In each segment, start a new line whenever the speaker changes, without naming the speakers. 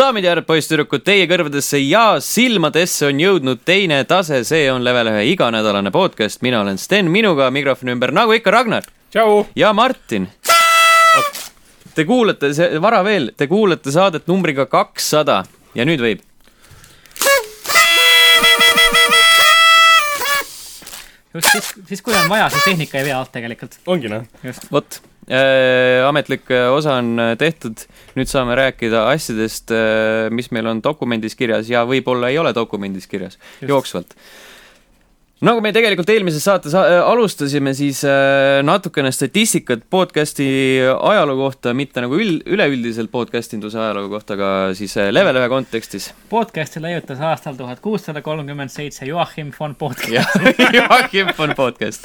daamid ja härrad, poisssüdrukud , teie kõrvadesse ja silmadesse on jõudnud teine tase , see on level ühe iganädalane podcast , mina olen Sten , minuga mikrofoni ümber , nagu ikka , Ragnar
tšau .
ja Martin . Te kuulate , see vara veel , te kuulate saadet numbriga kakssada ja nüüd võib .
just siis , siis kui on vaja , siis tehnika ei vea alt tegelikult .
ongi noh .
vot , ametlik äh, osa on äh, tehtud , nüüd saame rääkida asjadest , mis meil on dokumendis kirjas ja võib-olla ei ole dokumendis kirjas
Just.
jooksvalt . nagu me tegelikult eelmises saates äh, alustasime , siis äh, natukene statistikat podcast'i ajaloo kohta , mitte nagu üld , üleüldiselt podcast induse ajaloo kohta , aga siis äh, level ühe kontekstis .
podcast'i leiutas aastal tuhat kuussada kolmkümmend seitse Joachim von Podcast .
jah , Joakim on podcast .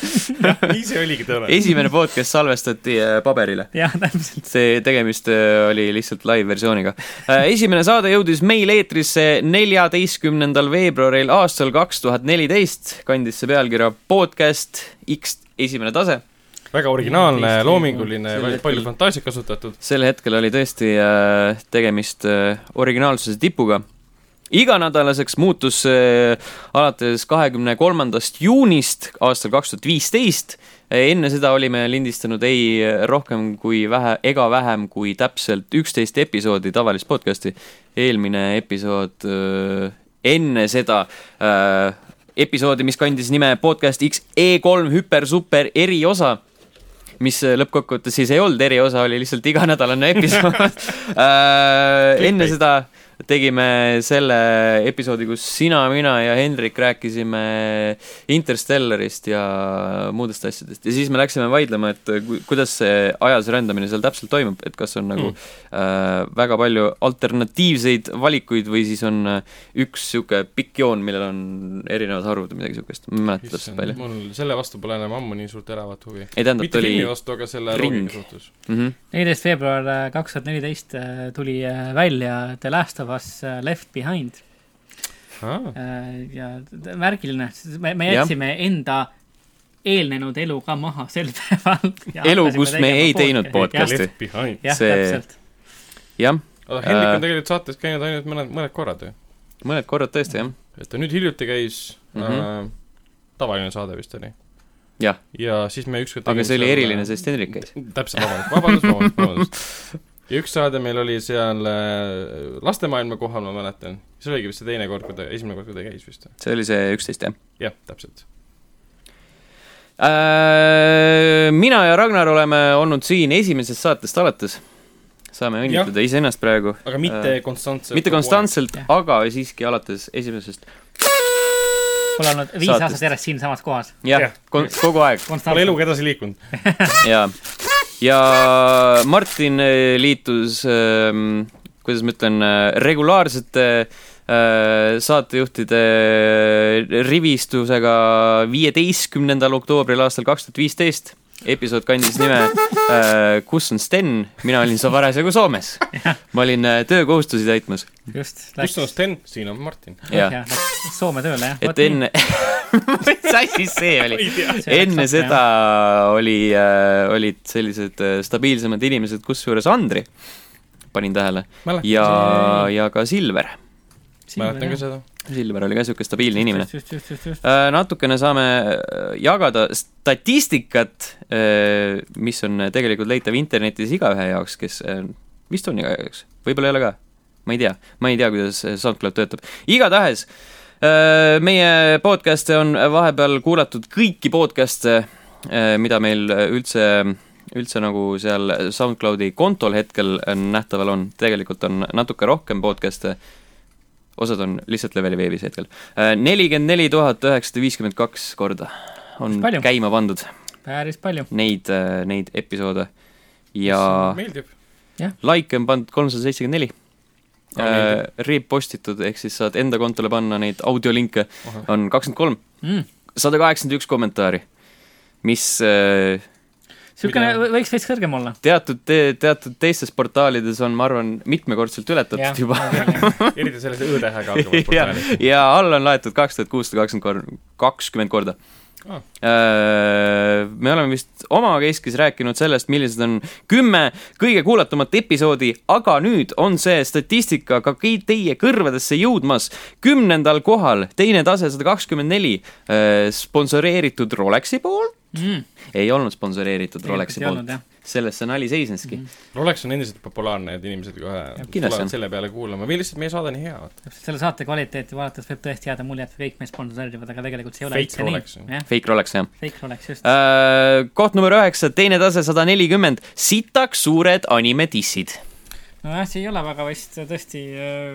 nii see oligi toona .
esimene podcast salvestati äh, paberile .
jah , täpselt .
see tegemist öö, oli lihtsalt live-versiooniga . esimene saade jõudis meil eetrisse neljateistkümnendal veebruaril aastal kaks tuhat neliteist , kandis see pealkirja podcast X esimene tase .
väga originaalne ,
Eesti-
loominguline
sel , hetkel-
palju fantaasiat kasutatud .
sel hetkel oli tõesti äh, tegemist äh, originaalsuse tipuga . iganädalaseks muutus see alates kahekümne kolmandast juunist aastal kaks tuhat viisteist . enne seda olime lindistanud ei äh, rohkem kui vähe ega vähem kui täpselt üksteist episoodi tavalist podcast'i . eelmine episood äh, enne seda äh, episoodi , mis kandis nime podcast XE3 hüper super eriosa mis lõppkokkuvõttes siis ei olnud eriosa , oli lihtsalt iganädalane episood äh, . enne seda tegime selle episoodi , kus sina , mina ja Hendrik rääkisime Interstellarist ja muudest asjadest ja siis me läksime vaidlema , et ku- kuidas see ajas rändamine seal täpselt toimub , et kas on nagu mm. äh, väga palju alternatiivseid valikuid või siis on äh, üks sihuke pikk joon , millel on erinevad arvud või midagi siukest , ma ei mäleta täpselt palju .
mul selle vastu pole enam ammu nii suurt äravat huvi .
ei tähendab ,
mitte
ta oli
filmi vastu , aga selle
ring.
loogika suhtes .
mm . -hmm
neliteist veebruar kaks tuhat neliteist tuli äh, välja The Last of Us äh, Left Behind Äh, ja t- märgiline , me , me
Jah.
jätsime enda eelnenud elu ka maha sel päeval .
Elu, kus me ei teinud podcast'i.
Left Behind .
jah ,
See-
täpselt .
jah ,
aga Hendrik
Äh.
on tegelikult saates käinud ainult mõned , mõned korrad ju .
mõned korrad tõesti jah ,
et ta nüüd hiljuti käis
Mhm.
äh, tavaline saade vist oli .
Jah. .
ja siis me ükskord
aga see oli eriline , sest Hendrik käis .
täpselt , vabandust , vabandust , vabandust , vabandust . ja üks saade meil oli seal äh, lastemaailma kohal , ma mäletan . see oligi vist see teine kord , kui ta , esimene kord , kui ta käis vist .
see oli see üksteist jah
jah , täpselt .
äh, . mina ja Ragnar oleme olnud siin esimesest saatest alates . saame õnnitleda iseennast praegu ,
aga mitte
Äh,
konstantselt .
mitte . konstantselt
Jah. ,
aga siiski alates esimesest .
Pole olnud viis
Saatest.
aastat järjest siinsamas kohas .
jah
Jah. ,
kogu aeg
pole
konstantselt .
eluga edasi liikunud .
ja , ja Martin äh, liitus ähm, , kuidas ma ütlen , regulaarsete äh, saatejuhtide eh, rivistusega viieteistkümnendal oktoobril aastal kaks tuhat viisteist . episood kandis nime äh, Kus on Sten , mina olin sa parasjagu Soomes . ma olin äh, töökohustusi täitmas
just ,
kus
läks
on Sten , siin on Martin .
ja
jah , läks Soome tööle , jah .
et . enne , mis asi see oli ?
See läks
enne
appi,
seda oli , olid sellised äh, stabiilsemad inimesed , kusjuures Andri , panin tähele , ja , ja ka Silver .
mäletan ka seda .
Silver oli ka niisugune stabiilne inimene .
just , just , just , just .
natukene saame äh, jagada statistikat , mis on tegelikult leitav internetis igaühe jaoks , kes äh, vist on igaühe jaoks , võib-olla ei ole ka , ma ei tea , ma ei tea , kuidas see SoundCloud töötab , igatahes äh, meie podcast'e on vahepeal kuulatud kõiki podcast'e , mida meil üldse üldse nagu seal SoundCloudi kontol hetkel äh, nähtaval on , tegelikult on natuke rohkem podcast'e , osad on lihtsalt leveli veebis hetkel . nelikümmend neli tuhat üheksasada viiskümmend kaks korda on
Palju.
käima pandud
päris palju .
neid , neid episoode ja
meeldib .
like on pandud kolmsada seitsekümmend neli .
Aa, meeldib.
Repostitud , ehk siis saad enda kontole panna neid audiolinke , on kakskümmend kolm ,
niisugune
sada kaheksakümmend üks kommentaari , mis äh,
Mida-
võiks veits kõrgem olla .
teatud te, , teatud teistes portaalides on , ma arvan , mitmekordselt ületatud juba .
eriti selle Õ-tähega algavad
ja
portaalid .,
ja alla on laetud kaks tuhat kuussada kakskümmend kolm , kakskümmend korda . ah.. Äh, me oleme vist omakeskis rääkinud sellest, millised on kümme kõige kuulatumat episoodi, aga nüüd on see statistika ka kõi- teie kõrvedesse jõudmas. kümnendal kohal, teine tase sada kakskümmend neli, äh, sponsoreeritud Rolexi poolt
mm. .
ei olnud sponsoreeritud Rolexi
ei olnud,
poolt
jah.
selles see nali seisneski mm .
Rolex on endiselt populaarne, et inimesed kohe
kindlasti on.
tulevad selle peale kuulama või lihtsalt meie saade on hea , vaata .
täpselt selle saate kvaliteeti vaadates võib tõesti jääda mulje , et kõik mees sponsoreerivad , aga tegelikult see ei ole
Fake Rolex, jah.
nii . jah ,
Fake Rolex jah
fake Rolex , just .
Äh, koht number üheksa , teine tase sada nelikümmend , sitaks suured animedissid .
nojah , see ei ole väga vist tõesti äh, ,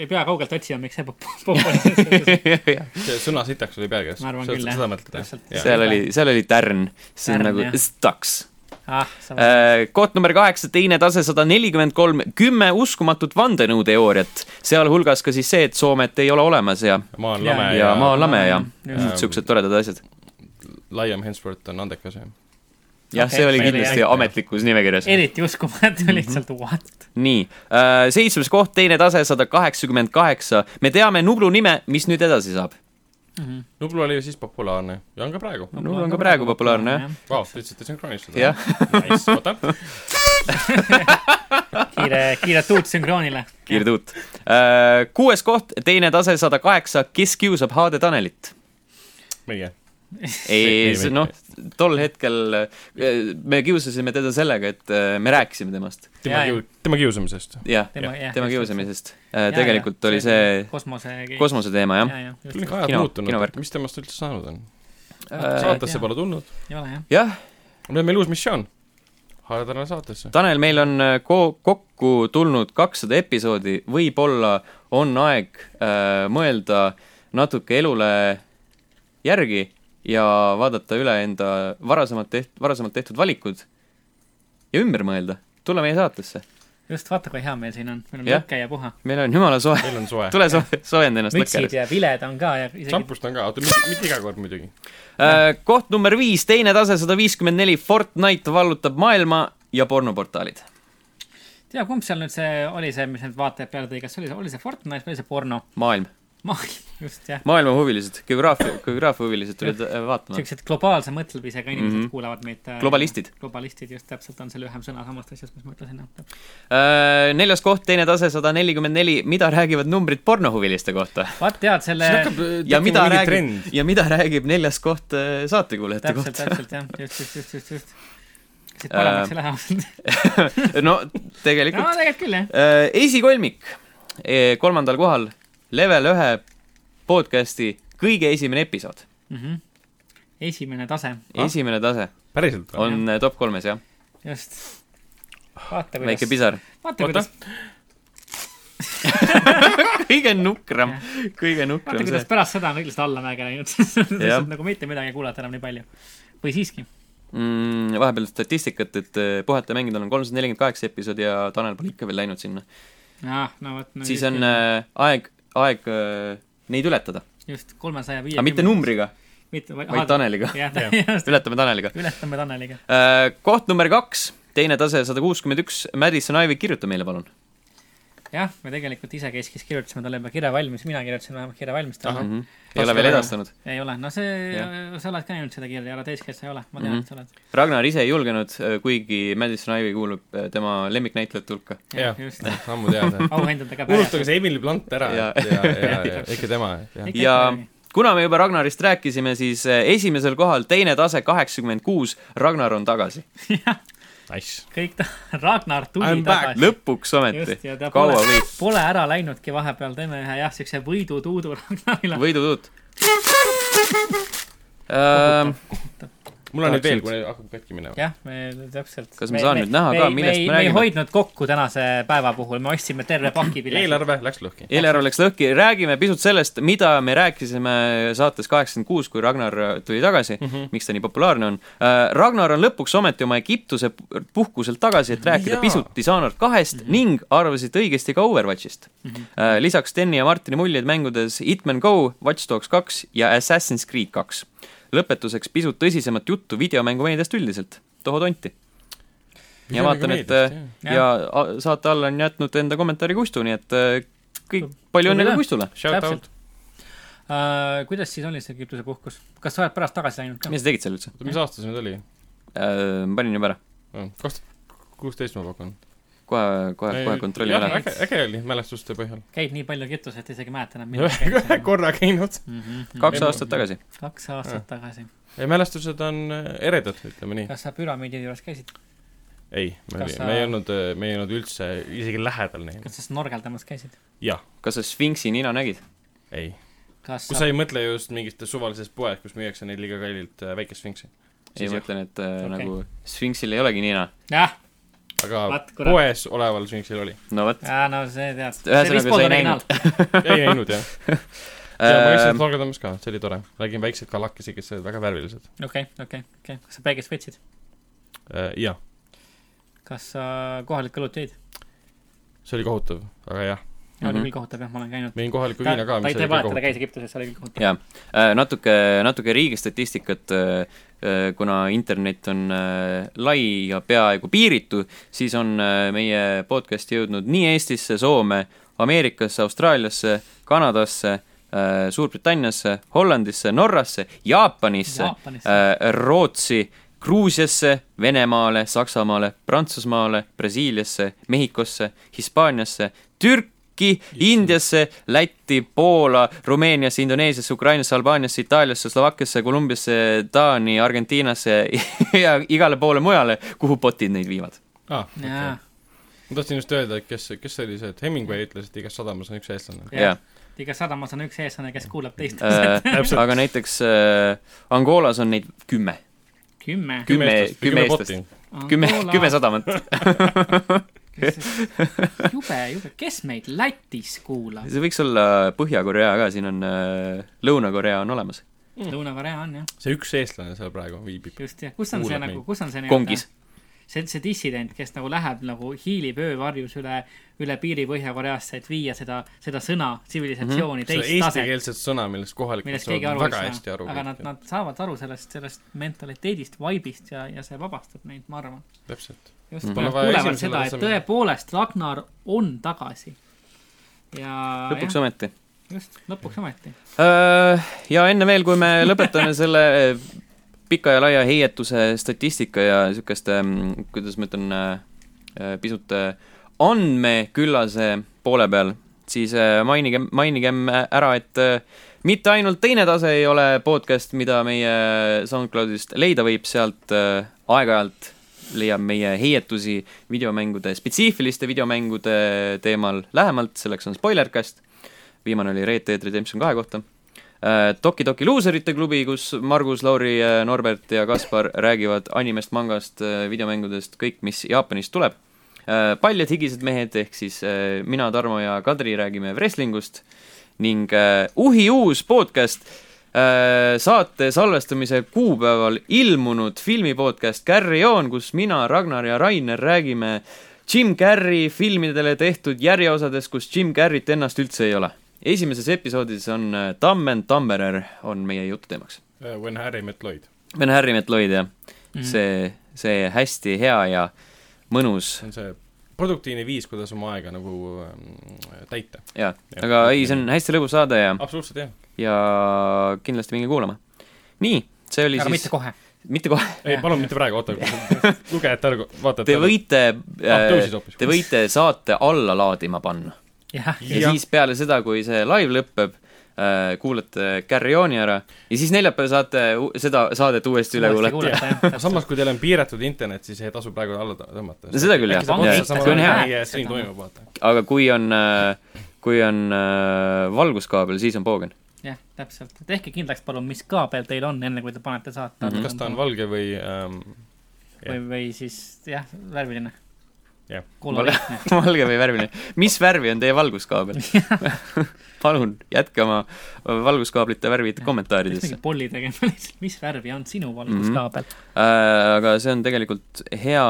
ei pea kaugelt otsima , miks see pop- , populaarne on .
see sõna sitaks oli peal käes .
Ma arvan küll, jah.
seda mõtled ,
Täpselt.
jah ?
seal oli , seal oli tärn , see on
Tärn,
nagu
jah.
staks .
ah , sa äh,
koht number kaheksa , teine tase sada nelikümmend kolm , kümme uskumatut vandenõuteooriat , sealhulgas ka siis see , et Soomet ei ole olemas ja ,
maa on
Jaa.
lame ja,
ja maa on lame ja
Just.
siuksed toredad asjad .
Liam Hemsworth on andekas , jah .
jah , see oli
Okei,
kindlasti
selge.
ametlikus nimekirjas .
eriti uskumatu lihtsalt , what ?
nii , seitsmes koht , teine tase sada kaheksakümmend kaheksa , me teame Nublu nime , mis nüüd edasi saab ?
Nublu oli ju siis populaarne ja on ka praegu .
Nublu on ka praegu populaarne jah .
Vau , te ütlesite sünkroonis seda
Jah. ?
Nice , oota .
kiire , kiire tuut sünkroonile .
kiirtuut . Äh, kuues koht , teine tase sada kaheksa , kes kiusab HD Tanelit ?
meie .
ei
Ei, , ei,
noh , tol hetkel äh, me kiusasime teda sellega , et äh, me rääkisime temast .
tema
Jaa,
kiu- , tema kiusamisest .
jah ,
Tema- jah,
tema
just,
kiusamisest . tegelikult oli see
kosmose .
kosmoseteema , jah .
jah ,
küll
just ,
ikka ajad
Kino-
muutunud
kinovärk. ,
mis temast üldse saanud on ?
Äh,
saatesse
jaa.
pole tulnud ,
ei ole jah .
jah ,
nüüd on meil uus missioon . haarad ära saatesse .
Tanel , meil on äh, ko- , kokku tulnud kakssada episoodi , võib-olla on aeg äh, mõelda natuke elule järgi ja vaadata üle enda varasemalt teht- , varasemalt tehtud valikud ja ümber mõelda , tulla meie saatesse .
just , vaata kui hea meil siin on , meil on
Jah.
lõke ja puha .
meil on jumala soe ,
meil on soe .
tule soe , soojenda ennast
mütsid
lõkkerist .
ja viled on ka ja isegi
šampust on ka , oota , mitte mitte iga kord muidugi .
Äh, koht number viis , teine tase sada viiskümmend neli , Fortnite vallutab maailma ja pornoportaalid .
tea , kumb seal nüüd see oli see , mis need vaatajad peale tõi , kas oli see , oli see Fortnite või oli see porno ?
maailm ,
ma , just jah ,
maailmahuvilised , geograafia , geograafiahuvilised tulid äh, vaatama .
siuksed globaalse mõtlemisega inimesed mm
Mhm.
-hmm. kuulavad meid .
Globalistid. .
globalistid just täpselt on see lühem sõna samast asjast , mis ma ütlesin .
Äh, neljas koht , teine tase sada nelikümmend neli , mida räägivad numbrid pornohuviliste kohta ?
vaat tead selle ,
ja mida räägib
äh, trend ,.
ja mida räägib neljas koht äh, saatekuulajate
täpselt ,
kohta ? Äh,
täpselt jah , just , just , just , just , just . siit paremaks ei lähe ausalt .
no
no
tegelikult
tegelikult küll jah ,
äh, esikolmik eh, kolmandal kohal , level ühe podcast'i kõige esimene episood ,
Mhm. esimene tase ,
esimene tase
päriselt või ?
on äh, top kolmes jah ,
just . vaata
väike
kuidas ,
pisar .
vaata kuidas ,
kõige nukram , kõige
vaata
nukram see
kuidas pärast seda on õiglaselt allamäge läinud . lihtsalt nagu mitte midagi ei kuulata enam nii palju . või siiski ,
mm, . vahepeal statistikat , et äh, puhata ja mängida on kolmsada nelikümmend kaheksa episoodi ja Tanel pole ikka veel läinud sinna .
no vot no, .
siis on äh, aeg , aeg äh, neid ületada ,
just kolmesaja viie .
aga mitte numbriga ,
mitte ,
vaid Taneliga .
jah ,
ületame Taneliga .
ületame Taneliga .
koht number kaks , teine tase sada kuuskümmend üks , Madison Ivy , kirjuta meile palun .
jah , me tegelikult isekeskis kirjutasime talle juba kirja valmis , mina kirjutasin vähemalt kirja valmis talle .
ei ole veel edastanud .
ei ole , no see
Mhm. Jah. , Mhm.
sa oled ka näinud seda kirja , ära teeskes sa ei ole , ma tean , et sa oled .
Ragnar ise ei julgenud , kuigi Madison Ivy kuulub äh, tema lemmiknäitlejate hulka .
jah
just. ,
ammu teada .
auhindadega
unustage . see Emily Blunt ära
Jaa.
ja , ja , ja, ja ikka tema .
Ikka.
ja kuna me juba Ragnarist rääkisime , siis äh, esimesel kohal teine tase kaheksakümmend kuus , Ragnar on tagasi .
Nice .
kõik ta , Ragnar tuli
I'm back.
tagasi .
lõpuks ometi
just , ja ta ,
kaua
pole
võit ,,
pole ära läinudki vahepeal , teeme ühe jah , siukse võidutuudu Ragnarile .
võidutuut ähm, .
mul on nüüd veel , kui hakkab katki minema .
jah , me täpselt .
Kas ma saan nüüd näha ka, millest me
me ei
räägime?
hoidnud kokku tänase päeva puhul , me ostsime terve paki pileteid .
eelarve läks lõhki .
eelarve läks lõhki , räägime pisut sellest , mida me rääkisime saates kaheksakümmend kuus , kui Ragnar tuli tagasi mm , -hmm. miks ta nii populaarne on . Ragnar on lõpuks ometi oma Egiptuse pu- puhkuselt tagasi , et rääkida
Jaa.
Jaa. pisut Dishonored kahest mm -hmm. ning arvasid õigesti ka Overwatchist mm . -hmm. lisaks Steni ja Martini muljed mängudes Hitman Go , Watch Dogs kaks ja Assassin's Creed kaks . lõpetuseks pisut tõsisemat juttu videomängumeediast üldiselt , Toho Tonti . ja vaatan , et äh, ja, ja a- saate alla on jätnud enda kommentaari Kustu , nii et äh, kõik , palju õnne ka
Tubli
Kustule .
Shout out .
uh, . kuidas siis oli see Egiptuse puhkus ? kas sa oled pärast tagasi läinud ka ?
mis sa tegid seal üldse ?
mis aasta see nüüd oli ?
ma panin juba ära .
kaks tuhat kuusteist ma pakun .
kohe , kohe , kohe kontrollin ära .
äge , äge oli mälestuste põhjal .
käid nii palju Egiptuses , et isegi ei mäleta enam , millal käid
ühe . korra käinud .
kaks Ah. aastat tagasi .
mhm. kaks aastat tagasi .
ei , mälestused on äh, eredad , ütleme nii .
kas sa püramiidi juures käisid ?
ei , me
Kas
ei ,
sa-
me ei olnud , me ei olnud üldse isegi lähedal neile .
kas sa snorgeldamas käisid ?
jah ,
kas sa Sphinxi nina nägid ?
ei .
kas
kui
sa
sa ei mõtle just mingist suvalisest poed , kus müüakse neid liiga kallilt äh, väikest sfinksi .
ei ,
Siis
ma
jah.
ütlen , et äh,
Okei.
nagu Sphinxil ei olegi nina .
jah ,
aga
Vaat, kurat.
poes oleval sfinksil oli .
no vot .
jaa , no see tead .
Ühesõnaga, sa ei
ei näinud jah . ja ma käisin torgedamas ka , see oli tore . nägin väikseid kalakesi , kes olid väga värvilised .
okei , okei , okei . kas sa päikest võtsid ?
Äh, jah ,
kas sa kohalikku õlut jõid ?
see oli kohutav , aga jah ,
Mhm.
oli küll kohutav jah , ma olen käinud .
müüin kohaliku viina ka ,
ta
mis
ei
oli
tee
ka
valet , ta
kohutav .
käis Egiptuses , see oli küll kohutav .
jaa , Äh, natuke , natuke riigi statistikat , kuna internet on äh, lai ja peaaegu piiritu , siis on äh, meie podcast jõudnud nii Eestisse , Soome , Ameerikasse , Austraaliasse , Kanadasse , Suurbritanniasse , Hollandisse , Norrasse , Jaapanisse , Äh,
Jaapanisse .
Rootsi , Gruusiasse , Venemaale , Saksamaale , Prantsusmaale , Brasiiliasse , Mehhikosse , Hispaaniasse , Türki , Türki , Indiasse , Lätti , Poola , Rumeeniasse , Indoneesiasse , Ukrainasse , Albaaniasse , Itaaliasse , Slovakkiasse , Kolumbiasse , Taani , Argentiinasse ja igale poole mujale , kuhu botid neid viivad .
aa , Ah, okei
jaa .
ma tahtsin just öelda , et kes , kes see oli see , et Hemingway ütles , et igas sadamas on üks eestlane .
Jah.
jah ,
igas sadamas on üks eestlane , kes kuulab teist .
Äh, Täpselt.
Äh, aga näiteks äh, Angolas on neid kümme ,
kümme .
Kümme- kümme eestlast. . kümme , kümme . sadamat .
jube , jube , kes meid Lätis kuulab ?
see võiks olla Põhja-Korea ka , siin on äh, Lõuna-Korea on olemas ,
Mm.
Lõuna-Korea on jah ,
see üks eestlane seal praegu viibib .
just jah . kus on
Kuulab
see
meid.
nagu , kus on see
kongis .
see , see dissident , kes nagu läheb nagu hiilib öövarjus üle , üle piiri Põhja-Koreasse , et viia seda , seda sõna tsivilisatsiooni mm -hmm.
seda
teist taset ,
eestikeelset sõna , millest kohalikud
millest keegi
saavad
aru
väga hästi aru .
aga nad , nad saavad aru sellest , sellest mentaliteedist , vibe'ist ja , ja see vabastab neid , ma arvan .
täpselt .
just
Mhm.
mm , -hmm.
Pole
nad
vaja
kuulevad
esimesele
seda , et
tasemele.
tõepoolest Ragnar on tagasi . ja ,
lõpuks
Ah, jah ,
ometi
just , lõpuks ometi .
Öö, Äh, ja enne veel , kui me lõpetame selle äh, pika ja laia heietuse statistika ja niisuguste , kuidas ma ütlen , pisut äh, andmeküllase poole peal , siis äh, mainigem , mainigem ära , et äh, mitte ainult teine tase ei ole podcast , mida meie SoundCloudist leida võib , sealt äh, aeg-ajalt leiab meie heietusi videomängude , spetsiifiliste videomängude teemal lähemalt , selleks on Spoilercast , viimane oli Red Dead Redemption kahe kohta . Toki Toki luuserite klubi , kus Margus , Lauri , Norbert ja Kaspar räägivad animest , mangast , videomängudest , kõik , mis Jaapanist tuleb . paljad higised mehed ehk siis äh, mina , Tarmo ja Kadri räägime wrestlingust ning äh, uhi uus podcast , saate salvestamise kuupäeval ilmunud filmi podcast Carry On , kus mina , Ragnar ja Rainer räägime Jim Carrey filmidele tehtud järjeosades , kus Jim Carreyt ennast üldse ei ole . esimeses episoodis on äh, Tammen Tammerer on meie jututeemaks .
Eh, When Harry Met Lloyd ,
Ben Harry Metloid ja
Mhm.
mm. see , see hästi hea ja mõnus
see on see produktiivne viis , kuidas oma aega nagu ähm, täita .
ja ,
Jah.
aga ei , see on hästi lõbus saade ja ,
absoluutselt jah .
ja kindlasti minge kuulama . nii , see oli
aga
siis
mitte , kohe .
mitte kohe ,
ei , palun mitte praegu , oota , lugejate ära , vaatajate
te
ära .
võite
Ah, tõusis hoopis.
te võite saate alla laadima panna .
jah ,
ja, ja
Jah.
siis peale seda , kui see live lõpeb , äh, kuulate Carry On'i ära ja siis neljapäeval saate u- seda saadet uuesti üle kuulata .
aga samas , kui teil on piiratud internet , siis ei tasu praegu alla tõ- tõmmata .
No seda küll, jah. Jah, see on hea.
stream toimub , vaata .
aga kui on , kui on äh, valguskaabel , siis on poogen .
jah , täpselt , tehke kindlaks palun , mis kaabel teil on , enne kui te panete saate .
Mhm. kas ta on valge või ähm,
või , või siis jah , värviline .
Jah.
koloriitne .
valge või värviline . mis värvi on teie valguskaabel ? palun jätke oma valguskaablite värvid
peaks
kommentaaridesse
mingi . polli tegema lihtsalt , mis värvi on sinu
Mhm.
valguskaabel mm ?
Äh, aga see on tegelikult hea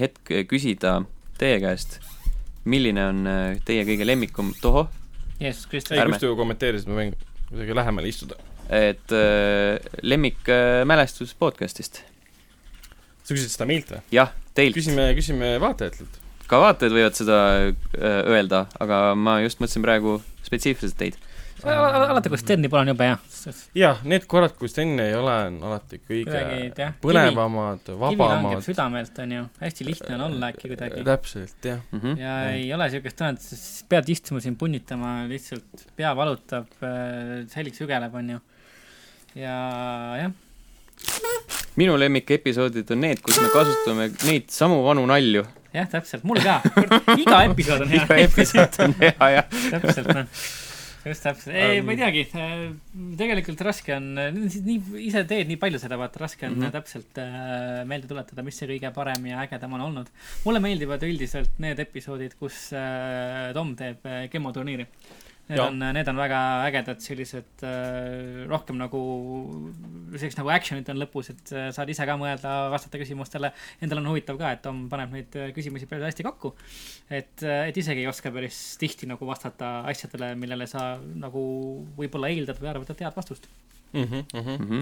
hetk küsida teie käest , milline on äh, teie kõige lemmikum toho ,
-hmm. Jeesus Kristus
ei ,
Ärme.
kus te ju kommenteerisite , ma võin kuidagi lähemale istuda .
et äh, lemmikmälestus podcast'ist .
sa küsisid seda meilt või ?
jah , teilt ,
küsime , küsime vaatajatelt .
ka vaatajad võivad seda äh, öelda , aga ma just mõtlesin praegu spetsiifiliselt teid .
alati , kui Sterni pole , on jube hea .
jah , need korrad , kus Steni ei ole , on alati
Kuidagi, et
kõige
jah,
põnevamad ,
kivi langeb
vabamad .
südamelt , onju . hästi lihtne on olla äkki kuidagi .
Äh,
täpselt , jah .
mm .
ja ei ole siukest tunnet , sa pead istuma siin punnitama , lihtsalt pea valutab , äh, selg sügeleb , onju . ja jah ,
minu lemmikepisoodid on need , kus me kasutame neid samu vanu nalju .
jah , täpselt , mul ka . iga episood on
iga
hea .
episood on hea ja
täpselt , noh . just täpselt , ei , ma ei teagi , tegelikult raske on , nii , ise teed nii palju seda , vaata , raske on mm -hmm. täpselt äh, meelde tuletada , mis see kõige parem ja ägedam on olnud . mulle meeldivad üldiselt need episoodid , kus äh, Tom teeb äh, gemoturniiri . Need
Jaa.
on , need on väga ägedad sellised äh, rohkem nagu , sellised nagu action'id on lõpus , et äh, saad ise ka mõelda , vastata küsimustele . Endal on huvitav ka , et Tom paneb neid äh, küsimusi päris hästi kokku . et , et isegi ei oska päris tihti nagu vastata asjadele , millele sa nagu võib-olla eeldad või arvad , et tead vastust . Mhm,
Mhm.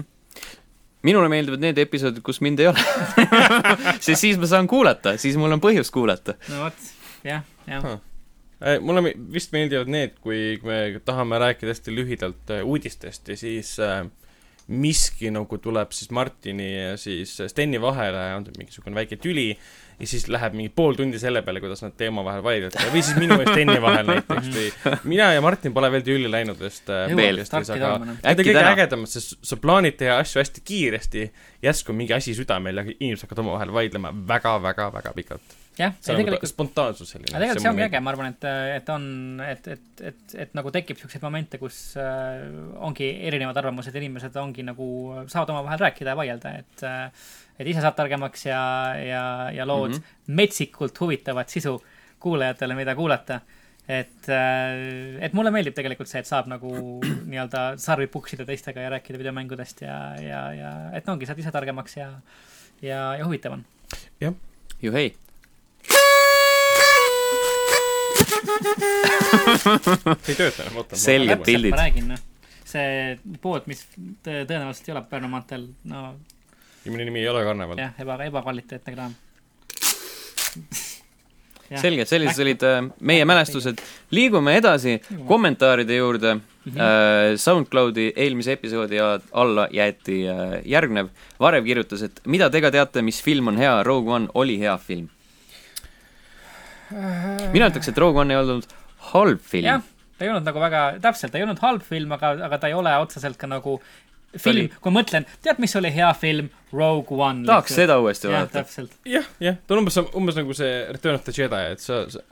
minule meeldivad need episoodid , kus mind ei ole . sest siis ma saan kuulata , siis mul on põhjust kuulata .
no vot , jah , jah ,
Eh, mulle me- vist meeldivad need , kui me tahame rääkida hästi lühidalt eh, uudistest ja siis äh, miski nagu tuleb siis Martini ja siis äh, Steni vahele , on mingisugune väike tüli ja siis läheb mingi pool tundi selle peale , kuidas nad teema vahel vaidlevad või siis minu ja Steni vahel näiteks või mina ja Martin pole veel tülli läinud , sest äh,
Jõuab
Veel.
sest ei saa
startida
ka-
olema, noh.
Need on
Äkki
kõige
täna.
ägedamad , sest sa plaanid teha asju hästi kiiresti , järsku mingi asi südamel ja inimesed hakkavad omavahel vaidlema väga-väga-väga pikalt .
jah ,
see
ei
on
tegelikult
nagu spontaansus selline .
aga tegelikult see ongi äge , ma arvan , et , et on , et , et , et , et nagu tekib siukseid momente , kus äh, ongi erinevad arvamused , inimesed ongi nagu , saavad omavahel rääkida ja vaielda , et äh, et ise saad targemaks ja , ja , ja lood mm -hmm. metsikult huvitavat sisu kuulajatele , mida kuulata . et , et mulle meeldib tegelikult see , et saab nagu nii-öelda sarvi puksida teistega ja rääkida videomängudest ja , ja , ja et ongi , saad ise targemaks ja , ja , ja huvitav on .
jah ,
juhei .
see ei tööta enam , oota .
Selge
Täpselt,
pildid.
ma räägin , noh . see pood , mis tõ- tõenäoliselt ei ole Pärnu maanteel , no
ja minu nimi ei ole Karneval .
jah , eba , ebakvaliteetne kraam .
selge , sellised olid äh, meie mälestused . liigume edasi kommentaaride juurde . SoundCloudi eelmise episoodi a- alla jäeti äh, järgnev . Varev kirjutas , et mida te ka teate , mis film on hea , Rogue One oli hea film . mina ütleks , et Rogue One ei olnud halb
jah
film .,
ta ei olnud nagu väga , täpselt , ta ei olnud halb film , aga , aga ta ei ole otseselt ka nagu
oli-
film , kui mõtlen , tead , mis oli hea film ? Rogue One .
tahaks seda uuesti
jah ,
vaadata .
täpselt .
jah , jah , ta on umbes , umbes nagu see Return of the Jedi , et sa, sa ,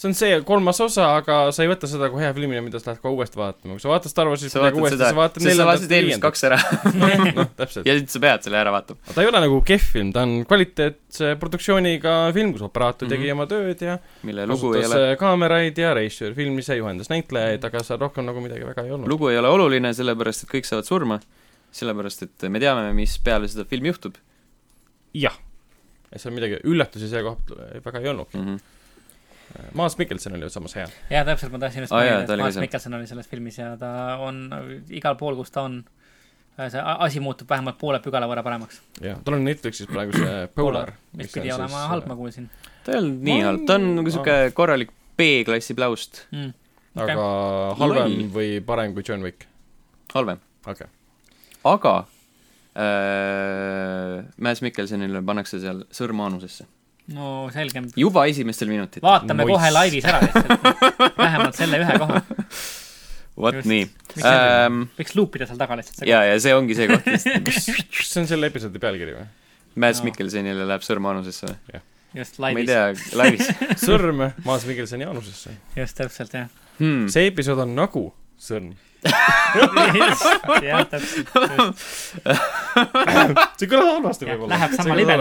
see on see kolmas osa , aga sa ei võta seda kui hea filmina , mida sa lähed kohe uuesti vaatama . kui sa vaatad Star Warsi , siis
sa vaatad
uuesti ,
seda
sa , vaatad
sest sa vaatasid eelmised
neljandat ,
kaks ära
viiendat . noh , täpselt .
ja nüüd sa pead selle ära vaatama .
aga ta ei ole nagu kehv film , ta on kvaliteetse produktsiooniga film , kus operaator tegi
Mhm.
oma tööd ja
mille lugu ei
kasutas
ole ,
äh, kaameraid ja reisijad , film ise juhendas näitlejaid , aga seal rohkem nagu midagi väga ei olnud .
lugu ei ole oluline , sellepärast et kõik saavad surma . sellepärast , et me teame , mis peale seda filmi juhtub
jah . seal midagi , üllatusi selle kohta väga ei olnud .
mm . -hmm
Maas Mikkelson oli samas hea .
jah , täpselt , ma tahtsin just
Aa, jaa,
mainida ,
ta
et
oli ka
Maas
seal.
Mikkelson oli selles filmis ja ta on igal pool , kus ta on , see a- asi muutub vähemalt poole pügala võrra paremaks .
jah , tal on Netflixis praegu see Polar .
mis pidi olema halb , ma kuulsin
ta ei olnud nii
Ma-
halb , ta on nagu siuke korralik B-klassi plaust ,
mm. .
aga halvem
Loll.
või parem kui John Wick ,
halvem ,
okei okay. .
aga äh, Mads Mikkelsonile pannakse seal sõrm aanusesse
no selgem
juba esimestel minutitel ,
vaatame
Moiss.
Mois. kohe laivis ära lihtsalt , vähemalt selle ühe koha ,
vot
just.
nii
Miks
ähm, .
võiks luupida seal taga lihtsalt .
ja , ja see ongi see koht ,
see on selle episoodi pealkiri või ?
Mads
No.
nagu
nagu-
nagu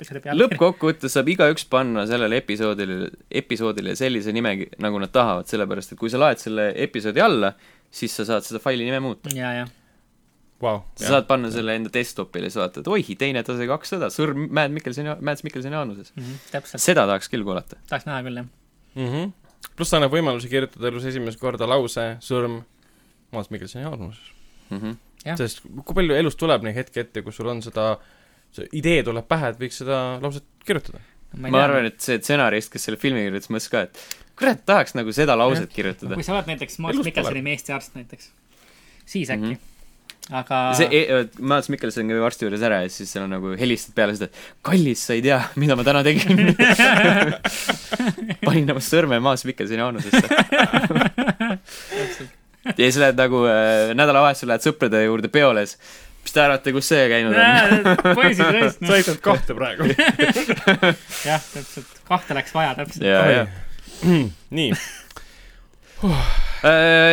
nagu
Mhm,
Mhm.
Mhm.
see idee tuleb pähe , et võiks seda lauset kirjutada .
ma arvan , et see stsenarist , kes selle filmi kirjutas , mõtles ka , et kurat , tahaks nagu seda lauset kirjutada
kui . sa oled näiteks Mads
Elus pole.
Mikkelsoni meestearst näiteks , siis äkki mm . -hmm. aga
see e , Mads Mikkelson käib arsti juures ära ja siis seal on nagu helistad peale seda , et kallis , sa ei tea , mida ma täna tegin . panin oma sõrme Mads Mikkelsoni haanusesse . ja siis lähed nagu äh, nädalavahetusel lähed sõprade juurde peole , siis mis te arvate , kus see käinud on ?
poisid rööst ,
sa ütled kahte praegu .
jah , täpselt , kahte läks vaja täpselt .
ja , ja .
nii ,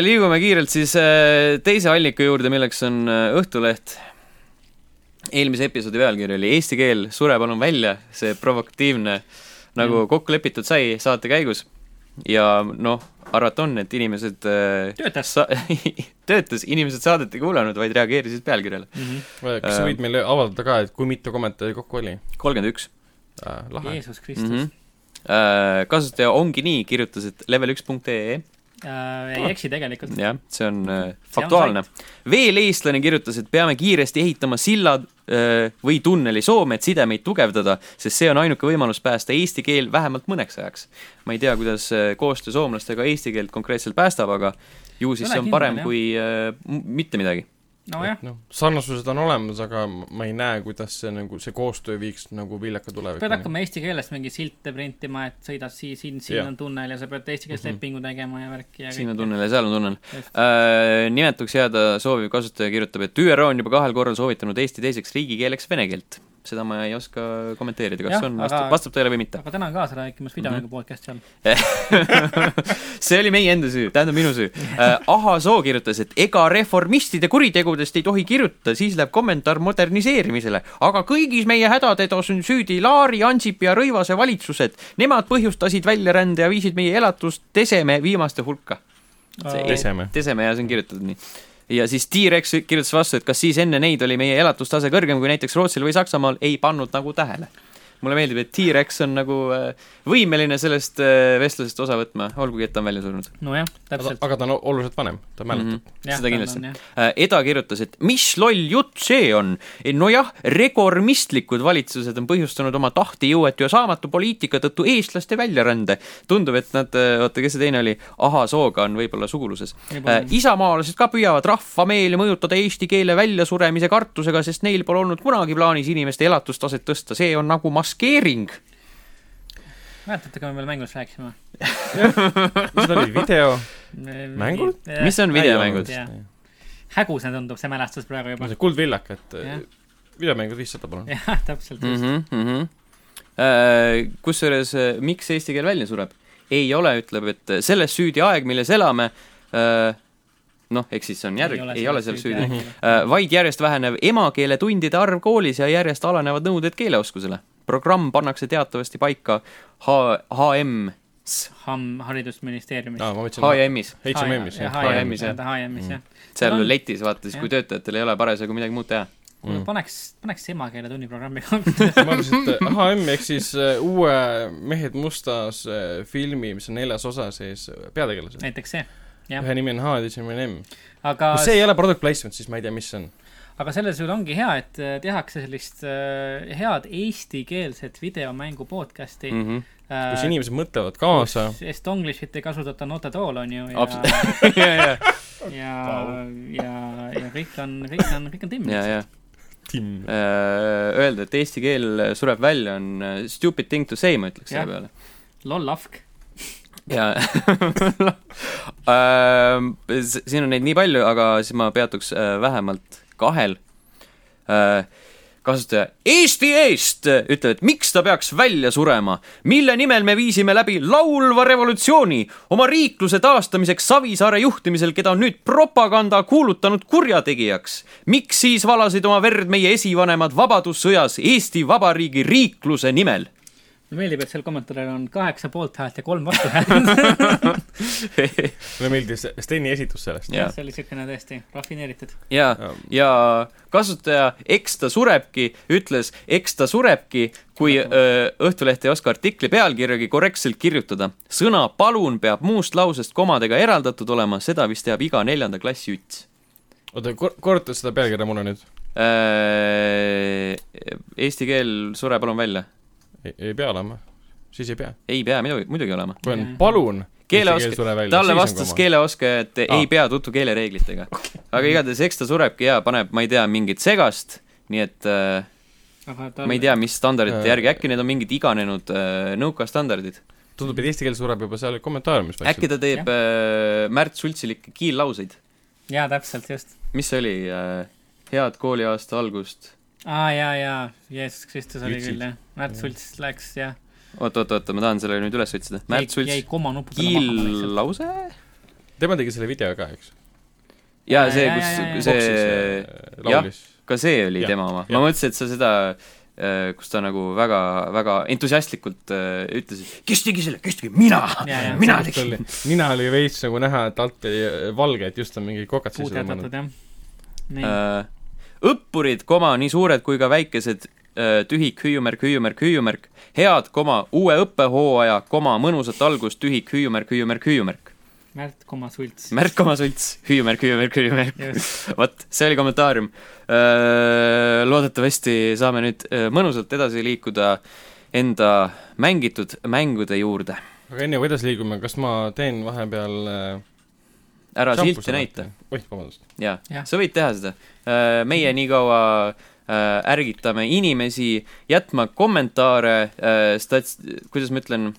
liigume kiirelt siis äh, teise allika juurde , milleks on äh, Õhtuleht . eelmise episoodi pealkiri oli Eesti keel , sure palun välja , see provokatiivne , nagu kokku lepitud sai saate käigus . ja noh , arvata on , et inimesed äh,
Töötas.
sa- töötas , inimesed saadet ei kuulanud , vaid reageerisid pealkirjale .
Mhm.
Äh, kas sa võid meile avaldada ka , et kui mitu kommentaari kokku oli ?
kolmkümmend üks .
lahe .
Jeesus
Mhm.
Kristus .
Äh, kasutaja ongi nii , kirjutas , et level1.ee
äh, ei eksi tegelikult .
jah , see on äh, faktuaalne . veel eestlane kirjutas , et peame kiiresti ehitama silla äh, või tunneli Soome , et sidemeid tugevdada , sest see on ainuke võimalus päästa eesti keel vähemalt mõneks ajaks . ma ei tea , kuidas äh, koostöö soomlastega eesti keelt konkreetselt päästab , aga ju siis
Ole
see on
kindel,
parem
jah.
kui äh, m- mitte midagi .
nojah ,
noh , sarnasused on olemas , aga ma ei näe , kuidas see nagu , see koostöö viiks nagu viljaka
pead
tulevikuni .
hakkama eesti keelest mingeid silte printima , et sõidad siin , siin , siin
Jah.
on tunnel ja sa pead eesti keeles lepingu tegema ja värki ja
Mhm. siin on
kõike.
tunnel ja seal on tunnel Äh,
Just. .
nimetuks jääda sooviv kasutaja kirjutab , et ÜRO on juba kahel korral soovitanud Eesti teiseks riigikeeleks vene keelt . seda ma ei oska kommenteerida , kas
Jah,
see on , Mhm.
aga-
vastab , vastab tõele või mitte .
aga tänan kaasa rääkimast videomängu podcast'i all .
see oli meie enda süü , tähendab minu süü äh, . Ahasoo kirjutas , et ega reformistide kuritegudest ei tohi kirjutada , siis läheb kommentaar moderniseerimisele . aga kõigis meie hädadedos on süüdi Laari , Ansipi ja Rõivase valitsused . Nemad põhjustasid väljarände ja viisid meie elatusteseme viimaste hulka .
Teseme.
teseme ja see on kirjutatud nii ja siis T-Rex kirjutas vastu , et kas siis enne neid oli meie elatustase kõrgem kui näiteks Rootsil või Saksamaal , ei pannud nagu tähele . mulle meeldib , et T-Rex on nagu äh, võimeline sellest äh, vestlusest osa võtma , olgugi et ta on välja surnud .
nojah , täpselt .
aga ta on oluliselt vanem , ta mäletab .
Jah,
seda
tal
kindlasti Äh,
on, jah. .
Eda kirjutas , et mis loll jutt see on . nojah , reformistlikud valitsused on põhjustanud oma tahtejõuetu ja saamatu poliitika tõttu eestlaste väljarände . tundub , et nad , oota , kes see teine oli , Ahasooga on võib-olla suguluses .
Võib-olla.
isamaalased ka püüavad rahvameeli mõjutada eesti keele väljasuremise kartusega , sest neil pole olnud kunagi plaanis inimeste elatustaset tõsta , see on nagu maskeering .
mäletate , kui me veel mängust rääkisime ?
see oli video . Mängud? ?
mis on videomängud ? Mhm.
Jah. hägusne Äh, tundub see mälestus praegu juba .
kuldvillak , et äh,
Jah.
videomängud viissada , palun .
jah , täpselt mm . -hmm.
mm . -hmm. Äh, kusjuures , miks eesti keel välja sureb ? ei ole , ütleb , et äh, selles süüdi aeg , milles elame . noh , ehk siis see on järg , ei ole selles süüdi . vaid järjest vähenev emakeeletundide arv koolis ja järjest alanevad nõuded keeleoskusele . programm pannakse teatavasti paika H , HM-s ,
Ham- , haridusministeeriumis .
aa , ma mõtlesin ,
Ah, HM-is .
HMM-is ,
jah .
jah .
HMM-is,
HM-is
jah.
jah . HM-is jah .
seal
Nad on-
letis vaata siis , kui töötajatel ei ole parasjagu midagi muud teha .
kuule , paneks , paneks emakeele tunniprogrammi kokku .
ma arvasin , et HM ehk siis äh, uue Mehed mustas äh, filmi , mis on neljas osa , siis peategelased .
näiteks see , jah .
ühe nimi on H ja teise nimi on M .
aga
kui see ei ole product placement , siis ma ei tea , mis see on .
aga selles juhul ongi hea , et äh, tehakse sellist äh, head eestikeelset videomängu podcast'i mm .
Mhm.
kus inimesed mõtlevad kaasa ,
Estonglishit ei kasutata Not at all , on ju , ja ,
Abs- ja , ja ,
ja , ja , ja kõik on , kõik on , kõik on timm .
ja , ja .
Tim .
Äh, öelda , et eesti keel sureb välja , on äh, stupid thing to say , ma ütleks
Jah.
selle peale .
loll afk .
ja äh, s- siin on neid nii palju , aga siis ma peatuks äh, vähemalt kahel äh, kasutaja Eesti eest ütleb , et miks ta peaks välja surema , mille nimel me viisime läbi laulva revolutsiooni oma riikluse taastamiseks Savisaare juhtimisel , keda on nüüd propaganda kuulutanud kurjategijaks . miks siis valasid oma verd meie esivanemad Vabadussõjas Eesti Vabariigi riikluse nimel ?
mulle meeldib , et seal kommentaaril on kaheksa poolthäält ja kolm vastuhäält .
mulle meeldis Steni esitus sellest .
Jaa.
see oli siukene tõesti rafineeritud .
ja , ja kasutaja Eks ta surebki ütles Eks ta surebki , kui öö, Õhtuleht ei oska artikli pealkirjagi korrektselt kirjutada . sõna palun peab muust lausest komadega eraldatud olema , seda vist teab iga neljanda klassi üts .
oota , korruta seda pealkirja mulle nüüd .
Eesti keel , sure palun välja .
ei pea olema , siis ei pea .
ei pea muidugi , muidugi olema .
kui on
Mhm.
palun .
keeleoskaja , talle vastas . keeleoskaja , et
Aa.
ei pea tuttu keelereeglitega . aga igatahes , eks ta surebki ja paneb , ma ei tea , mingit segast , nii et äh, ma ei tea , mis standardite
Äh.
järgi , äkki need on mingid iganenud äh, nõukastandardid .
tundub , et eesti keel sureb juba seal kommentaariumis
äkki
vaikselt .
ta teeb äh, Märt Sultsilikke kiillauseid .
jaa , täpselt , just .
mis see oli äh, ? head kooliaasta algust .
aa , jaa , jaa , Jeesus Kristus oli
Ütlesid.
küll , jah . Märt Sults läks , jah .
oot , oot , oot , ma tahan selle nüüd üles otsida . Märt
jäi
Sults ,
koma nupu peale maha lihtsalt .
kiillause ?
tema tegi selle video ka , eks .
jaa , see ,
Jaa, jaa, jaa,
kus , see ,
äh, laulis .
ka see oli
Jah,
ja, tema oma .
jah.
ma mõtlesin , et sa seda , kus ta nagu väga , väga entusiastlikult äh, ütles , et kes tegi selle , kes tegi , mina
Jaa, jaa. ,
mina tegin .
nina oli veits nagu näha , et alt oli äh, valge , et just on mingi kokad sisse tõmmanud .
puuterdatud , jah . nii ,
Äh, õppurid , koma , nii suured kui ka väikesed , tühik , hüüumärk , hüüumärk , hüüumärk , head , koma , uue õppehooaja , koma , mõnusat algust , tühik , hüüumärk , hüüumärk , hüüumärk .
Märt koma Sults .
märk , koma , sults , hüüumärk , hüüumärk , hüüumärk .
just ,
vot , see oli kommentaarium . loodetavasti saame nüüd öö, mõnusalt edasi liikuda enda mängitud mängude juurde .
aga enne kui edasi liigume , kas ma teen vahepeal äh,
ära silti näita ,.
oih , vabandust .
jaa
Jah. .
sa võid teha seda . meie niikaua öö, ärgitame inimesi jätma kommentaare , stats- , kuidas ma ütlen ,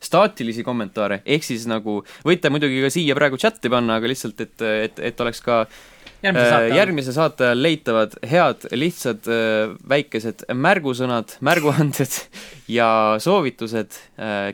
staatilisi kommentaare , ehk siis nagu võite muidugi ka siia praegu chati panna , aga lihtsalt , et , et , et oleks ka äh,
järgmise saate .
järgmise saate ajal leitavad head lihtsad äh, väikesed märgusõnad , märguanded ja soovitused ,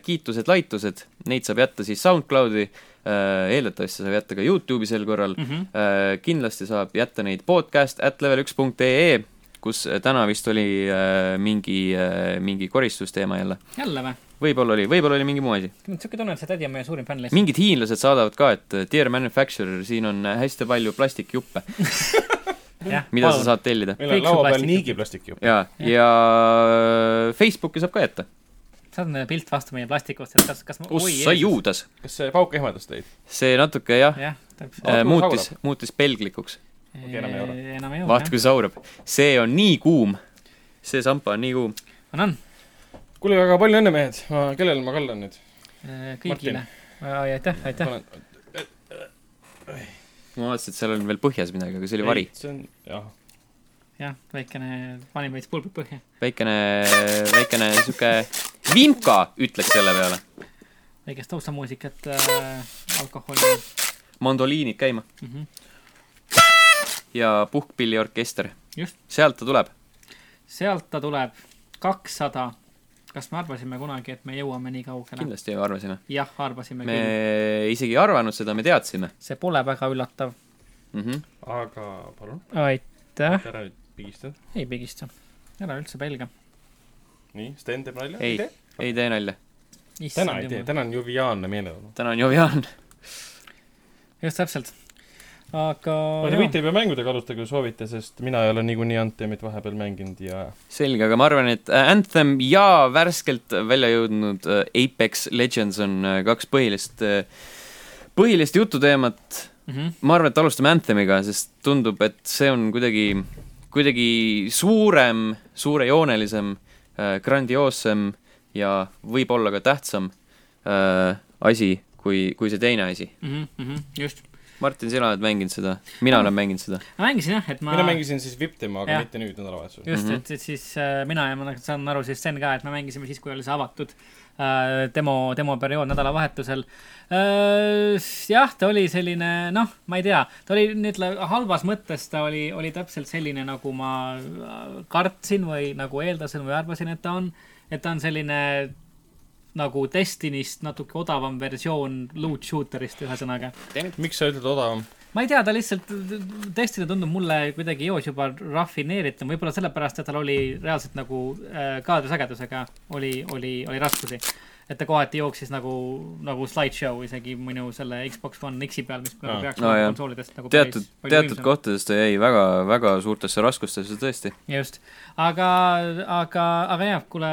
kiitused , laitused , neid saab jätta siis SoundCloudi , eeldatavasti saab jätta ka Youtube'i sel korral ,
mm . -hmm.
Äh, kindlasti saab jätta neid podcast at level üks punkt ee , kus täna vist oli äh, mingi , mingi koristusteema jälle .
jälle või ?
võib-olla oli , võib-olla oli mingi muu asi .
niisugune tunne , et see tädi on meie suurim fänn lihtsalt .
mingid hiinlased saadavad ka , et äh, Dear Manufacturer , siin on äh, hästi palju plastikjuppe ,
jah ,
mida sa saad tellida .
meil on
Kõik su
laua peal
plastikjupp.
niigi plastikjupp .
jaa , ja äh, Facebooki saab ka jätta .
saad mulle pilt vastu meie plastikust , et kas , kas ma , oi
ossa , juudas .
kas see pauk ehmatas teid ?
see natuke jah
jah , täpselt .
äh,
Vaat, kui
muutis , muutis pelglikuks .
Okei, enam ei ole.
enam ei ole
vaata ,. kui saurab . see on nii kuum . see sampa on nii kuum .
on , on .
kuule , aga palju õnne , mehed . ma , kellel ma kallan nüüd ?
äh, kõigile . aitäh , aitäh .
ma vaatasin , et seal on veel põhjas midagi , aga see oli vari ..
see on , jah .
jah , väikene , panime veits pulbrid põhja .
väikene , väikene sihuke vimka , ütleks selle peale .
väikest taustamuusikat äh, , alkoholi
mandoliinid käima
mm . -hmm.
ja puhkpilliorkester .
Just.
sealt ta tuleb .
sealt ta tuleb kakssada . kas me arvasime kunagi , et me jõuame nii kaugele ?
kindlasti ju arvasime .
jah , arvasime
me
küll .
isegi ei arvanud seda , me teadsime
see pole väga üllatav .
mm . -hmm.
aga palun ,
aitäh .
ära nüüd pigista .
ei pigista . ära üldse pelga .
nii , Sten teeb nalja .
ei , ei tee nalja .
täna ei tee , täna on joviaalne meeleolu .
täna on joviaalne .
just täpselt . aga .
Te võite juba mängudega alustada , kui soovite , sest mina ei ole niikuinii Anthemit vahepeal mänginud ja
selge , aga ma arvan , et äh, Anthem ja värskelt välja jõudnud äh, Apex Legends on äh, kaks põhilist , põhilist jututeemat .
mhmh ,
ma arvan , et alustame Anthemiga , sest tundub , et see on kuidagi , kuidagi suurem , suurejoonelisem , grandioossem ja võib-olla ka tähtsam äh, asi , kui , kui see teine asi .
mhmh , mhmh , mhm, just .
Martin , sina oled mänginud seda , mina olen mänginud seda .
ma mängisin jah , et ma
mina mängisin siis VIP-tema , aga
Jah.
mitte nüüd nädalavahetusel .
just ,
Mhm.
et , et siis äh, mina ja ma nagu saan aru siis Sten ka , et me mängisime siis , kui oli see avatud äh, demo , demoperiood nädalavahetusel äh, . jah , ta oli selline , noh , ma ei tea , ta oli nüüd la- halvas mõttes , ta oli , oli täpselt selline , nagu ma äh, kartsin või nagu eeldasin või arvasin , et ta on . et ta on selline nagu Destiny'st natuke odavam versioon loot shooter'ist , ühesõnaga .
miks sa ütled odavam ?
ma ei tea , ta lihtsalt , tõesti ta tundub mulle kuidagi eos juba rafineeritum , võib-olla sellepärast , et tal oli reaalselt nagu äh, kaadrisagedusega oli , oli , oli raskusi . et ta kohati jooksis nagu , nagu slideshow isegi minu selle Xbox One X-i peal , mis
Aa.
nagu peaks
Aa, jah.
olema konsoolidest nagu
teatud , teatud
võimsam.
kohtades ta jäi väga , väga suurtesse raskustesse tõesti .
just , aga , aga , aga jah , kuule ,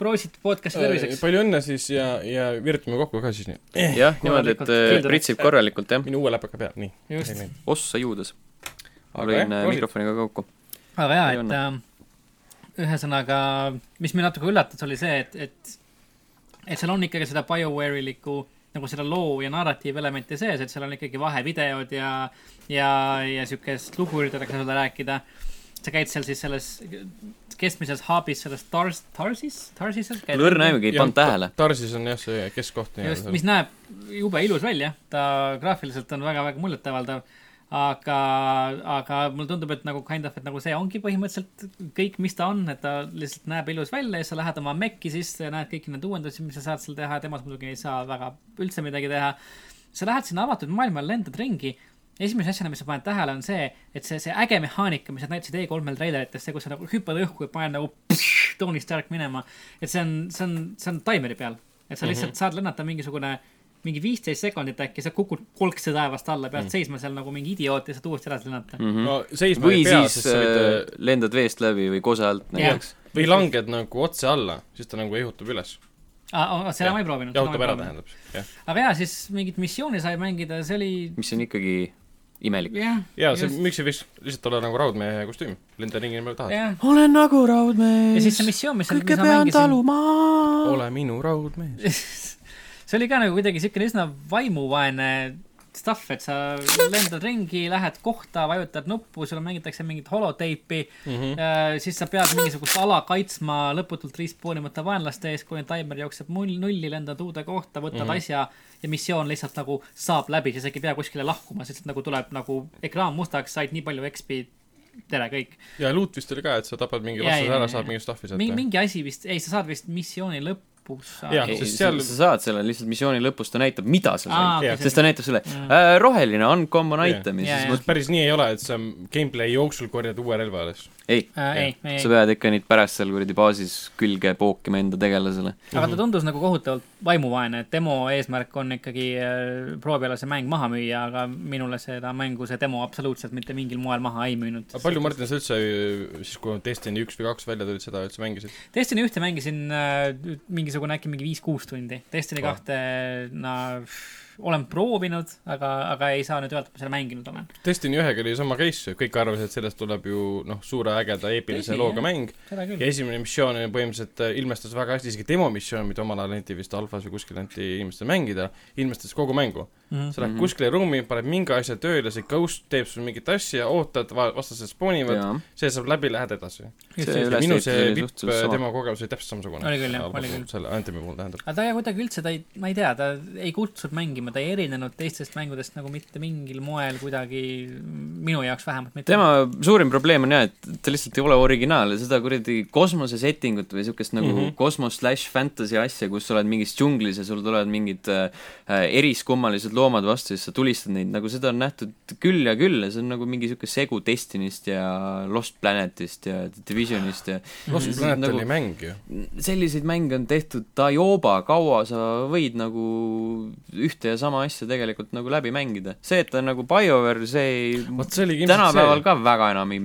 proovisid podcast'i terviseks .
Äh, palju õnne siis ja , ja virutame kokku ka siis nii .
jah , niimoodi , et äh,
Kindlalt.
pritsib korralikult , jah .
minu uue läpaka peal , nii .
just ,
ossa juudes . ma
Aga
lõin
jah,
äh,
proovid.
mikrofoniga kokku .
aga jaa ,
Ei
et äh, ühesõnaga , mis mind natuke üllatas , oli see , et , et , et seal on ikkagi seda BioWare'ilikku nagu seda loo ja narratiivelementi sees , et seal on ikkagi vahevideod ja , ja , ja siukest lugu üritatakse sulle rääkida . sa käid seal siis selles keskmises hub'is , selles Tars- , Tarsis , Tarsis .
lõrn aimugi , ei pannud tähele .
Tarsis on jah , see keskkoht
just ,
nii-öelda .
mis näeb jube ilus välja , ta graafiliselt on väga-väga muljetavaldav , aga , aga mulle tundub , et nagu kind of , et nagu see ongi põhimõtteliselt kõik , mis ta on , et ta lihtsalt näeb ilus välja ja sa lähed oma Maci sisse ja näed kõiki neid uuendusi , mis sa saad seal teha , temas muidugi ei saa väga üldse midagi teha . sa lähed sinna avatud maailma , lendad ringi , esimese asjana , mis sa paned tähele , on see , et see , see äge mehaanika , mis nad näitasid E3-l treilerites , see , kus sa nagu hüppad õhku ja paned nagu toonist Stark minema , et see on , see on , see on taimeri peal .
Mhm.
et sa lihtsalt mm -hmm. saad lennata mingisugune , mingi viisteist sekundit äkki , sa kukud kolkse taevast alla , pead mm
Mhm.
-hmm. seisma seal nagu mingi idioot ja saad uuesti edasi lennata mm .
no seisma
Mhm. või
ei pea ,
siis
sest
äh,
sa võid ,
lendad veest läbi või kose alt
Jah.
näiteks .
või langed nagu otse alla , siis ta nagu ehutab üles .
-hmm. seda ma ei proovinud .
jahutab ära , tähendab , jah .
aga jaa , siis mingit missiooni sai mängida , see oli ,
mis on ikkagi imelik .
jah .
jaa , see , miks ei võiks lihtsalt olla nagu raudmehe kostüüm , lenda ringi nii palju tahad .
jah ,
olen nagu raudmees .
ja siis see missioon , mis , mis ma mängisin ,
taluma .
ole minu raudmees .
see oli ka nagu kuidagi siukene üsna vaimuvaene stuff , et sa lendad ringi , lähed kohta , vajutad nuppu , sulle mängitakse mingit holoteipi mm , -hmm. siis sa pead mingisugust ala kaitsma lõputult riistpoolimata vaenlaste ees , kuni taimer jookseb null , nulli , lendad uude kohta , võtad mm -hmm. asja ja missioon lihtsalt nagu saab läbi , sa isegi ei pea kuskile lahkuma , lihtsalt nagu tuleb nagu ekraan mustaks , said nii palju XP , tere kõik .
ja luut vist oli ka , et sa tapad mingi
Jaa,
vastase
jaa,
ära ,
jaa,
saad
jaa.
mingi stuff'i
mingi ,
sealt .
mingi asi vist , ei , sa saad vist missiooni lõpus .
Jah,
Ei,
sest
sa
seal-
sa saad selle lihtsalt missiooni lõpus , ta näitab , mida sa
Aa,
said
okei, .
sest ta näitab sulle äh, roheline uncommon
Jah.
item ja
Jah,
siis
jah.
mõtled ,
päris nii ei ole , et sa gameplay jooksul korjad uue relva alles .
ei ,
Äh, ei , ei ,
sa pead ikka neid pärast seal kuradi baasis külge pookima enda tegelasele .
aga ta tundus nagu kohutavalt vaimuvaene , et demo eesmärk on ikkagi äh, prooviala see mäng maha müüa , aga minule seda mängu see demo absoluutselt mitte mingil moel maha ei müünud
aga . palju , Martin , sa üldse siis , kui Destiny üks või kaks välja tulid , seda üldse mängisid ?
Destiny ühte mängisin äh, mingisugune äkki mingi viis-kuus tundi , Destiny
Vau.
kahte , no olen proovinud , aga , aga ei saa nüüd öelda , et ma seda mänginud olen .
Destiny ühega oli sama case , kõik arvasid , et sellest tuleb ju noh , suure ägeda eepilise
Tõsi,
looga
jah.
mäng ,
seda
ja
küll .
esimene missioon oli põhimõtteliselt äh, ilmestas väga hästi , isegi demomissioon , mida omal ajal anti vist alfas või kuskil anti inimestele mängida , ilmestas kogu mängu . sa lähed
Mhm.
kuskile ruumi , paned mingi asja tööle , see ghost teeb sul mingit asja , ootad , vastased spoonivad ,
oli
see saab läbi , lähed edasi .
See üles-
minu
ehitus
see
oli
vipp
suhteliselt sama.
demo kogemus oli täpselt samasugune .
Oli küll, jah, oli küll. .
selle Anthemi puhul tähendab .
aga ta ei- kuidagi üldse , ta ei , ma ei tea , ta ei kutsunud mängima , ta ei erinenud teistest mängudest nagu mitte mingil moel kuidagi , minu jaoks vähemalt mitte .
tema suurim probleem on jah , et ta lihtsalt ei ole originaal ja seda kuradi kosmose settingut või siukest nagu mm
Mhm.
-hmm. kosmos slash fantasy asja , kus sa oled mingis džunglis ja sul tulevad mingid äh, äh, eriskummalised loomad vastu ja siis sa tulistad neid , nagu seda on nähtud küll ja küll ja see on nagu mingi siuke segu Destiny'st ja Lost Planetist ja Divisionist ja
Lost
Mhm.
Planet
Nagu-
oli mäng ju .
selliseid mänge on tehtud tajoba , kaua sa võid nagu ühte ja sama asja tegelikult nagu läbi mängida . see , et ta on nagu BioWare , see ei
vot see oli
tänapäeval
ilmselt see ,
ka väga enam ei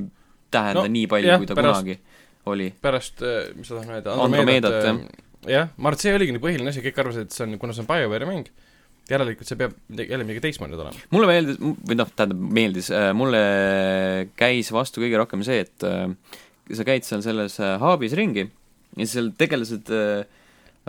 tähenda
No,
no, nii palju ,
jah,
kui ta
pärast-
pärast... kunagi oli .
pärast , mis ma tahan öelda ,
Andromedat,
jah , ma arvan , et see oligi nii põhiline asi , kõik arvasid , et see on , kuna see on BioWare'i mäng , järelikult see peab midagi , jälle midagi teistmoodi olema .
mulle meeldis , või noh , tähendab , meeldis , mulle käis vastu kõige rohkem see , et äh, sa käid seal selles äh, hub'is ringi ja seal tegelased äh,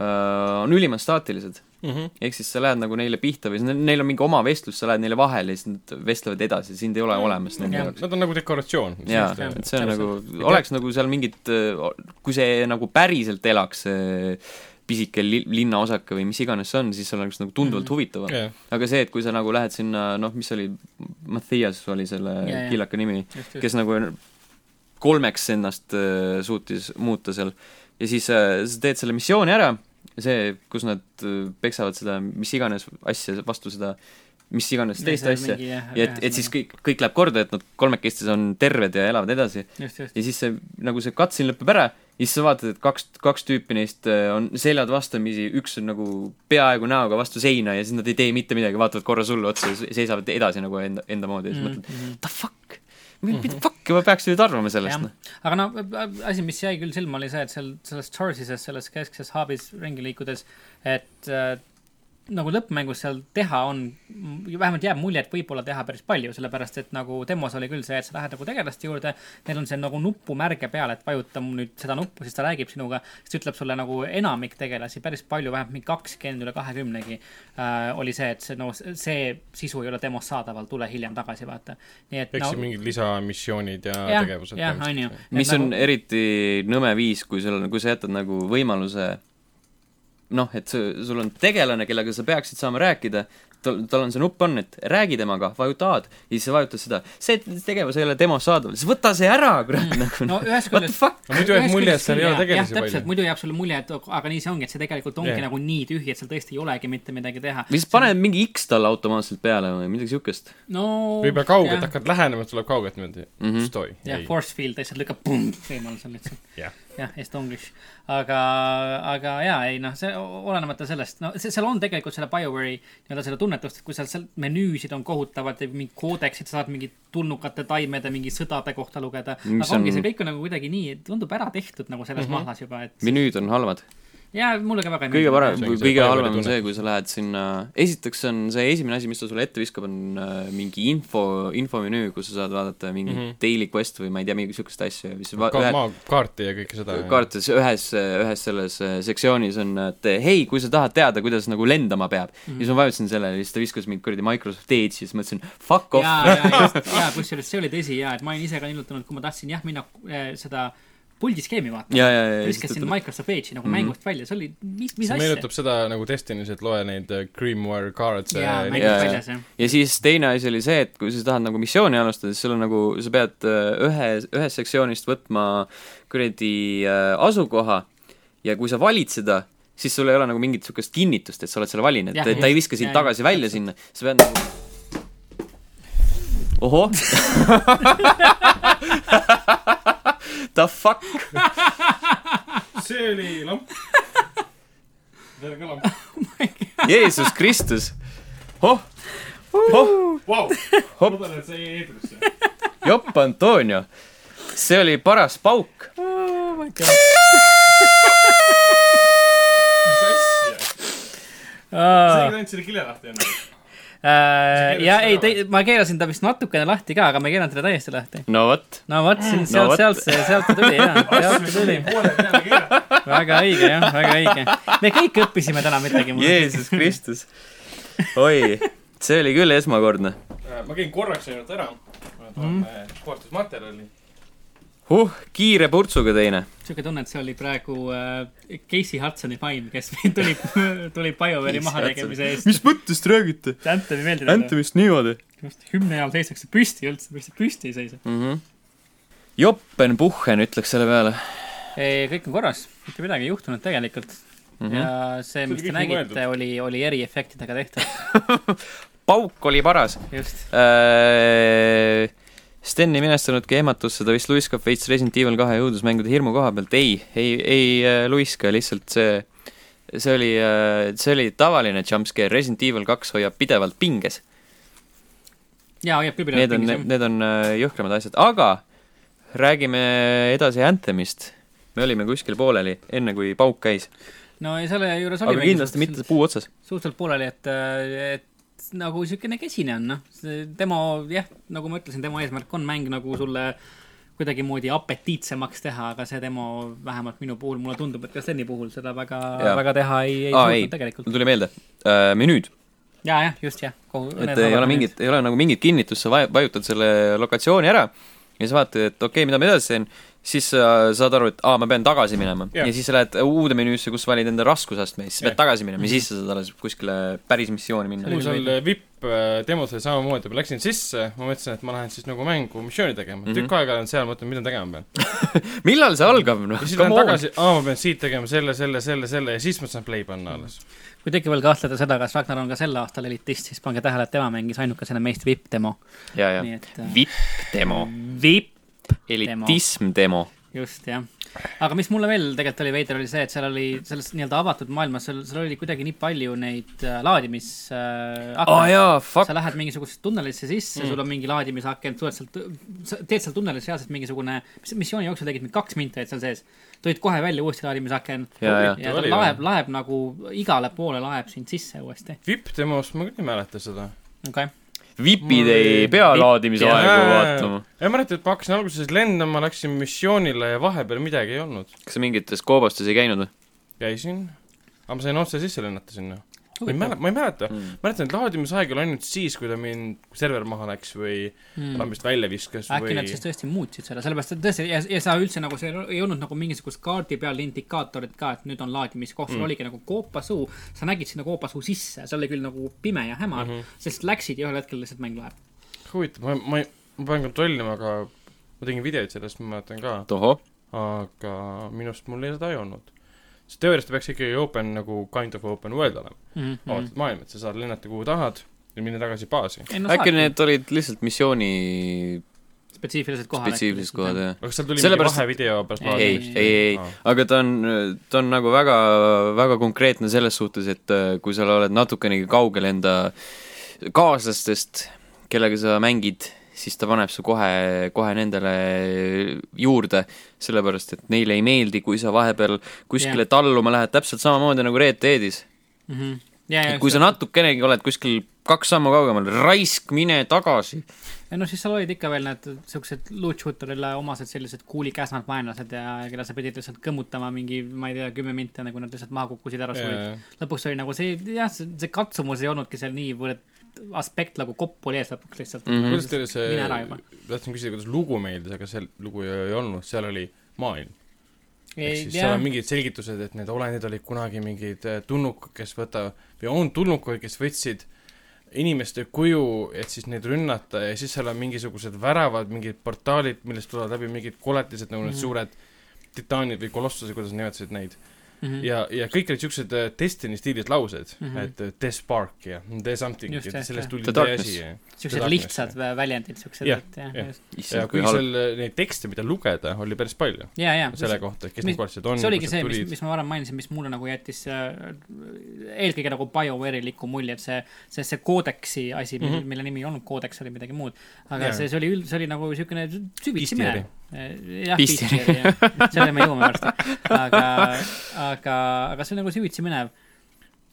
äh, on ülimalt staatilised .
Mhm.
ehk siis sa lähed nagu neile pihta või siis neil- neil on mingi oma vestlus , sa lähed neile vahele ja siis nad vestlevad edasi , sind ei ole
Mm,
olemas nende
Jah.
jaoks .
Nad on nagu dekoratsioon .
jaa ,
Just, jah.
et see on nagu
Täpselt. ,
oleks nagu seal mingit , kui see nagu päriselt elaks , see pisike li- linnaosake või mis iganes see on , siis see oleks nagu tunduvalt
Mhm.
huvitavam .
jah ,
aga see , et kui sa nagu lähed sinna , noh , mis oli , Mattias oli selle
Jaa, jaa.
killaka nimi , kes nagu kolmeks ennast äh, suutis muuta seal ja siis äh, sa teed selle missiooni ära , see , kus nad äh, peksavad seda mis iganes asja vastu seda mis iganes teist asja ja et , et siis kõik , kõik läheb korda , et nad kolmekestes on terved ja elavad edasi
just , just ,
ja siis see , nagu see katsin lõpeb ära ja siis sa vaatad , et kaks , kaks tüüpi neist äh, on seljad vastamisi , üks on nagu peaaegu näoga vastu seina ja siis nad ei tee mitte midagi , vaatavad korra sulle otsa ja seisavad edasi nagu enda , enda moodi ja siis
Mm,
mõtled , the fuck , mida fuck ma peaks nüüd arvama sellest , noh .
jah , aga no äh, asi , mis jäi küll silma , oli see , et seal selles Charges'is , selles keskses hub'is ringi liikudes , et äh, nagu lõppmängus seal teha on , vähemalt jääb mulje , et võib-olla teha päris palju , sellepärast et nagu demos oli küll see , et sa lähed nagu tegelaste juurde , neil on see nagu nupumärge peal , et vajuta mu nüüd seda nuppu , siis ta räägib sinuga , siis ta ütleb sulle nagu enamik tegelasi , päris palju , vähemalt mingi kakskümmend üle kahekümnegi äh, oli see , et see , no see sisu ei ole demos saadaval , tule hiljem tagasi , vaata . nii et
eks
no
siin mingid lisamissioonid ja, ja
jah ,
tegevused .
jah , on ju . nagu
mis on eriti nõme viis , kui sul on , kui sa jätad nagu võimaluse noh , et su- sul on tegelane , kellega sa peaksid saama rääkida , tal , tal on see nupp on , et räägi temaga , vajuta A-d ja siis sa vajutad seda . see tegevus ei ole demos saadaval , siis võta see ära , kurat , nagu
Mm. no
noh ,
ühest
what the
küljest .
fuck .
muidu jääb mulje , et seal ei ole tegelasi
palju .
palju .
muidu jääb sulle mulje , et aga nii see ongi , et see tegelikult ongi
Jah.
yeah. nagu nii tühi , et seal tõesti ei olegi mitte midagi teha .
või siis pane mingi X talle automaatselt peale või midagi siukest .
no .
või peab kaugelt , hakkad lähenema , tuleb kaugelt niimoodi mm
Mhm.
-hmm. stoi .
jah , force field lihtsalt lükkab pumm võimalusel lihtsalt .
jah ,
jah , Estonglish . aga , aga jaa , ei noh , see olenemata sellest , no see , seal on tegelikult selle BioWare'i nii-öelda selle tunnetust , et kui seal , seal menüüsid on kohutavad ja mingid koodeksid , sa saad mingi tulnukate taimede mingi sõdade kohta lugeda .
Mis
aga ongi ,
on-
see kõik on nagu kuidagi nii , tundub ära tehtud nagu
Mhm.
selles mm -hmm. mahlas juba , et
menüüd on halvad .
jaa , mulle ka väga ei
kõige parem
see ongi , see
kõige
Biowari
halvem on
tunne.
see , kui sa lähed sinna , esiteks on see esimene asi , mis ta sulle ette viskab , on äh, mingi info , infomenüü , kus sa saad vaadata mingi mm
Mhm.
-hmm. daily quest või ma ei tea , mingit siukest asja , mis va-
ka-
ühe-
maakaarti ja kõike seda .
kaartes ühes , ühes selles äh, sektsioonis on , et äh, hei , kui sa tahad teada , kuidas nagu lendama peab mm ,
Mhm.
-hmm. siis ma vajutasin sellele ja siis ta viskas mind kuradi Microsoft Edge'i ja siis mõtlesin fuck off .
ja , ja , just , ja kusjuures see oli tõsi ja , et ma olin ise ka ilmutanud , kui ma tahtsin jah minna eh, seda puldiskeemi vaatama .
ja , ja , ja siis Mhm. ta
viskasin
tuleb-
Microsoft Edge'i nagu mm -hmm. mängust välja , see oli , mis , mis
see
asja .
meenutab seda nagu Destiny's , et loe neid äh, Grimoire äh, cards'e
jaa , mängust
jaa.
väljas jah .
ja siis teine asi oli see , et kui sa tahad nagu missiooni alustada , siis sul on nagu , sa pead äh, ühe , ühest sektsioonist võtma kuradi äh, asukoha ja kui sa valid seda , siis sul ei ole nagu mingit niisugust kinnitust , et sa oled selle valinud ,
Jah,
ta ta ei
just.
viska sind
Ja, ja,
tagasi välja sinna , sa pead nagu ohoh The fuck
see oli lamp . see oli ka lamp .
Jeesus Kristus oh. oh.
Vau ,
Hopp.
loodan , et see jäi eetrisse .
Jopp Antonio see oli paras pauk
Oh mis asja ? andsin kile lahti enne .
ja äh, ei , ma keerasin ta vist natukene lahti ka , aga ma ei keeranud teda täiesti lahti .
no vot
no vot , siin ,
vot.
sealt , sealt see , sealt ta tuli jaa , sealt ta tuli .
poole peale keerata .
väga õige jah , väga õige . me kõik õppisime täna midagi .
Jeesus Kristus . oi , see oli küll esmakordne
Äh, ma käin korraks ainult ära . ma
Mhm.
toon koostöösmaterjali .
huh, . kiire purtsuga teine .
siuke tunne , et see oli praegu äh, Casey Hudsoni faim , kes tuli , tuli BioWare'i mahategemise eest .
mis mõttest räägite ?
Anthemi meeldib .
Anthemist niimoodi
just hümni ajal seisaks see püsti üldse , miks see püsti ei seisa ?
mm -hmm. ? Joppenpuhhen ütleks selle peale
kõik on korras , mitte midagi ei juhtunud tegelikult
mm .
ja
-hmm.
see ,
See
mis
oli
te
kõik nagu
nägite ,
mõeldud.
oli , oli eriefektidega tehtud ,
pauk oli paras
just .
äh, . Sten ei minestanudki ehmatusse , ta vist luiskab veits Resident Evil kahe õudusmängude hirmu koha pealt , ei , ei , ei äh, luiska , lihtsalt see , see oli äh, , see oli tavaline jumpscare , Resident Evil kaks hoiab pidevalt pinges .
jaa , hoiab küll
need on ,
pidevalt .
need on äh, jõhkramad asjad , aga räägime edasi Anthemist . me olime kuskil pooleli , enne kui pauk käis ,
no ja selle juures
aga
oli
kindlasti mitte puu otsas .
suhteliselt pooleli , et , et nagu niisugune kesine on , noh . see demo , jah , nagu ma ütlesin , demo eesmärk on mäng nagu sulle kuidagimoodi apetiitsemaks teha , aga see demo vähemalt minu puhul , mulle tundub , et ka Steni puhul seda väga
Jaa. ,
väga teha ei , ei
Aa, ei.
suutnud tegelikult .
mul tuli meelde äh, , menüüd ,
jaa , jah , just , jah .
et ei ole mingit , ei ole nagu mingit kinnitust , sa vaj- vajutad selle lokatsiooni ära ja siis vaatad , et okei okay, , mida ma edasi teen , siis sa saad aru , et aa , ma pean tagasi minema
Jah.
ja siis sa lähed uude menüüsse , kus valid enda raskusastme , siis sa
Jah. Mhm.
pead tagasi minema ja siis sa saad alles kuskile päris missiooni minna .
mul seal vipp äh, demos oli samamoodi , ma läksin sisse , ma mõtlesin , et ma lähen siis nagu mängu missiooni tegema mm . -hmm.
Mhm.
tükk aega olen seal , mõtlen , mida ma tegema pean .
millal see algab , noh
ja , siis lähen
come on ,
tagasi , aa , ma pean siit tegema selle , selle , selle , selle ja siis ma saan play panna alles .
kui te ikka veel kahtlete seda , kas Ragnar on ka sel aastal elitist , siis pange tähele , et tema mängis ainukesena meist vipp-demo .
ja , ja
nii et äh,
vipp demo
vipp ,
elitism demo
just jah , aga mis mulle veel tegelikult oli veider , oli see , et seal oli selles nii-öelda avatud maailmas , seal , seal oli kuidagi nii palju neid äh, laadimis äh,
aa
aknaid.
jaa , fuck
sa . lähed mingisugusesse tunnelisse sisse mm. , sul on mingi laadimisakend , tuled sealt , sa teed seal tunnelis reaalselt mingisugune , mis missiooni jooksul tegid mingi kaks minti olid seal sees , tulid kohe välja uuesti laadimisaken
Jaa, jaa.
ja ta
Oli
laeb , laeb nagu igale poole laeb sind sisse uuesti ,
vipp demost ma küll ei mäleta seda .
okei okay. .
vipid ei
Mul-
pea
Vipp-
laadimise
Jaa,
aegu
jaa, jaa.
vaatama .
ei mäleta , et ma hakkasin alguses lendama , läksin missioonile ja vahepeal midagi ei olnud .
kas sa mingites koobastes ei käinud või ?
käisin , aga ma sain otse sisse lennata sinna . ma ei mäleta , ma ei mäleta mm. , mäletan , et laadimisaeg oli ainult siis , kui ta mind , kui server maha läks või mm.
Mm.
lambist välja viskas
äkki nad
või
siis tõesti muutsid selle , sellepärast et tõesti ja , ja sa üldse nagu seal ei olnud nagu mingisugust kaardi peal indikaatorit ka , et nüüd on laadimiskoht , sul mm. oligi nagu koopasuu , sa nägid sinna koopasuu sisse , see oli küll nagu pime ja hämar
Mhm.
mm , -hmm. sest läksid ja ühel hetkel lihtsalt mäng läheb .
huvitav , ma , ma , ma pean kontrollima , aga ma tegin videoid sellest , ma mäletan ka ,
tohoh ,
aga minu arust mul ei- seda ei olnud . sest teoorias ta peaks ikkagi open nagu kind of open world olema mm. ,
Mhm.
avatud maailm , et sa saad lennata kuhu tahad ja minna tagasi baasi .
äkki need olid lihtsalt missiooni
spetsiifilised kohad .
spetsiifilised kohad , jah .
aga kas seal tuli
Sellepärast,
mingi vahevideo pärast
ei ,
Ei,
laadimist?
ei , ei
Aa. ,
aga ta on , ta on nagu väga , väga konkreetne selles suhtes , et äh, kui sa oled natukenegi kaugel enda kaaslastest , kellega sa mängid , siis ta paneb su kohe , kohe nendele juurde , sellepärast et neile ei meeldi , kui sa vahepeal kuskile yeah. talluma lähed , täpselt samamoodi nagu Red Deadis .
Mhm. ja , ja ,
kui sa natukenegi oled kuskil kaks sammu kaugemal , raisk , mine tagasi .
ja noh , siis seal olid ikka veel need siuksed loot shooter'ile omased sellised kuulikäsnad vaenlased ja , ja keda sa pidid lihtsalt kõmmutama mingi , ma ei tea , kümme minti , enne kui nad lihtsalt maha kukkusid ära surid .
Jaa,
lõpuks oli nagu see , jah , see katsumus ei olnudki seal niivõrd aspekt nagu kopp oli ees lõpuks lihtsalt
Mhm.
mm .
kuidas teile
mine ära
see
juba. ,
tahtsin küsida , kuidas lugu meeldis , aga see lugu ju ei olnud , seal oli maailm . ehk siis seal
jah
on , mingid selgitused , et need olendid olid kunagi mingid eh, tulnukad , kes võta- , või on tulnukaid , kes võtsid inimeste kuju , et siis neid rünnata ja siis seal on mingisugused väravad , mingid portaalid , millest tulevad läbi mingid koletised , nagu need mm
Mhm.
-hmm. suured titaanid või kolossused , kuidas nad nimetasid neid . ja , ja kõik olid siuksed eh, Destiny stiilis laused mm ,
Mhm.
-hmm. et eh, the spark ja the something
Just,
ja
jah,
sellest
jah.
tuli
The
tee
darkness.
asi ja
siuksed
Darkness,
lihtsad vä- väljendid , siuksed ,
Jah,
et jah ,
jah.
just .
ja
issand , kui
kui
halb .
seal eh, neid tekste , mida lugeda , oli päris palju
ja , ja .
selle kohta , kes
mis-
need kolastused on ,
see oligi
kust
see ,
nad
mis ,
tulid .
mis ma varem mainisin , mis mulle nagu jättis äh, eelkõige nagu BioWare'iliku mulje , et see , see , see koodeksi asi mm , -hmm. mille nimi ei olnud koodeks , oli midagi muud . aga
Mhm. Jaa.
see , see oli üld- , see oli nagu siukene süvitsi
Pistieri.
minev . jah ,
Pistieri.
Pistieri , jah , selle me jõuame varsti . aga , aga , aga see on nagu süvitsi minev .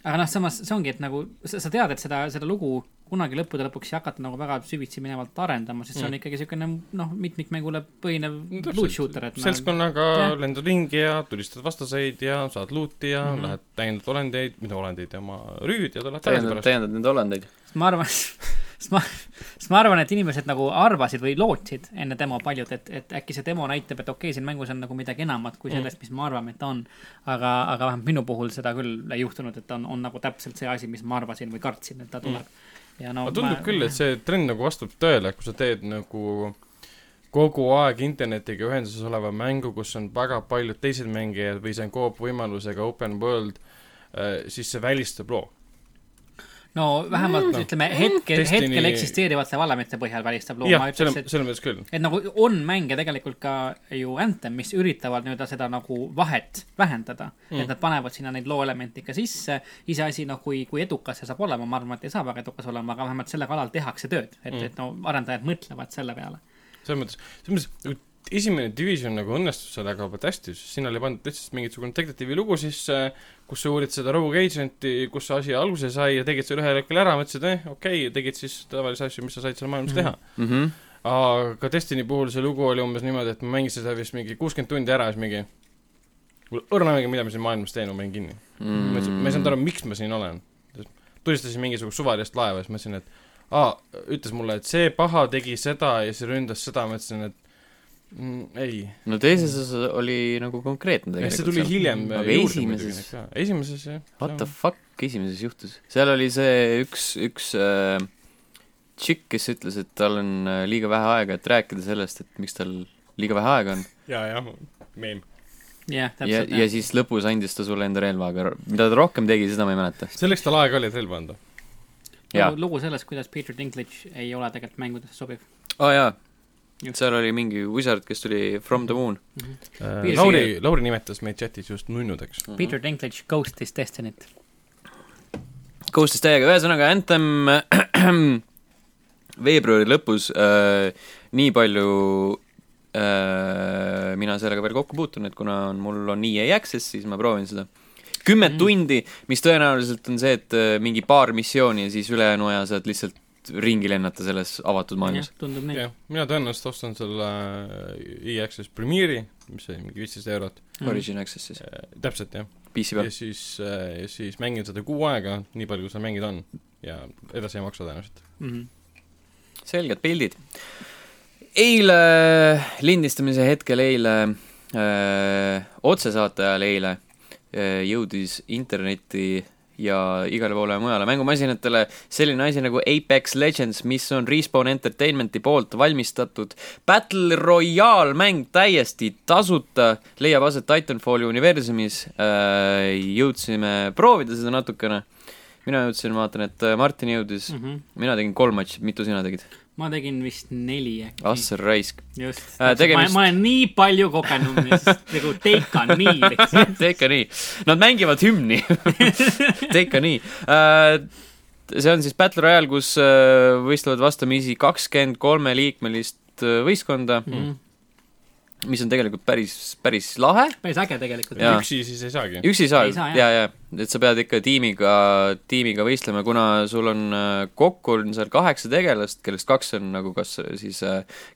aga noh , samas see ongi , et nagu sa , sa tead , et seda , seda lugu kunagi lõppude lõpuks ei hakata nagu väga süvitsi minevalt arendama , sest see
Mm.
on ikkagi siukene noh , mitmikmängule põhinev loot shooter , et noh ,
Hm, seltskonnaga
Jah.
lendad ringi ja tulistad vastaseid ja saad luuti ja
Mhm.
mm -hmm. lähed täiendad olendeid , mida olendeid ja oma rüüd ja tuled tagasi
täiendad ,
pärast .
täiendad nende olendeid .
sest ma arvan , sest ma , sest ma arvan , et inimesed nagu arvasid või lootsid enne demo paljud , et , et äkki see demo näitab , et okei , siin mängus on nagu midagi enamat
Mm.
kui sellest , mis me arvame , et ta on . aga , aga vähemalt minu puhul seda küll ei juhtunud , et ta on , on nagu täpselt see asi , mis ma arvasin või kartsin , et ta tuleb . ja no
aga tundub Mm. ma... küll , et see trend nagu vastab tõele , kui sa teed nagu kogu aeg internetiga ühenduses oleva mängu , kus on väga paljud teised mängijad või see on koop võimalusega open world , siis see välistab loo .
no vähemalt mm. ütleme
Destiny-
hetkel Destiny... , hetkel eksisteerivate valemite põhjal välistab loo , ma
jah ,
ütleks ,
selles ,
et
selles mõttes küll .
et nagu on mänge tegelikult ka ju Anthem , mis üritavad nii-öelda seda nagu vahet vähendada mm. . et nad panevad sinna neid looelemente ikka sisse . iseasi , noh , kui , kui edukas see saab olema , ma arvan , et ei saa väga edukas olema , aga vähemalt selle kallal tehakse tööd . et mm. , et no arendajad mõtlevad selle peale .
selles mõttes , selles mõttes esimene Division nagu õnnestus sellega väga hästi , sest sinna oli pandud lihtsalt mingisugune detektiivi lugu sisse , kus sa uurid seda rogue agent'i , kus see asi alguse sai ja tegid selle ühel hetkel ära , mõtlesid , eh , okei okay, , tegid siis tavalisi asju , mis sa said seal maailmas teha . aga Destiny puhul see lugu oli umbes niimoodi , et ma mängisin seda vist mingi kuuskümmend tundi ära ja siis mingi mul õrna mingi , mida ma siin maailmas teen , ma panin kinni mm. . ma ütlesin , ma ei saanud aru , miks ma siin olen . tulistasin mingisugust suvalist laeva ja siis mõtlesin , et aa , ütles mulle , et see paha tegi seda ja see ründas seda , ma ütlesin , et mm, ei .
no teises osas oli nagu konkreetne
see
tegelikult .
tuli hiljem äh,
Aga
juurde
esimeses-
muidugi ka. esimeses jah .
What the fuck esimeses juhtus ? seal oli see üks , üks äh, tšikk , kes ütles , et tal on äh, liiga vähe aega , et rääkida sellest , et miks tal liiga vähe aega on .
jaa , jah , meem .
jah ,
ja ,
täpselt .
ja siis lõpus andis ta sulle enda relva , aga r- mida ta rohkem tegi , seda ma ei mäleta .
selleks tal aega oli , et relva anda .
jaa.
lugu sellest , kuidas Peter Dinklage ei ole tegelikult mängudesse sobiv .
aa oh, jaa , seal oli mingi wizard , kes tuli From the Moon .
Piir-
Lauri , Lauri nimetas meid chatis just nunnudeks .
Mhm.
Peter Dinklage ghost'is Destiny't .
koostöös täiega , ühesõnaga Anthem veebruari lõpus äh, , nii palju äh, mina sellega veel kokku puutun , et kuna on, mul on EA Access , siis ma proovin seda . kümmet mm. tundi , mis tõenäoliselt on see , et äh, mingi paar missiooni ja siis ülejäänu aja saad lihtsalt ringi lennata selles avatud maailmas .
tundub nii .
jah , mina tõenäoliselt ostan selle äh, e-access Premiere'i , mis oli mingi viisteist eurot .
Origin Access siis ,
täpselt , jah .
PC
ja
peal .
siis , ja siis mängin seda kuu aega , nii palju , kui seal mängida on . ja edasi ei maksa tõenäoliselt .
Mhm.
selged pildid . eile , lindistamise hetkel eile , otsesaate ajal eile öö, jõudis internetti ja igale poole mujale mängumasinatele selline asi nagu Apex Legends , mis on Respawn Entertainmenti poolt valmistatud Battle Royale mäng täiesti tasuta , leiab aset Titanfalli universumis . jõudsime proovida seda natukene . mina jõudsin , ma vaatan , et öö, Martin jõudis mm . -hmm. mina tegin kolm matši , mitu sina tegid ?
Mhm. ma tegin vist neli äkki .
Assar Raisk .
just
Äh, . tegemist-
ma olen nii palju kogenum , nagu take on me lihtsalt .
Take a knee . Nad mängivad hümni . Take a knee . see on siis Battle Royale , kus äh, võistlevad vastamisi kakskümmend kolme liikmelist äh, võistkonda ,
Mm.
mis on tegelikult päris , päris lahe .
päris äge tegelikult .
Jaa.
üksi siis ei saagi .
üksi ei saa
Ei saa, , jah.
ja , ja , et sa pead ikka tiimiga , tiimiga võistlema , kuna sul on äh, kokku on seal kaheksa tegelast , kellest kaks on nagu kas siis ,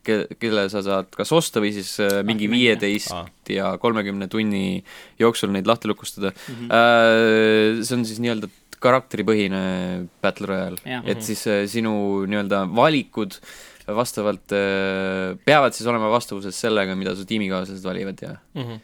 kelle sa saad kas osta või siis äh, mingi
mängida.
viieteist
Aa.
ja kolmekümne tunni jooksul neid lahti lukustada mm .
Mhm.
-hmm. see on siis nii-öelda karakteripõhine Battle Royale
Jah.
et siis äh, sinu nii-öelda valikud vastavalt äh, peavad siis olema vastavuses sellega , mida su tiimikaaslased valivad ja ,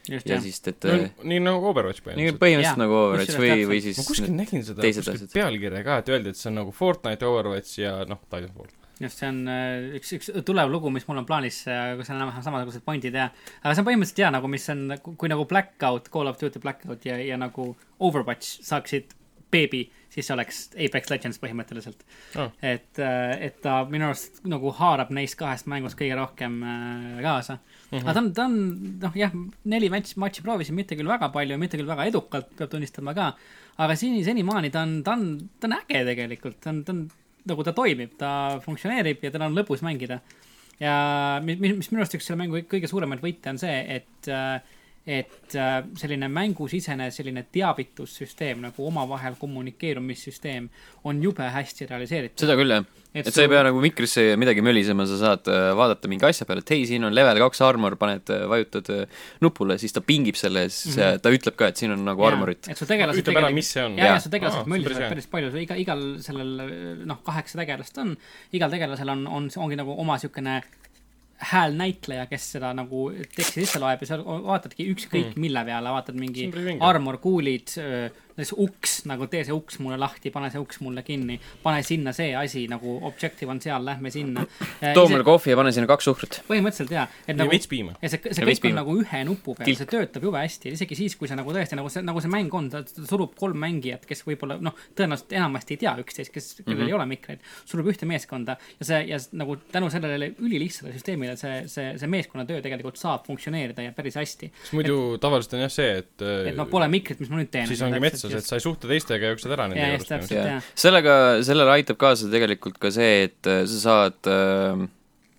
just
ja
jah .
siis , et äh,
Mhm. nii nagu Overwatch
nii
põhimõtteliselt .
põhimõtteliselt
Jaa,
nagu Overwatch
kusjuures
või ,
täpselt.
või
ma
siis
kuskil nägin seda ,
teised
kuskil
asjad.
pealkirja ka , et öeldi , et see on nagu Fortnite , Overwatch ja noh , Titanfall .
just , see on äh, üks , üks tulev lugu , mis mul on plaanis , kus on enam-vähem samasugused pointid ja , aga see on põhimõtteliselt jaa , nagu mis on , kui nagu Blackout , Call of Duty Blackout ja , ja nagu Overwatch saaksid beebi , siis see oleks Apex Legends põhimõtteliselt
Aa.
et , et ta minu arust nagu haarab neist kahest mängust kõige rohkem äh, kaasa mm . -hmm. aga ta on , ta on noh jah , neli matši , matši proovisin , mitte küll väga palju , mitte küll väga edukalt , peab tunnistama ka . aga seni , senimaani ta on , ta on , ta on äge tegelikult , ta on , ta on nagu ta toimib , ta funktsioneerib ja tal on lõbus mängida . ja mis , mis minu arust üks selle mängu kõige suuremaid võite on see , et äh, et äh, selline mängusisene selline teavitussüsteem nagu omavahel kommunikeerumissüsteem on jube hästi realiseeritud .
seda küll , jah .
Et
et sa ei
sul-
pea nagu mikrisse midagi mölisema , sa saad äh, vaadata mingi asja peale , et hei , siin on level kaks armor , paned , vajutad äh, nupule , siis ta pingib selle ja siis äh, ta ütleb ka , et siin on nagu armorit .
Mhm. et su tegelased
ütleb ära , mis see on .
ja , ja
Jaa.
su tegelased
Aa,
möllisevad
päris hea.
päris palju , iga , igal sellel noh , kaheksa tegelast on , igal tegelasel on , on , ongi nagu oma siukene häälnäitleja , kes seda nagu teksti sisse loeb ja seal o- vaatadki ükskõik mm. mille peale , vaatad mingi
Hmm. See on päris vinge.
armorkuulid , näiteks uks nagu tee see uks mulle lahti , pane see uks mulle kinni , pane sinna see asi nagu objective on seal , lähme sinna .
too mulle kohvi ja pane sinna kaks suhkrut .
põhimõtteliselt jaa , et
ja
nagu
veits piima .
ja see , see
Ja
kõik on
veitpiima.
nagu ühe nupu peal , see töötab jube hästi , isegi siis , kui sa nagu tõesti nagu see , nagu see mäng on , ta ta surub kolm mängijat , kes võib-olla noh , tõenäoliselt enamasti ei tea üksteist , kes , kellel mm -hmm. ei ole mikreid , surub ühte meeskonda ja see ja s- nagu tänu sellele ülilihtsale süsteemile see , see , see meeskonnatöö tegelikult saab funktsioneerida ja päris hästi .
sest muidu tavaliselt on jah see , et äh,
et noh , pole mikrit , mis ma nüüd teen .
siis ongi metsas , et sa ei suhtle teistega ja jooksed ära nende
Jaa, just
juurest .
täpselt.
jaa
jaa. ,
sellega , sellele aitab kaasa tegelikult ka see , et äh, sa saad äh,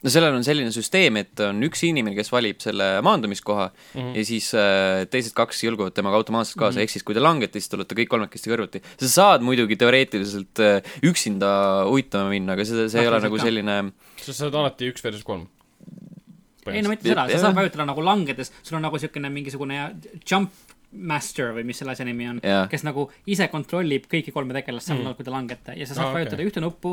no sellel on selline süsteem , et on üks inimene , kes valib selle maandumiskoha mm -hmm. ja siis äh, teised kaks jõlguvad temaga automaatselt
Mhm.
kaasa mm -hmm. , ehk siis kui te langete , siis te olete kõik kolmekesti kõrvuti . sa saad muidugi teoreetiliselt äh, üksinda uitama minna , aga see , see ei ole
Kahtlaselt
nagu
ka.
selline
sa saad alati üks versus kolm .
ei no mitte seda , sa saad vajutada nagu langedes , sul on nagu siukene mingisugune jump master või mis selle asja nimi on
Jaa.
kes nagu ise kontrollib kõiki kolme tegelast samal ajal , kui te langete ja sa saad
Aa,
ah,
okei.
vajutada okay. ühte nuppu ,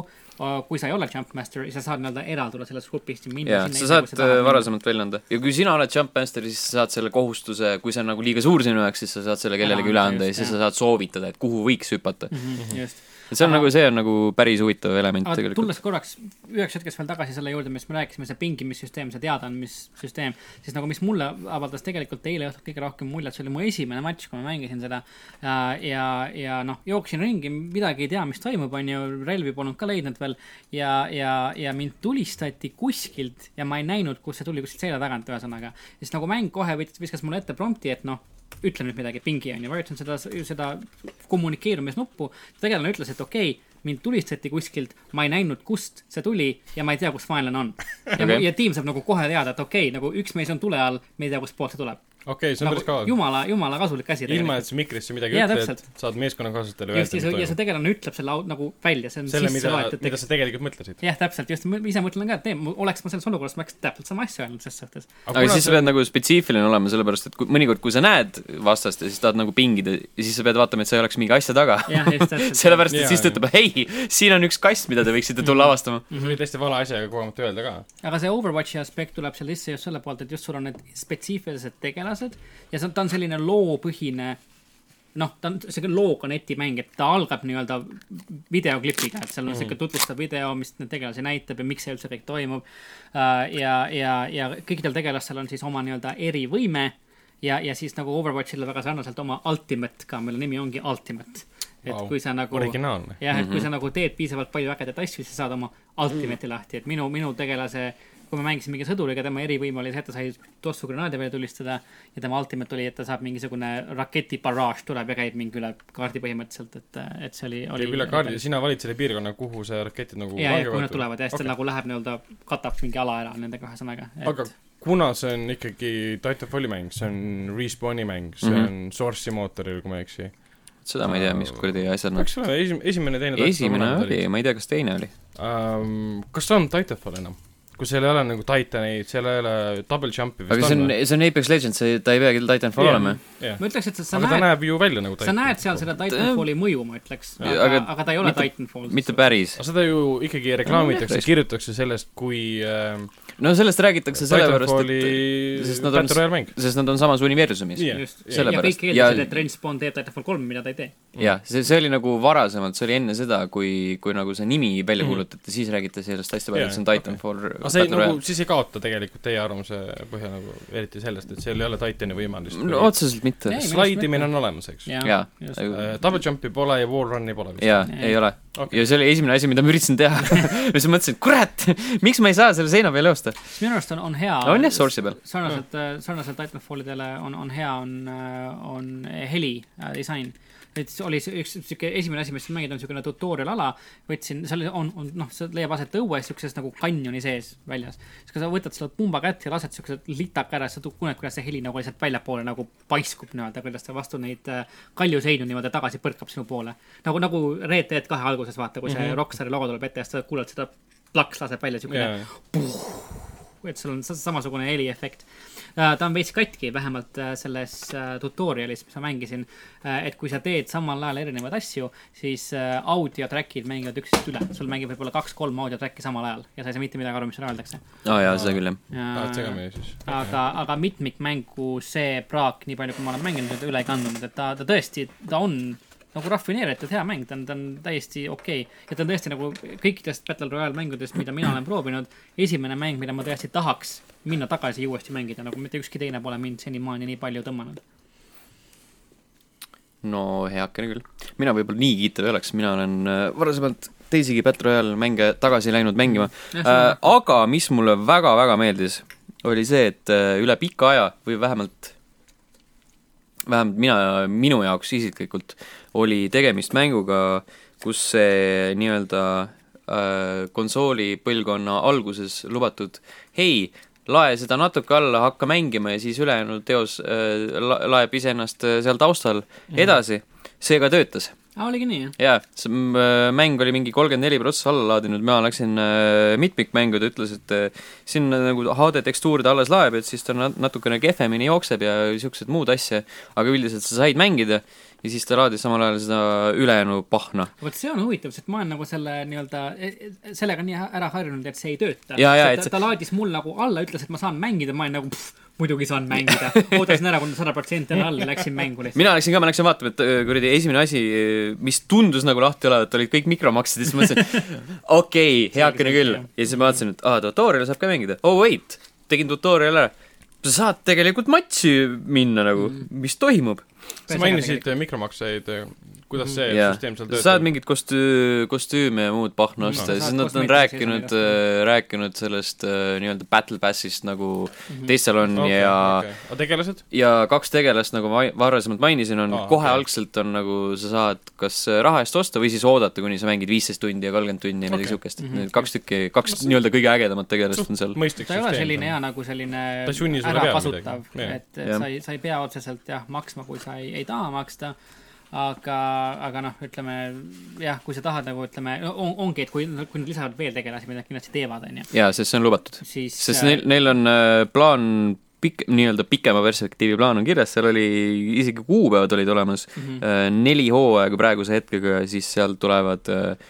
kui sa ei ole jump master , siis sa saad nii-öelda eralduda sellest grupist ja minna
jaa , sa saad äh, varasemalt välja anda ja kui sina oled jumpmaster , siis sa saad selle kohustuse , kui see on nagu liiga suur sinu jaoks , siis sa saad selle kellelegi
Ära
üle
anda,
anda ja
just, Mhm.
siis sa
jah.
saad soovitada , et kuhu võiks hüpata mm . -hmm.
just ,
see on
Aga-
nagu , see on nagu päris huvitav element
aga
tegelikult .
tulles korraks üheks hetkeks veel tagasi selle juurde , mis me rääkisime , see pingimissüsteem , see teadaandmissüsteem , siis nagu mis mulle avaldas tegelikult eile õhtul kõige rohkem muljet , see oli mu esimene matš , kui ma mängisin seda . ja , ja noh , jooksin ringi , midagi ei tea , mis toimub , onju , relvi polnud ka leidnud veel ja , ja , ja mind tulistati kuskilt ja ma ei näinud , kust see tuli , kuskilt selja tagant , ühesõnaga . siis nagu mäng kohe võttis- viskas mulle ette prompti , et noh ütle nüüd midagi , pingi on ju , vajutasin seda , seda kommunikeerumisnuppu , tegelane ütles , et okei okay, , mind tulistati kuskilt , ma ei näinud , kust see tuli ja ma ei tea , kus vaenlane on . ja okay. ,
Okei.
ja tiim saab nagu kohe teada , et okei okay, , nagu üks mees on tule all , me ei tea , kustpoolt see tuleb .
okei , see on päris
nagu
kaval .
jumala , jumala kasulik asi
ilma , et sa mikrisse midagi
Jaa,
ütled
täpselt. ,
saad meeskonnakaaslastele
just , ja see , ja see
öelda ,
tegelane ütleb selle au- nagu välja , see on
selle ,
sisse
mida ,
loetud
mida
tekst .
sa tegelikult mõtlesid .
jah , täpselt , just , ma ise mõtlen ka , et ei , oleks ma selles olukorras , ma oleks täpselt sama asja öelnud ses suhtes .
aga siis sa pead nagu spetsiifiline olema , sellepärast et kui, mõnikord , kui sa näed vastast ja siis tahad nagu pingida , siis sa pead vaatama , et sa ei oleks mingi asja taga .
jah , just täpselt .
sellepärast , et
Jaa,
siis ta
jaa.
ütleb , hei , siin on üks kast , mida te võiksite
Mhm.
tulla avastama .
see oli täiesti vale asjaga kogemata öelda ka .
aga see Overwatchi aspekt tuleb seal sisse just selle poolt , et just sul on need spetsiifilised tegelased ja see on , ta on selline loopõhine , noh , ta on siuke looga netimäng , et ta algab nii-öelda videoklipiga , et seal on siuke tutvustav video , mis neid tegelasi näitab ja miks see üldse kõik toimub . ja , ja , ja kõikidel tegelastel on siis oma nii-öelda erivõime ja , ja siis nagu Overwatchile väga sarnaselt oma ultimate ka , mille nimi ongi ultimate . et
Vau,
kui sa nagu
originaalne .
jah , et kui sa nagu teed piisavalt palju ägedaid asju , siis saad oma ultimate'i lahti , et minu , minu tegelase , kui me mängisime mingi sõduriga , tema erivõim oli see , et ta sai tossugranaadi peale tulistada ja tema ultimate oli , et ta saab mingisugune raketibarraaž tuleb ja käib mingi üle kaardi põhimõtteliselt , et , et see oli , oli
käib üle kaardi , sina valid selle piirkonna , kuhu see raketid nagu
ja , ja
langevad
kui nad
või-
tulevad ja siis ta
Okei.
nagu läheb nii-öelda , katab mingi ala ära nendega ühesõnaga ,
aga
et
kuna see on ikkagi Titanfalli mäng , see on Respawni mäng , see
Mhm.
on Source'i mootoril , kui ma ei eksi .
seda ma ei tea , mis kuradi asjad nad
eks ole , esim- , esimene , teine
esimene oli , ma ei tea , kas teine oli .
um, . kas see on Titanfall enam ? kui seal ei ole nagu Titaneid , seal ei ole double jump'i
aga see on , e- see on Apex Legends , see , ta ei peagi Titanfall
Jah.
olema .
jah ,
ma ütleks , et sa, sa
aga ta
näed ,
näeb ju välja nagu
sa näed seal seda Titanfalli mõju , ma ütleks ,
Ja,
aga
aga ,
aga ta ei ole
mitte-
Titanfall .
mitte päris .
aga seda ju ikkagi reklaamitakse
Jah, ,
kirjutatakse sellest , kui äh,
no sellest räägitakse sellepärast , et ,
Titanfalli
sest nad on-
Battle Royale mäng .
sest nad on samas universumis .
Jah.
ja
sellepärast.
kõik eeldasid ,
Ja-
et Ren Spawn teeb Titanfall kolm , mida ta ei tee .
jah , see , see oli nagu varasemalt , see oli enne seda , kui , kui nagu see nimi välja kuulutati , siis räägiti sellest hästi palju ,
Jaa,
et see on
Mhm. okei.
Titanfall
aga see
Battle
nagu ,
Ah, Royale .
siis ei kaota tegelikult teie arvamuse põhjal nagu eriti sellest , et seal ei ole Titani võimalust .
no otseselt mitte .
Ei,
slaidimine on olemas , eks .
nagu- jaa ,
Double jump'i pole ja wall run'i pole vist .
jaa , ei
Ei.
ole .
Äh, Okei.
ja see oli esimene asi , mida ma üritasin teha . siis ma mõtlesin , et kurat , miks ma ei saa selle seina peal joosta .
siis minu arust on , on hea .
on jah , Source'i peal .
sarnaselt , sarnaselt Titanfallidele on , on hea , on , on heli äh, disain . et see oli see üks siuke esimene asi , mis sa mängid , on siukene tutorial ala , võtsin , seal on , on noh , see leiab aset õues siukses nagu kanjoni sees väljas . siis kui sa võtad selle pumba kätte ja lased siukse litaka ära , siis sa tu- kuuled , kuidas see heli nagu lihtsalt väljapoole nagu paiskub nii-öelda , kuidas ta vastu neid äh, kaljuseinu niimoodi tagasi põrkab sinu poole . nagu , nagu Red Dead kahe alguses vaata , kui see mm
Mhm.
-hmm. Rockstar logo tuleb ette ja siis sa kuuled seda plaks laseb välja siukene yeah.
jaa ,
et sul on sa- samasugune heliefekt . ta on veits katki , vähemalt äh, selles äh, tutorialis , mis ma mängisin . et kui sa teed samal ajal erinevaid asju , siis äh, audiotrack'id mängivad üksteist üle . sul mängib võib-olla kaks-kolm audiotrack'i samal ajal ja sa ei saa mitte midagi aru , mis sulle öeldakse . Äh,
aa jaa , seda küll , jah .
tahad segamini siis ?
aga , aga mitmikmängu see praak , nii palju , kui ma olen mänginud , ta üle ei kandunud , et ta , ta tõesti , ta on nagu rafineeritud hea mäng , ta on , ta on täiesti okei okay. . ja ta on tõesti nagu kõikidest Battle Royale mängudest , mida mina olen proovinud , esimene mäng , mida ma tõesti tahaks minna tagasi ja uuesti mängida , nagu mitte ükski teine pole mind senimaani nii palju tõmmanud .
no heakene küll . mina võib-olla nii kiitev ei oleks , mina olen äh, varasemalt teisigi Battle Royale mänge tagasi läinud mängima .
Jah,
äh, aga mis mulle väga-väga meeldis , oli see , et äh, üle pika aja või vähemalt , vähemalt mina , minu jaoks isiklikult oli tegemist mänguga , kus see nii-öelda äh, konsooli põlvkonna alguses lubatud hei , lae seda natuke alla , hakka mängima ja siis ülejäänud teos äh, la- laeb iseennast äh, seal taustal edasi , see ka töötas
aa , Äh, oligi nii , jah ?
jaa , see m- äh, mäng oli mingi kolmkümmend neli protsessi alla laadinud , mina läksin äh, mitmikmängu , ta ütles , et äh, sinna nagu HD tekstuur ta alles laeb , et siis ta na- natukene kehvemini jookseb ja niisugused muud asja , aga üldiselt sa said mängida ja siis ta laadis samal ajal seda ülejäänu pahna .
vot see on huvitav , sest ma olen nagu selle nii-öelda , sellega nii ära harjunud , et see ei tööta .
Jaa, jaa, et
ta,
see-
ta laadis mul nagu alla , ütles , et ma saan mängida , ma olin nagu , muidugi saan mängida . ootasin ära , kuni sada protsenti on all ja läksin mängu lihtsalt .
mina läksin ka , ma läksin vaatama , et öö, kuradi esimene asi , mis tundus nagu lahti olevat , olid kõik mikromaksed ja siis mõtlesin , okei , heakene küll . ja siis ma vaatasin , et aa , tutorial'i saab ka mängida . oh wait , tegin tutorial'i ära . sa saad tegelikult matši minna nagu , mis toimub .
sa mainisid äh, mikromakseid , kuidas see
Jaa.
süsteem seal
saad
töötab ?
mingit kostüü- , kostüüme ja muud pahna osta
No.
ja siis
Saad
nad on
kosmeetikas
rääkinud
ilusaid asju. ,
rääkinud sellest äh, nii-öelda battle pass'ist nagu teistel on
Okei,
ja
okei. aga tegelased ?
ja kaks tegelast , nagu ma varasemalt mainisin , on
Aa,
oh, kohe
okei.
okay. algselt on nagu sa saad kas raha eest osta või siis oodata , kuni sa mängid viisteist tundi ja kolmkümmend tundi ja midagi
Okei. Mhm.
okay. siukest , et need kaks tükki , kaks nii-öelda kõige ägedamat tegelast on seal .
mõistlik
ta ei ole selline
süsteem .
hea nagu selline
Ta ei sunni sulle peale
ärakasutav ,
midagi. Jah.
et et
Jah.
sa ei , sa ei pea otseselt jah maksma , kui sa ei , ei taha maksta . aga , aga noh , ütleme jah , kui sa tahad nagu ütleme , on , ongi , et kui , kui nad lisavad veel tegelasi , mida nad kindlasti teevad , onju ,
jaa , sest see on lubatud .
siis .
sest neil , neil on äh, plaan pikk , nii-öelda pikema perspektiivi plaan on kirjas , seal oli isegi kuupäevad olid olemas mm ,
Mhm.
-hmm. neli hooaega praeguse hetkega ja siis sealt tulevad ,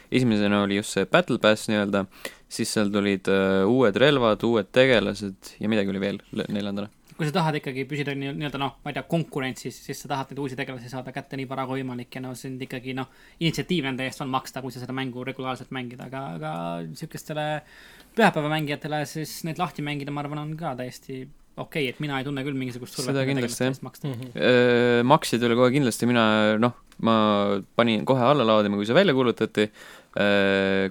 esimesena oli just see Battle Pass nii-öelda , siis seal tulid äh, uued relvad , uued tegelased ja midagi oli veel l- neljandana .
kui sa tahad ikkagi püsida nii- nii-öelda noh , ma ei tea , konkurentsis , siis sa tahad neid uusi tegelasi saada kätte nii vara kui võimalik ja no sind ikkagi noh , initsiatiiv nende eest on maksta , kui sa seda mängu regulaarselt mängid , aga , aga siukestele pühapäevamängijatele siis neid lahti mängida , ma arvan , on ka täiesti okei okay, , et mina ei tunne küll mingisugust survet
Seda
nende
kindlasti,
tegelaste
jah. Mhm.
eest maksta mm .
Öö, makseid oli kohe kindlasti , mina noh , ma panin kohe alla laadima , kui see välja kuulutati ,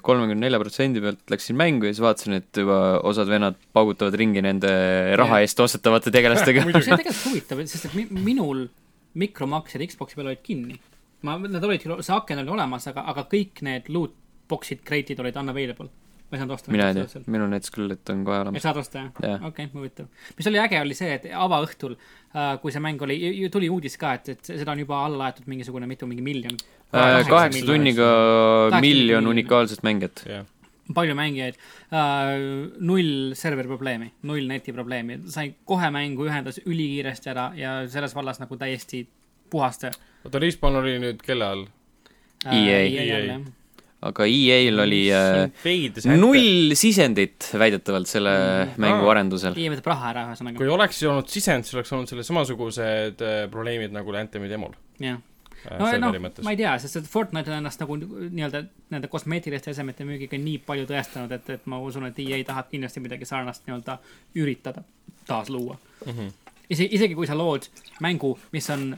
kolmekümne nelja protsendi pealt läksin mängu ja siis vaatasin , et juba osad vennad paugutavad ringi nende raha eest ostetavate tegelastega .
-hmm. see on tegelikult huvitav , sest et mi- minul mikromaksed Xbox'i peal olid kinni . ma , nad olid küll , see aken oli olemas , aga , aga kõik need loot box'id , crate'id olid unavailable . ma ei saanud osta .
mina ei tea , minul näitas küll , et on kohe
et
olemas .
saad osta jah
Jah.
yeah. ? okei okay, , huvitav . mis oli äge , oli see , et avaõhtul , kui see mäng oli , tuli uudis ka , et , et seda on juba alla aetud mingisugune mitu , mingi miljon .
Äh, kaheksa tunniga miljon
miljonit.
unikaalset mängijat .
jah ,
palju mängijaid , null serveri probleemi , null neti probleemi , sai kohe mängu ühendas ülikiiresti ära ja selles vallas nagu täiesti äh, puhas töö .
oota , Respawn oli nüüd kelle all ?
EA.
E
aga EA-l oli äh,
veidis
null sisendit väidetavalt selle
Mm.
mängu arendusel .
EA E võtab raha ära , ühesõnaga
kui . oleks olnud sisend , siis oleks olnud selle samasugused äh, probleemid nagu Anthemi demol
jah .
äh,
no ,
serveri
noh ,
mõttes.
ma ei tea , sest et Fortnite on ennast nagu nii-öelda nende kosmeetiliste esemete müügiga nii palju tõestanud , et , et ma usun , et EA tahab kindlasti midagi sarnast nii-öelda üritada taasluua mm .
Mhm.
-hmm. isegi , isegi kui sa lood mängu , mis on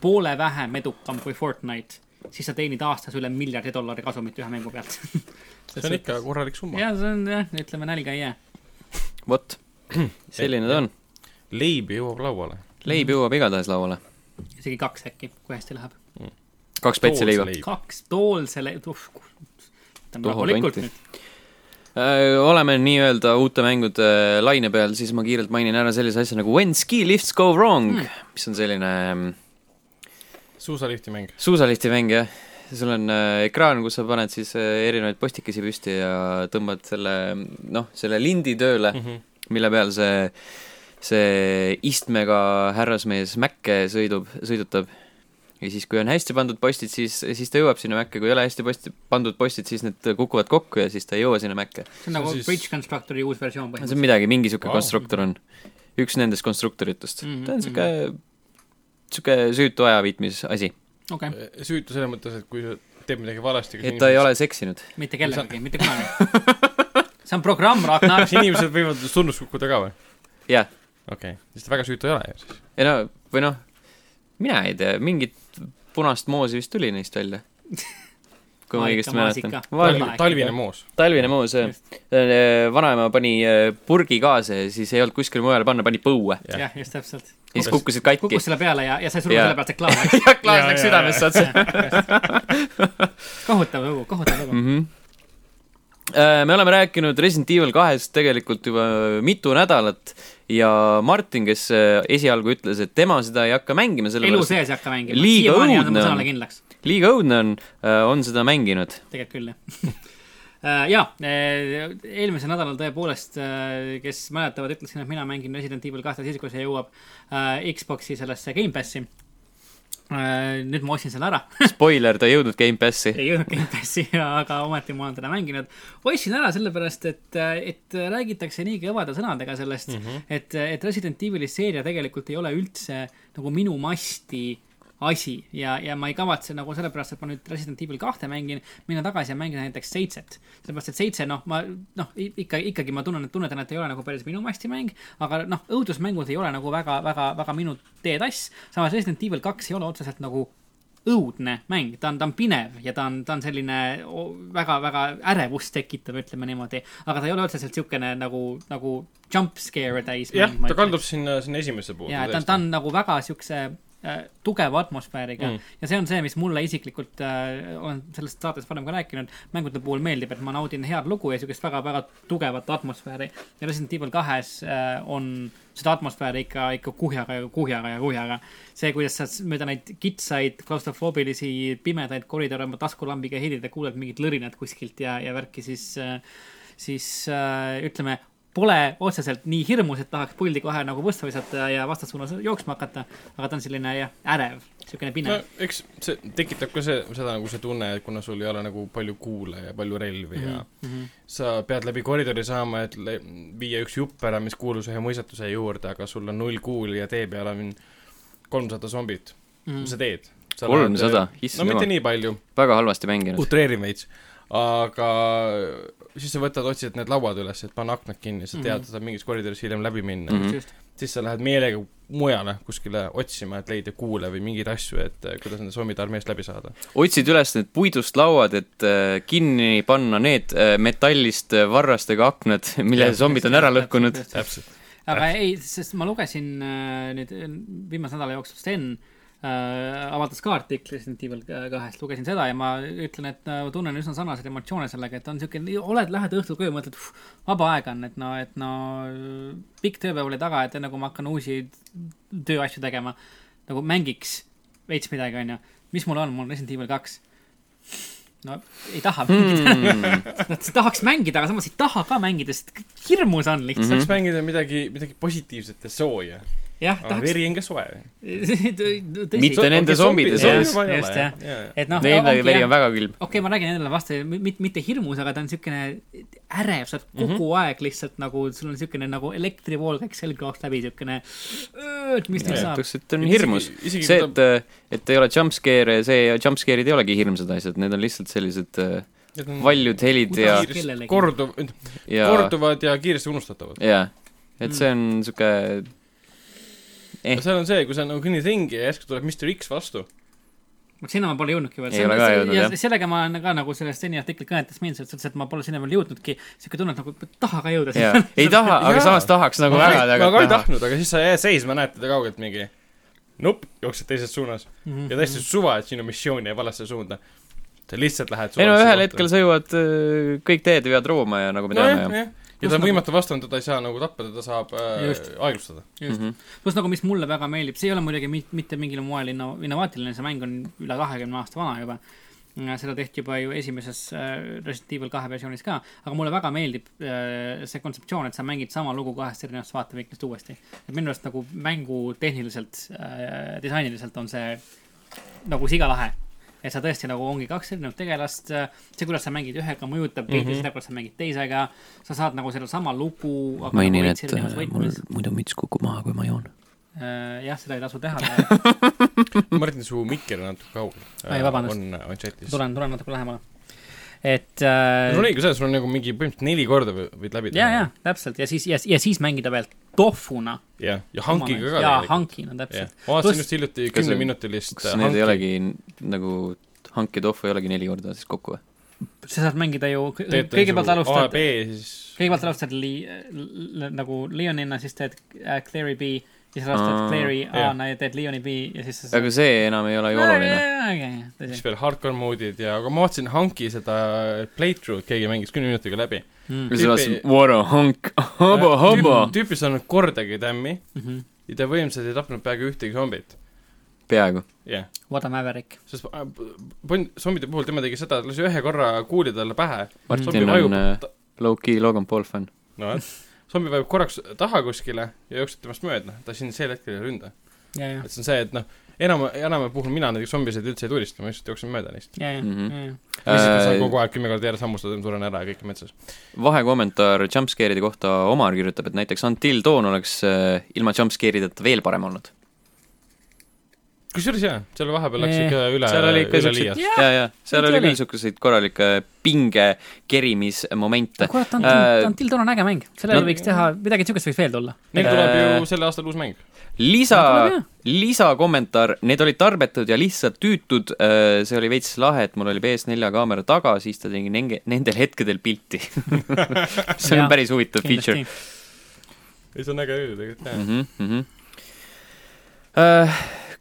poole vähem edukam kui Fortnite , siis sa teenid aastas üle miljardi dollari kasumit ühe mängu pealt .
see on ikka korralik summa .
ja see on jah , ütleme nälga ei jää .
vot , selline ta on .
leib jõuab lauale .
leib jõuab igatahes lauale .
isegi kaks äkki , kui hästi läheb .
kaks pätsi leiba .
kaks tool selle , uh , võtame rahulikult
tonti.
nüüd .
Äh, oleme nii-öelda uute mängude äh, laine peal , siis ma kiirelt mainin ära sellise asja nagu When Ski Lifts Go Wrong mm. , mis on selline ähm,
suusalifti mäng .
suusalifti mäng , jah . sul on äh, ekraan , kus sa paned siis äh, erinevaid postikesi püsti ja tõmbad selle , noh , selle lindi tööle mm , -hmm. mille peal see , see istmega härrasmees mäkke sõidub , sõidutab . ja siis , kui on hästi pandud postid , siis , siis ta jõuab sinna mäkke , kui ei ole hästi posti- , pandud postid , siis need kukuvad kokku ja siis ta ei jõua sinna mäkke .
see on nagu
siis-
Bridge Constructori uus versioon
see
põhimõtteliselt
on . midagi , mingi sihuke
Vau.
wow. konstruktor on . üks nendest konstruktoritest mm .
Mhm,
-hmm. ta on sihuke , sihuke süütu ajaviitmise asi .
okei okay. ,
Äh, süütu selles mõttes , et kui sa teed midagi valesti .
et ta ei . ole seksinud .
mitte kellegagi , mitte kunagi . see on programm , Ragnar
kas . inimesed võivad surnuks kukkuda ka või ?
jah ,
okei okay. , siis ta väga süütu ei ole ju siis .
ei no , või noh , mina ei tea , mingit punast moosi vist tuli neist välja . kui ma
Maasika,
õigesti mäletan
maasika.
Val... .
Talv-
talvine moos .
talvine moos , jah . vanaema pani äh, purgi kaasa ja siis ei olnud kuskil mujal panna , pani põue .
Jah.
jah , just täpselt .
ja siis kukkusid katki
kukkus . selle peale ja , ja sai suru
Jaa.
selle pealt , et klaar läks .
ja klaas
Jaa,
läks
jaa,
südamesse otse .
kohutav lugu , kohutav lugu .
mm . -hmm. me oleme rääkinud Resident Evil kahest tegelikult juba mitu nädalat ja Martin , kes äh, esialgu ütles , et tema seda ei hakka mängima ,
elu
sellepärast
sees ei hakka mängima .
Liiga
siiamaani
õudne
on mu
on.
sõnale kindlaks .
et liiga õudne on , on seda mänginud .
tegelikult küll , jah . jaa , eelmisel nädalal tõepoolest , kes mäletavad , ütlesin , et mina mängin Resident Evil kahte siis , kui see jõuab äh, Xbox'i sellesse äh, Gamepassi . nüüd ma ostsin selle ära ,
Spoiler , ta ei jõudnud Gamepassi .
ei jõudnud Gamepassi , aga ometi ma olen teda mänginud . ostsin ära sellepärast , et , et räägitakse nii kõvade sõnadega sellest mm , -hmm. et , et Resident Evil'i seeria tegelikult ei ole üldse nagu minu masti asi ja , ja ma ei kavatse nagu sellepärast , et ma nüüd Resident Evil kahte mängin , minna tagasi ja mängida näiteks seitset . sellepärast , et seitse , noh , ma noh , ikka , ikkagi ma tunnen , tunnetan , et ei ole nagu päris minu masti mäng , aga noh , õudusmängud ei ole nagu väga , väga , väga minu teetass . samas Resident Evil kaks ei ole otseselt nagu õudne mäng , ta on , ta on pinev ja ta on , ta on selline o- väga-väga ärevust tekitav , ütleme niimoodi . aga ta ei ole otseselt niisugune nagu , nagu jump scare täis .
jah , ta kaldub sinna , sinna esimesse poolde .
ja ta on , ta on nagu väga siukse äh, tugeva atmosfääriga mm. ja see on see , mis mulle isiklikult äh, , olen sellest saates varem ka rääkinud , mängude puhul meeldib , et ma naudin head lugu ja siukest väga-väga tugevat atmosfääri . ja Resident Evil kahes äh, on seda atmosfääri ikka , ikka kuhjaga ja kuhjaga ja kuhjaga . see , kuidas sa s- mööda neid kitsaid , klaustrofoobilisi , pimedaid koridore oma taskulambiga helid ja kuuled mingit lõrinat kuskilt ja , ja värki , siis äh, , siis äh, ütleme , pole otseselt nii hirmus , et tahaks puldi kohe nagu võssa visata ja vastassuunas jooksma hakata , aga ta on selline jah , ärev , niisugune
no
pinev no. .
eks see tekitab ka see , seda nagu see tunne , et kuna sul ei ole nagu palju kuule ja palju relvi mm
Mhm.
-hmm. ja sa pead läbi koridori saama , et le- viia üks jupp ära , mis kuulus ühe mõistatuse juurde , aga sul on null kuuli ja tee peal on kolmsada zombit mm ,
Mhm.
-hmm. mis sa teed ?
300?
no
Issand
mitte
jumal.
nii palju ,
väga halvasti mänginud .
utreerin veits , aga siis sa võtad , otsid need lauad üles , et panna aknad kinni , sa tead , sa saad mingis koridoris hiljem läbi minna
Mhm.
mm . -hmm
just ,
siis sa lähed meelega mujale kuskile otsima , et leida kuule või mingeid asju , et eh, kuidas nende zombide armeest läbi saada .
otsid üles need puidust lauad , et äh, kinni panna need äh, metallist äh, varrastega aknad , mille zombid on ära lõhkunud .
täpselt .
aga ei , sest ma lugesin äh, nüüd äh, viimase nädala jooksul Sten äh, avaldas ka artikli Resident Evil äh, kahest , lugesin seda ja ma ütlen , et äh, ma tunnen üsna sarnaseid emotsioone sellega , et on niisugune , oled , lähed õhtul koju , mõtled , vaba aega on , et no , et no pikk tööpäev oli taga , et enne kui ma hakkan uusi tööasju tegema , nagu mängiks veits midagi , onju . mis mul on , mul on Resident Evil kaks . no ei taha mängida mm. , tahaks mängida , aga samas ei taha ka mängida , sest hirmus on lihtsalt .
Mhm.
saaks mängida midagi , midagi positiivset ja sooja .
jah ,
aga
tahaks ,
veri on ka soe .
Mitte
tõsi ,
Mitte nende zombide
sees. Just, just, et noh ,
Neil veri on väga külm .
okei , ma räägin endale vastu , mitte , mitte hirmus , aga ta on niisugune ärev , sa oled kogu mm -hmm. aeg lihtsalt nagu , sul on niisugune nagu elektrivool käiks selga oht läbi , niisugune , et mis nüüd saab .
ütleks , et on hirmus .
isegi kui
see , et , et ei ole jumpscare , see jumpscare'id ei olegi hirmsad asjad , need on lihtsalt sellised äh, valjud helid ja ,
Kuidas- kellelegi.
korduv ,
ja ,
korduvad ja kiiresti unustatavad .
ja , et see on sihuke , Eh.
seal on see , kui sa nagu kõnnid ringi ja järsku tuleb Mr X vastu .
vot sinna ma pole jõudnudki veel .
Ei ole ka jõudnud, jah.
sellega ma olen ka nagu sellest seni artikli kõnetest meeldis , et sa ütlesid , et ma pole sinna veel jõudnudki . niisugune tunne , et nagu ei taha ka jõuda
ja . ei taha ,
Jaa.
aga samas tahaks nagu
ma
väga
ka ei
taha .
tahtnud , aga siis sa jääd seisma , näed teda kaugelt mingi nupp , jooksed teises suunas mm . -hmm. ja
Mhm.
täiesti suva , et sinu missioon jääb valesse suunda . sa lihtsalt lähed
ei no ühel hetkel sa jõuad , kõik teed veavad Rooma ja nagu me teame
nojah ,
ja
jah . ja
nagu-
ta on võimatu vastanud , teda ei saa nagu tappa , teda saab äh,
Just.
aeglustada .
just
Mhm.
mm -hmm. , pluss nagu , mis mulle väga meeldib , see ei ole muidugi mit- mitte mingil moel inno- , innovaatiline , see mäng on üle kahekümne aasta vana juba . seda tehti juba ju esimeses äh, Resident Evil kahe versioonis ka , aga mulle väga meeldib äh, see kontseptsioon , et sa mängid sama lugu kahest erinevast vaatevinklist uuesti . et minu arust nagu mängu tehniliselt äh, , disainiliselt on see nagu sigalahe . et sa tõesti nagu ongi kaks erinevat tegelast , see , kuidas sa mängid ühega , mõjutab pildi
Mhm.
mm -hmm. seda , kuidas sa mängid teisega , sa saad nagu sedasama lugu .
nagu
nagu
mainin , et äh, mul muidu müts kukub maha , kui ma joon .
Äh, jah , seda ei tasu teha , aga
Martin , su mikker on natuke kaugel .
Ai, vabandust.
on , on chatis .
tulen , tulen natuke lähemale . et äh,
sul on õigus jah , sul on nagu mingi põhimõtteliselt neli korda või- võid läbi
ja , ja täpselt ja siis ja , ja siis mängida veel tohuna .
ja , ja hankiga ka
jaa ,
tegelikult.
hankina
Jah.
täpselt .
ma vaatasin
Pluss-
just hiljuti
Kas see-
kümneminutilist
kas need ei olegi nagu hanked off ei olegi neli korda siis kokku või ?
sa saad mängida ju , kõigepealt
nagu A ,
alustad
ja B , siis
kõigepealt alustad li, li, nagu Leonina , siis teed äh, Clary B ja siis alustad
Aa,
Clary
jah.
A-na ja teed Leoni B ja siis sa
aga see enam ei ole ju oluline .
siis
oluline .
veel hardcore mode'id ja , aga ma vaatasin hanki seda playthrough'd , keegi mängis kümne minutiga läbi .
Mm,
ja siis vaatasin , what a honk , hobo , hobo .
tüüp ei saanud kordagi tämmi
mhm.
ja ta võimsalt ei tapnud peaaegu ühtegi zombit .
peaaegu .
jah ,
What a Maverick .
sest äh, pon- , zombide puhul tema tegi seda , et lasi ühe korra kuuli talle pähe .
Martin
zombi
on,
vajub
äh,
ta-
Low-key Logan Paul fänn .
no vot , zombi vajub korraks taha kuskile ja jookseb temast mööda , ta sind sel hetkel ei ründa .
ja , ja
et , see on see , et noh , enam , enama puhul mina näiteks zombisid üldse ei turista , ma lihtsalt jooksen mööda neist .
ja ,
Mhm.
ja , ja ,
lihtsalt
Äh,
saan kogu aeg kümme korda järjest hammustada , ma suren ära ja kõik on metsas .
vahekommentaar jumpscare'ide kohta , Omar kirjutab , et näiteks Until Dawn oleks äh, ilma jumpscare'ideta veel parem olnud .
kusjuures jaa , seal vahepeal läks
Nee.
ikka üle ,
seal oli ikka
üle
siukseid ,
liiast .
jaa , jaa , seal
ikka
oli
oli.
küll siukseid korralikke pinge kerimismomente .
kurat ,
Äh,
Until , Until Dawn on äge mäng , sellele
nad-
võiks teha , midagi siukest võiks veel tulla .
Neil
Äh,
tuleb ju sel aastal uus mäng .
lisa
No tuleb jah. ,
lisakommentaar , need olid tarbetud ja lihtsalt tüütud , see oli veits lahe , et mul oli PS4 kaamera taga , siis ta tegi nende , nendel hetkedel pilti . see on
Jaa,
päris huvitav feature .
ei , see on äge küll tegelikult jah .
mm . -hmm. Äh,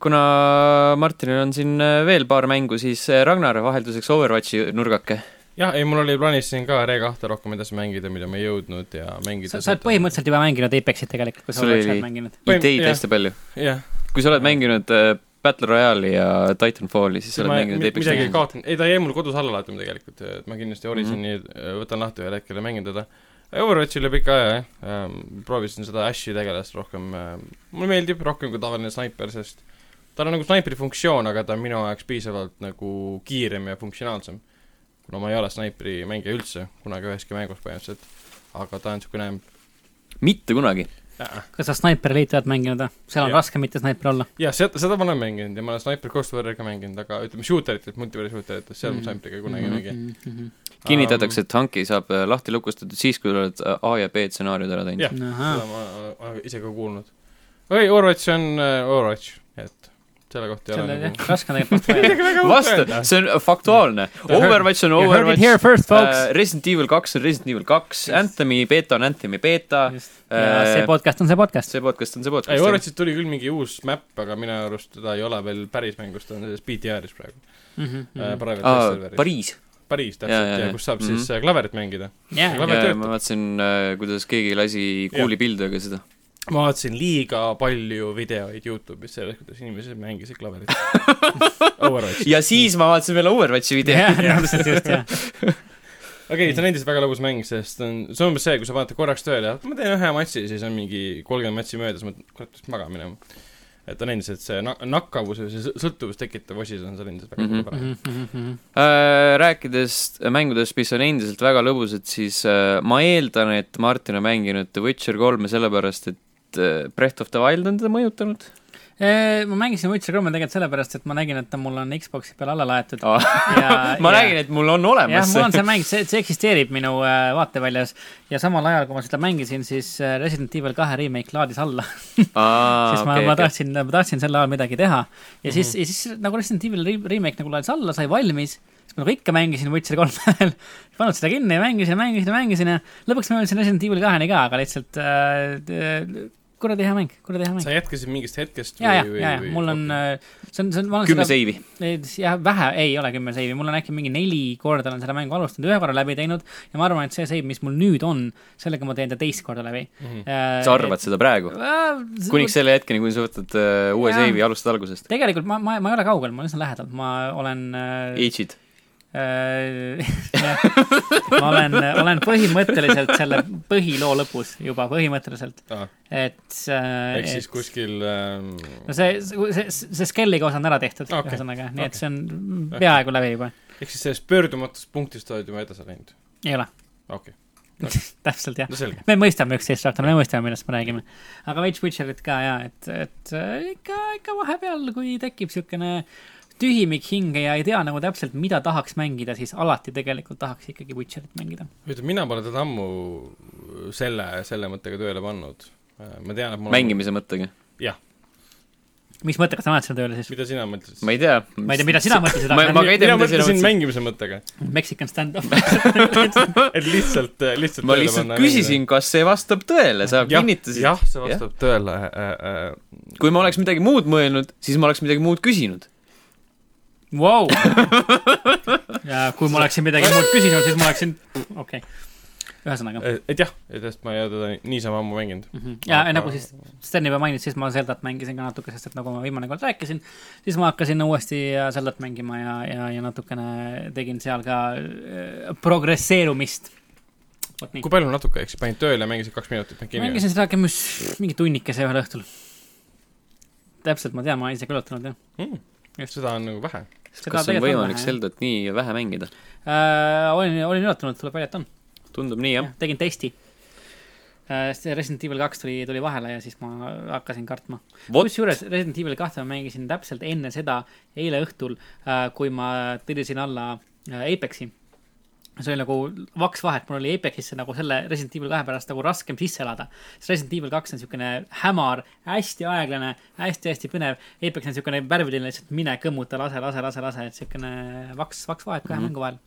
kuna Martinil on siin äh, veel paar mängu , siis äh, Ragnar vahelduseks Overwatchi nurgake .
jah , ei mul oli plaanis siin ka Re2 rohkem edasi mängida , mida ma ei jõudnud ja mängida
sa , sa oled põhimõtteliselt juba mänginud Apexit tegelikult , kui sa
Sul
oled
oli-
seal mänginud .
Põhim-
ideid
jah.
hästi palju .
jah ,
kui sa oled mänginud äh, Battle Royale'i ja Titanfalli , siis sa
ma
oled
mi-
mänginud Apex
midagi ei
Legendsi .
kaotanud , ei ta jäi mul kodus alla laetuma tegelikult , et ma kindlasti Orisoni mm -hmm. võtan lahti ühel hetkel ja mängin teda . Overwatchil oli pikka aja jah ähm, , proovisin seda Ashi tegelast rohkem ähm, , mulle meeldib rohkem kui tavaline snaiper , sest tal on nagu snaipri funktsioon , aga ta on minu jaoks piisavalt nagu kiirem ja funktsionaalsem . kuna ma ei ole snaipri mängija üldse kunagi üheski mängus põhimõtteliselt , aga ta on niisugune
mitte kunagi .
äh,
kas sa Sniper Elite oled mänginud või ? seal on
Jah.
ja. raske mitte snaiper olla .
jah , seda , seda ma olen mänginud ja ma olen Sniper Ghost Warrior'i ka mänginud , aga ütleme , shooteritest , multiplayer shooteritest , seal ma
Mhm.
snaipriga kunagi ei
Mhm.
mängi .
kinnitatakse , et hanki saab äh, lahti lukustatud siis , kui oled äh, A ja B stsenaariumid ära teinud
Jah. . seda ma olen- olen ise ka kuulnud . ei , Overwatch on äh, Overwatch , et selle kohta ei ole
selle ,
nagu
raske on tegelikult portfelli .
vasta , see on faktuaalne . Overwatch on
You heard it here
Overwatch .
first , folks
Uh, . Resident Evil kaks on Resident Evil kaks , Anthemi beeta on Anthemi beeta ,
ja
äh,
see podcast on see podcast .
see podcast on see
ei ,
podcast .
Overwatchist tuli küll mingi uus map , aga minu arust teda ei ole veel päris mängus , ta on selles BTR-is praegu
Mhm,
äh, . Private Test Serveris.
Pariis .
Pariis
Jaa, jaa,
täpselt , ja
jaa.
kus saab
Mhm.
siis äh, klaverit mängida .
jah ,
Väga töötab.
ma vaatasin , kuidas keegi lasi kuulipildudega seda .
ma vaatasin liiga palju videoid Youtube'is sellest , kuidas inimesed mängisid klaverit Overwatch .
ja siis ma vaatasin veel Overwatchi video .
jah , täpselt just , jah .
okei okay, , see on endiselt väga lõbus mäng , sest on , see on umbes see , kui sa vaatad korraks tööle , et ma teen ühe matši , siis on mingi kolmkümmend matši möödas , mõtled , kurat , peaks magama minema . et on endiselt see na- , nakkavus ja see sõ- sõltuvust tekitav osi , see on seal endiselt väga
Mhm.
mm -hmm.
rääkides Äh, mängudest , mis on endiselt väga lõbusad , siis äh, ma eeldan , et Martin on mänginud The Witcher kolme sellepärast , et äh, Breath of the Wild on teda mõjutanud .
Äh, ma mängisin Witcher kolme tegelikult sellepärast , et ma nägin , et ta mul on Xbox'i peal alla laetud .
Oh, Ah, ma nägin , et mul on
jah ,
olemas
mul on
see .
see mäng , see , see eksisteerib minu äh, vaateväljas ja samal ajal , kui ma seda mängisin , siis äh, Resident Evil kahe remake laadis alla . siis ma , ma tahtsin , ma tahtsin sel ajal midagi teha ja
Mhm.
siis mm , -hmm. ja siis nagu Resident Evil re- remake nagu laadis alla , sai valmis , siis ma nagu ikka mängisin Witcher kolme ajal , pannud seda kinni ja mängisin ja mängisin ja mängisin ja lõpuks ma jõudsin Resident Evil kaheni ka , aga lihtsalt äh, kuradi hea mäng , kuradi hea mäng .
sa jätkasid mingist hetkest
ja , ja , ja , ja mul on , see on , see on , ma olen
kümme seivi .
jah , vähe , ei ole kümme seivi , mul on äkki mingi neli korda olen selle mängu alustanud , ühe korra läbi teinud ja ma arvan , et see seiv , mis mul nüüd on , sellega ma teen ta teist korda läbi Äh,
Mhm. .
sa arvad ? seda praegu ? kuniks selle hetkeni , kui sa võtad äh, uue
Jaa.
seivi ja alustad algusest .
tegelikult ma , ma , ma ei ole kaugel , ma olen üsna lähedal , ma olen äh,
Age'id .
äh, jah. ma olen , olen põhimõtteliselt selle põhiloo lõpus juba põhimõtteliselt ,
ah,
et äh,
ehk siis
et-
kuskil ähm,
no see , see , see Skelliga osa on ära tehtud
Okei,
okay. , ühesõnaga , nii
okei.
et see on peaaegu läbi juba ,
ehk siis sellest pöördumatust punktist oled juba edasi läinud ,
ei ole ,
okei okay. ,
täpselt jah .
no selge .
me mõistame üksteist , Ragnar , me mõistame , millest me räägime . aga Witch Witcherit ka ja , et , et äh, ikka , ikka vahepeal , kui tekib niisugune tühimik hinge ja ei tea nagu täpselt , mida tahaks mängida , siis alati tegelikult tahaks ikkagi Witcherit mängida .
ütleme , mina pole teda ammu selle , selle mõttega tööle pannud . ma tean , et mul on ,
mängimise mõttega .
mis mõttega sa paned selle tööle siis ?
mida sina mõtlesid ?
ma ei tea .
ma ei tea , mida sina mõtlesid ,
Ma- ma
aga
ka ei tea, mida sina
mina mõtlesin
mõtlesid.
mängimise mõttega ,
Mexican stand-up .
et lihtsalt , lihtsalt
ma lihtsalt küsisin , kas see vastab tõele , sa kinnitasid .
jah , see vastab tõele äh, . Äh,
kui ma oleks midagi muud mõelnud , siis ma oleks midagi muud küsinud .
Vau ! ja kui ma oleksin midagi muud küsinud , siis ma oleksin , okei okay. . ühesõnaga .
äh, et- et jah , et sest ma ei ole teda niisama ammu mänginud .
ja
Aga-
nagu siis Sten juba mainis , siis ma Zeldat mängisin ka natuke , sest et nagu ma viimane kord rääkisin , siis ma hakkasin uuesti äh, Zeldat mängima ja , ja , ja natukene tegin seal ka äh, progresseerumist . vot nii .
kui palju natuke , eks panin tööle , mängisin kaks minutit .
mängisin seda äkki mis , mingi tunnikese ühel õhtul . täpselt ma tean , ma olen ise külastanud jah .
mm. . seda on nagu vähe .
Mhm. kas on võimalik ? Zeldat nii vähe mängida ?
Äh, olin , olin üllatunud , tuleb välja , et on .
tundub nii , jah .
tegin testi . see Resident Evil kaks tuli , tuli vahele ja siis ma hakkasin kartma .
Vot.
kusjuures Resident Evil kahte ma mängisin täpselt enne seda , eile õhtul , kui ma tõrjusin alla äh, Apexi . see oli nagu vaks vahet , mul oli Apexisse nagu selle Resident Evil kahe pärast nagu raskem sisse elada . sest Resident Evil kaks on siukene hämar , hästi aeglane hästi, , hästi-hästi põnev . Apex on siukene värviline , lihtsalt mine kõmmuta , lase , lase , lase , lase , et siukene vaks , vaks vahet kahe mm -hmm. mängu vahel .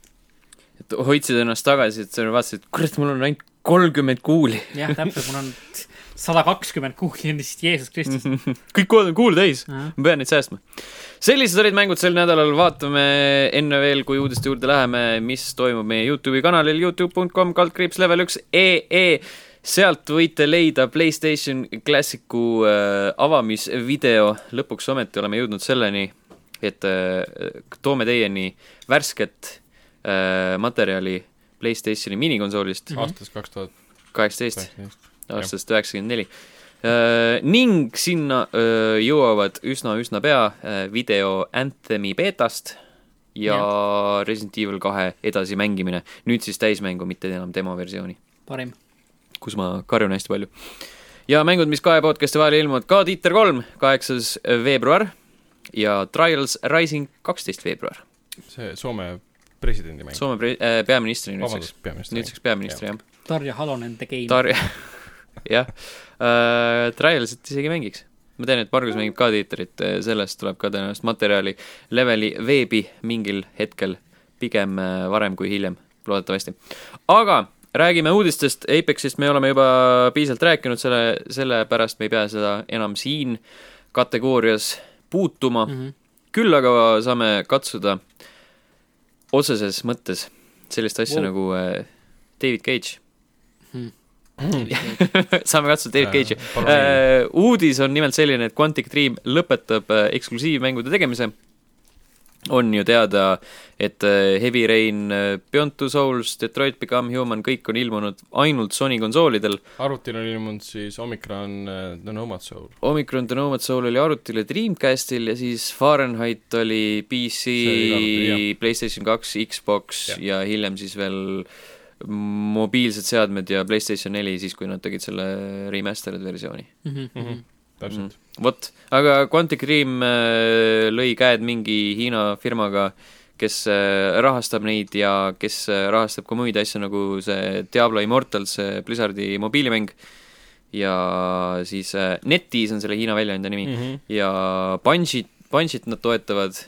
et hoidsid ennast tagasi , et sa vaatasid , et kurat , mul on ainult kolmkümmend kuuli .
jah , täpselt , mul on sada kakskümmend kuugi on lihtsalt Jeesus Kristus .
kõik kood on kuul täis . ma pean neid säästma . sellised olid mängud sel nädalal , vaatame enne veel , kui uudiste juurde läheme , mis toimub meie Youtube'i kanalil Youtube.com kaldkriips level üks ee . sealt võite leida Playstation Classicu äh, avamisvideo , lõpuks ometi oleme jõudnud selleni , et äh, toome teieni värsket äh, materjali Playstationi minikonsoolist
aastast kaks tuhat
kaheksateist
kaheksateist .
aastast üheksakümmend neli . ning sinna öö, jõuavad üsna-üsna pea öö, video Anthemi beetast ja, ja Resident Evil kahe edasimängimine . nüüd siis täismängu , mitte enam demoversiooni ,
parim .
kus ma karjun hästi palju . ja mängud , mis kahe podcast'i vahel ilmuvad ka Tiiter kolm , kaheksas veebruar ja Trials Rising kaksteist veebruar .
see Soome presidendi mäng .
Soome pre- , peaministri nüüdseks ,
vabandust , peaminister .
nüüdseks peaministri jah .
Tarja Halonen the game Tar .
Tar- , jah uh, , Trialsit isegi mängiks . ma tean , et Margus mängib ka tiitrit , sellest tuleb ka tõenäoliselt materjali leveli veebi mingil hetkel , pigem äh, varem kui hiljem , loodetavasti . aga räägime uudistest , Apexist me oleme juba piisavalt rääkinud , selle , sellepärast me ei pea seda enam siin kategoorias puutuma mm ,
Mhm.
-hmm. küll aga saame katsuda otseses mõttes sellist asja
Wow.
wow. nagu äh, David Cage
Mhm.
Mhm.
saame katsuda
Äh,
David Cage'i . uudis on nimelt selline , et Quantic Dream lõpetab äh, eksklusiivmängude tegemise . on ju teada , et äh, Heavy Rain , Beyond Two Souls , Detroit Become Human , kõik on ilmunud ainult Sony konsoolidel .
arvutil on ilmunud siis Omicron äh, The Nomad Soul .
Omicron The Nomad Soul oli arvutil ja Dreamcastil ja siis Fahrenheit oli PC
See oli ka arvutil, ,
Playstation kaks , Xbox
Jah.
ja. ja hiljem siis veel mobiilsed seadmed ja Playstation neli , siis kui nad tegid selle remastered versiooni .
Mhm.
Mhm.
Mhm.
täpselt .
vot , aga Quantic Dream äh, lõi käed mingi Hiina firmaga , kes äh, rahastab neid ja kes äh, rahastab ka muid asju , nagu see Diablo Immortals , see Blizzardi mobiilimäng , ja siis äh, Netis on selle Hiina väljaande nimi mm ,
Mhm.
-hmm. ja Bunge'it , Bunge'it nad toetavad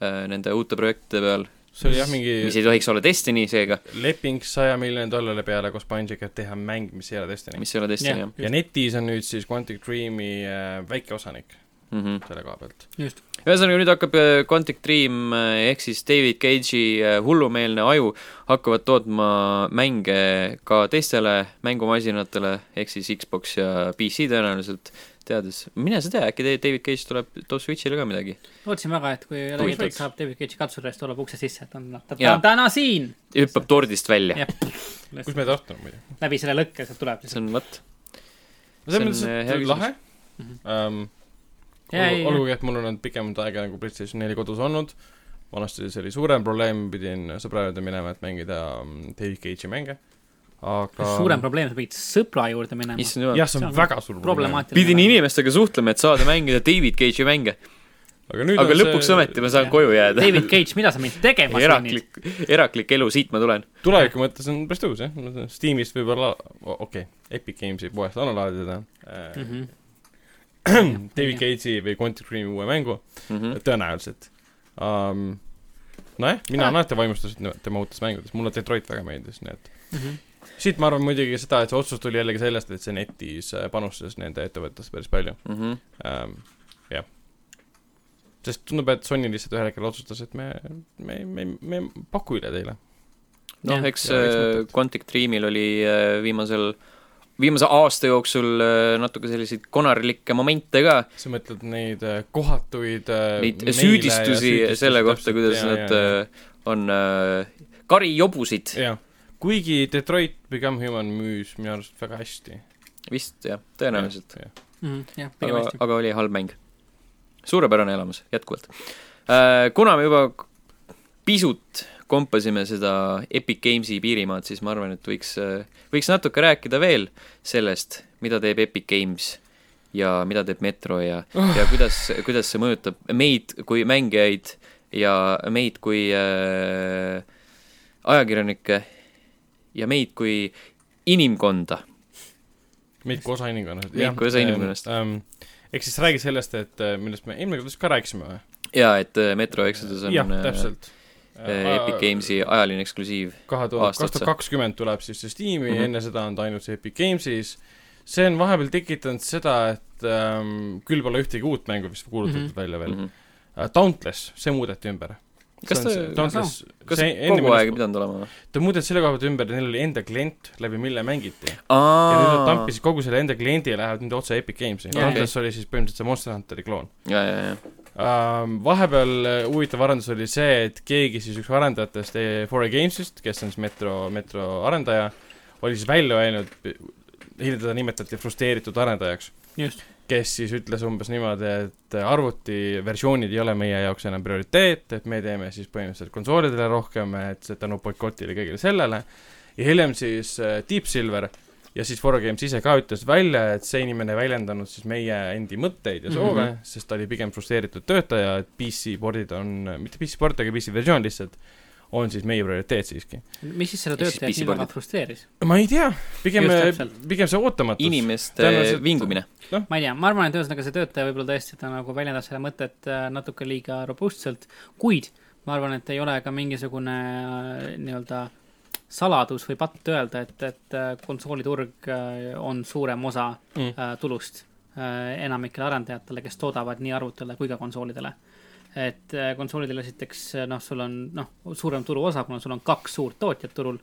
äh, nende uute projektide peal ,
see oli jah , mingi
mis ei tohiks olla Destiny seega ,
leping saja miljoni dollari peale koos Bungiga , et teha mäng , mis ei ole Destiny .
mis ei ole
Jah.
Destiny , jah .
ja netis on nüüd siis Quantic Dreami äh, väike osanik
Mm -hmm.
selle koha pealt .
just ,
ühesõnaga , nüüd hakkab äh, Quantic Dream äh, ehk siis David Cage'i äh, hullumeelne aju hakkavad tootma mänge ka teistele mängumasinatele , ehk siis Xbox ja PC tõenäoliselt , teades , mine sa tea , äkki te- David Cage tuleb , toob Switch'ile ka midagi .
lootsin väga , et kui ei ole
Tuli.
leitud , saab David Cage'i katsuda ja siis tuleb ukse sisse , et on , ta ta
Jaa.
on täna siin .
hüppab tordist välja ,
jah ,
kus me tahtnud muidu .
läbi selle lõkke sealt tuleb
see
lihtsalt .
on vot , See on,
see on
äh, hea Mhm.
lihtsalt lahe um, .
Jaa, jaa, jaa.
olgugi , et mul on olnud pikemat aega nagu PlayStation neli kodus olnud , vanasti see oli suurem probleem , pidin sõbra juurde minema , et mängida mm, David Cage'i mänge , aga
suurem probleem , sa pidid sõbra juurde minema .
issand jumal .
jah , see
see
on
on
väga suur probleem .
problemaatiline .
pidin . inimestega suhtlema , et saada mängida David Cage'i mänge ,
aga nüüd
aga
on
lõpuks
see
ometi ma saan koju jääda .
David Cage , mida sa mind tegema sunnid ?
eraklik , eraklik elu , siit ma tulen .
tuleviku mõttes on päris tõus jah , Steamist võib-olla , okei okay, , Epic Games'i poest alla laadida äh, mm .
Mhm,
-hmm. David Cage'i või Quantic Dreami uue mängu
Mhm.
tõenäoliselt um, . nojah , mina
Ah.
olen alati vaimustatud tema uutes mängudes , mulle Detroit väga meeldis , nii et mm . -hmm. siit ma arvan muidugi seda , et see otsus tuli jällegi sellest , et see netis äh, panustas nende ettevõttesse päris palju
Mhm.
um, . jah . sest tundub , et Sony lihtsalt ühel hetkel otsustas , et me , me , me , me ei paku üle teile .
noh ,
Jah.
eks
Ja, eks
äh,
mõtet.
Quantic Dreamil oli äh, viimasel , viimase aasta jooksul äh, natuke selliseid konarlikke momente ka ,
sa mõtled neid äh, kohatuid äh,
neid
meile ja
süüdistusi
süüdistusi
selle kohta ,
täpselt,
kuidas
jaa,
nad
jaa, jaa.
äh, on äh, karijobusid ,
jah , kuigi Detroit Become Human müüs minu arust väga hästi .
vist jah , tõenäoliselt .
mhm, jah , pigem
aga ,
hästi .
aga oli halb mäng . suurepärane elamus jätkuvalt . kuna me juba pisut kompasime seda Epic Games'i piirimaad , siis ma arvan , et võiks , võiks natuke rääkida veel sellest , mida teeb Epic Games ja mida teeb Metro ja , ja kuidas , kuidas see mõjutab meid kui mängijaid ja meid kui äh, ajakirjanikke ja meid kui inimkonda .
meid kui osa inimkonnast .
Meid kui osa inimkonnast.
ähm, . ehk siis räägi sellest , et äh, millest me eelmine kord vist ka rääkisime või ?
ja et äh, Metro Exodus on
jah ,
äh,
täpselt .
äh, Epic . Games'i ajaline eksklusiiv .
kahe tuhat ,
aasta
kaks
otsa.
tuhat kakskümmend tuleb siis see Steam'i mm ,
Mhm.
-hmm. enne seda on ta ainult see Epic Games'is . see on vahepeal tekitanud seda , et ähm, küll pole ühtegi uut mängu vist kuulutatud mm
Mhm.
-hmm. välja veel mm .
Mhm.
-hmm. Dauntless , see muudeti ümber .
Kas ta-
Dauntless ,
kas
see
kogu aeg ei
enne ,
pidanud olema või ?
ta muudeti selle koha pealt ümber , neil oli enda klient , läbi mille mängiti . ja nüüd nad
aa ,
tampisid kogu selle enda kliendi ja lähevad nüüd otse Epic Games'i .
Okei.
Dauntless oli siis põhimõtteliselt see Monster Hunteri kloon .
ja , ja , ja ,
Ähm, vahepeal äh, huvitav arendus oli see , et keegi siis üks arendajatest eh, 4A Gamesist , kes on siis Metro , Metro arendaja , oli siis välja öelnud , hiljem teda nimetati frustreeritud arendajaks ,
just ,
kes siis ütles umbes niimoodi , et arvuti versioonid ei ole meie jaoks enam prioriteet , et me teeme siis põhimõtteliselt konsoolidele rohkem , et see tänu boikotile ja kõigele sellele . ja hiljem siis äh, Deep Silver ja siis 4A Games ise ka ütles välja , et see inimene ei väljendanud siis meie endi mõtteid ja soove mm ,
Mhm.
-hmm. sest ta oli pigem frustreeritud töötaja , et PC pordid on , mitte PC port , aga PC versioon lihtsalt on siis meie prioriteet siiski .
mis siis selle
Ehk siis
töötajat nii väga
pissipardid.
frustreeris ?
ma ei tea , pigem äh,
Just täpselt. ,
pigem see ootamatus .
inimeste
Tõenäoliselt-
vingumine .
ma ei tea , ma arvan , et ühesõnaga see töötaja võib-olla tõesti ta nagu väljendas seda mõtet äh, natuke liiga robustselt , kuid ma arvan , et ei ole ka mingisugune äh, nii-öelda saladus või patt öelda , et , et äh, konsooliturg äh, on suurem osa
Mm.
mm. tulust äh, enamikele arendajatele , kes toodavad nii arvutile kui ka konsoolidele . et äh, konsoolidel esiteks äh, noh , sul on noh , suurem turuosa , kuna sul on kaks suurt tootjat turul .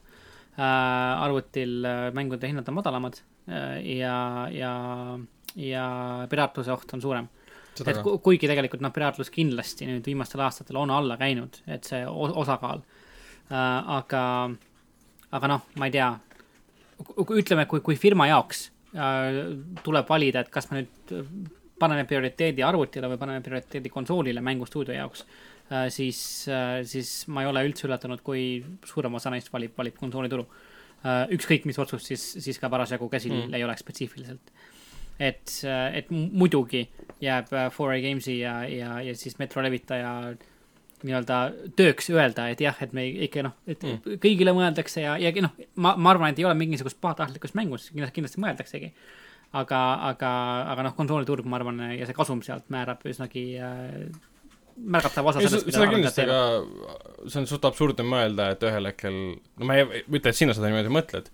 arvutil äh, mängude hinnad on madalamad äh, ja , ja , ja piraatluse oht on suurem . et ku- kuigi tegelikult noh , piraatlus kindlasti nüüd viimastel aastatel on alla käinud , et see o- osakaal äh, . aga , aga noh , ma ei tea , ütleme , kui , kui firma jaoks äh, tuleb valida , et kas me nüüd äh, paneme prioriteedi arvutile või paneme prioriteedi konsoolile mängustuudio jaoks äh, , siis äh, , siis ma ei ole üldse üllatunud , kui suurem osa neist valib , valib konsoolituru . Äh, ükskõik , mis otsus siis , siis ka parasjagu käsil mm.
Mm.
ei oleks spetsiifiliselt . et , et mu- muidugi jääb äh, 4A Games'i ja , ja , ja siis Metro levitaja nii-öelda tööks öelda , et jah , et me ikka noh , et mm. kõigile mõeldakse ja , ja noh , ma , ma arvan , et ei ole mingisugust pahatahtlikkust mängus , kindlasti mõeldaksegi . aga , aga , aga noh , konsooliturg , ma arvan , ja see kasum sealt määrab üsnagi äh, märgatav osa
ei ,
sellest ,
seda kindlasti , aga see on suht absurdne mõelda , et ühel hetkel , no ma ei ei ütle , et sina seda niimoodi mõtled ,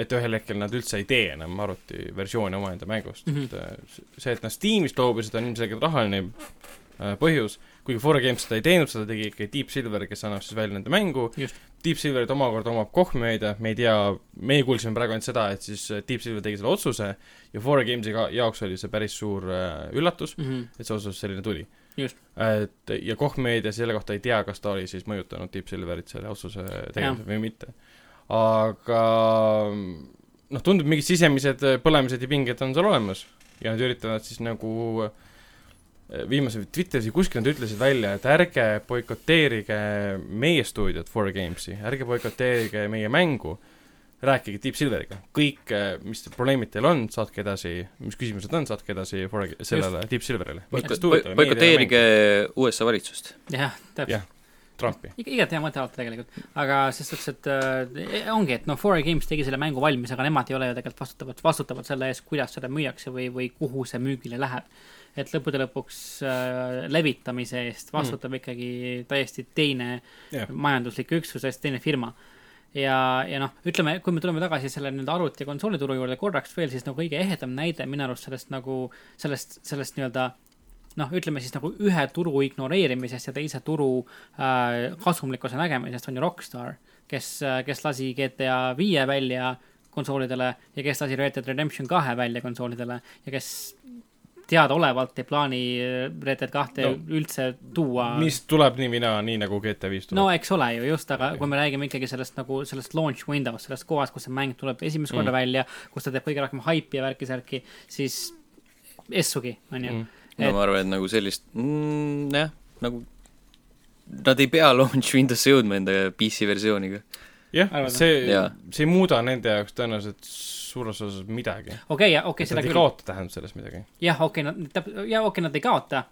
et ühel hetkel nad üldse ei tee enam arvutiversiooni omaenda mängust mm ,
Mhm.
-hmm. et see , et nad Steamist loobusid , on ilmselgelt rahaline äh, põhjus , kuigi 4 Games seda ei teinud , seda tegi ikkagi Deep Silver , kes annab siis välja nende mängu
Just. ,
Deep Silverit omakorda omab Kohvmeedia , me ei tea , meie kuulsime praegu ainult seda , et siis äh, Deep Silver tegi selle otsuse ja 4 Games'i ka- jaoks oli see päris suur äh, üllatus ,
mm . -hmm.
et see otsus selline tuli .
Just.
et ja Koch meedia selle kohta ei tea , kas ta oli siis mõjutanud Deep Silverit selle otsuse tegemisel või mitte . aga noh , tundub mingid sisemised põlemised ja pinged on seal olemas ja nad üritavad siis nagu äh, viimase Twitteris või kuskil nad ütlesid välja , et ärge boikoteerige meie stuudiot , 4 Games'i , ärge boikoteerige meie mängu , rääkige Deep Silveriga , kõik , mis probleemid teil on , saatke edasi , mis küsimused on , saatke edasi 4G sellele Deep Silverile .
boikoteerige USA valitsust .
jah , täpselt .
jah , Trumpi .
iga , igat hea mõte alati tegelikult , aga selles suhtes , et äh, ongi , et noh , 4A Games tegi selle mängu valmis , aga nemad ei ole ju tegelikult vastutavad , vastutavad selle eest , kuidas seda müüakse või , või kuhu see müügile läheb . et lõppude lõpuks äh, levitamise eest vastutab mm. ikkagi täiesti teine
Jah.
majanduslik üksus , täiesti teine firma . ja , ja noh , ütleme , kui me tuleme tagasi selle nii-öelda arvuti ja konsoolituru juurde korraks veel , siis nagu kõige ehedam näide minu arust sellest nagu , sellest , sellest nii-öelda noh , ütleme siis nagu ühe turu ignoreerimisest ja teise turu äh, kasumlikkuse nägemisest on ju Rockstar , kes , kes lasi GTA viie välja konsoolidele ja kes lasi Red Dead Redemption kahe välja konsoolidele ja kes teadaolevalt ei plaani äh, Red Dead kahte no,
No,
üldse tuua .
mis tuleb nii või naa , nii nagu GTA viis
no
tuleb .
eks ole ju just , aga kui me räägime ikkagi sellest nagu sellest launch window'st , sellest kohast , kus see mäng tuleb esimest
Mm.
korda välja , kus ta teeb kõige rohkem haipi ja värki-särki , siis essugi , onju .
Mm.
Et-
no ma arvan , et nagu sellist mm, , jah , nagu nad ei pea launch Windowsi jõudma enda PC versiooniga .
jah
Arvad, ,
see
Jaa. ,
see ei muuda nende jaoks tõenäoliselt suures osas midagi .
okei , okei ,
Nad
seda
ei
küll .
kaota tähendab selles midagi .
jah , okei , nad , jah , okei , nad ei kaota .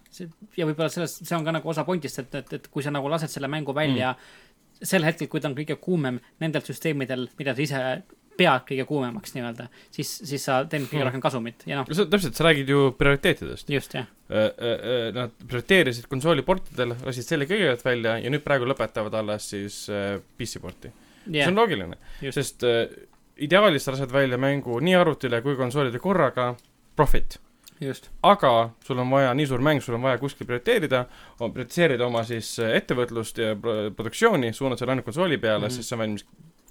ja võib-olla selles , see on ka nagu osa pointist , et , et , et kui sa nagu lased selle mängu välja mm. sel hetkel , kui ta on kõige kuumem nendel süsteemidel , mida sa ise pead kõige kuumemaks nii-öelda , siis , siis sa teenid kõige
Mm.
mm. rohkem kasumit ja noh ,
sa täpselt , sa räägid ju prioriteetidest .
just jah .
Nad prioriteerisid konsooliportidel , lasid selle kõigepealt välja ja nüüd praegu lõpetavad alles siis äh, PC porti . see
jah
on , loogiline ,
Just.
sest äh, ideaalis sa lased välja mängu nii arvutile kui konsoolide korraga , profit .
just ,
aga sul on vaja nii suur mäng , sul on vaja kuskil prioriteerida , prioritiseerida oma siis äh, ettevõtlust ja pro- produktsiooni , suunad selle ainult konsooli peale mm ,
Mhm.
-hmm. siis see on valmis ,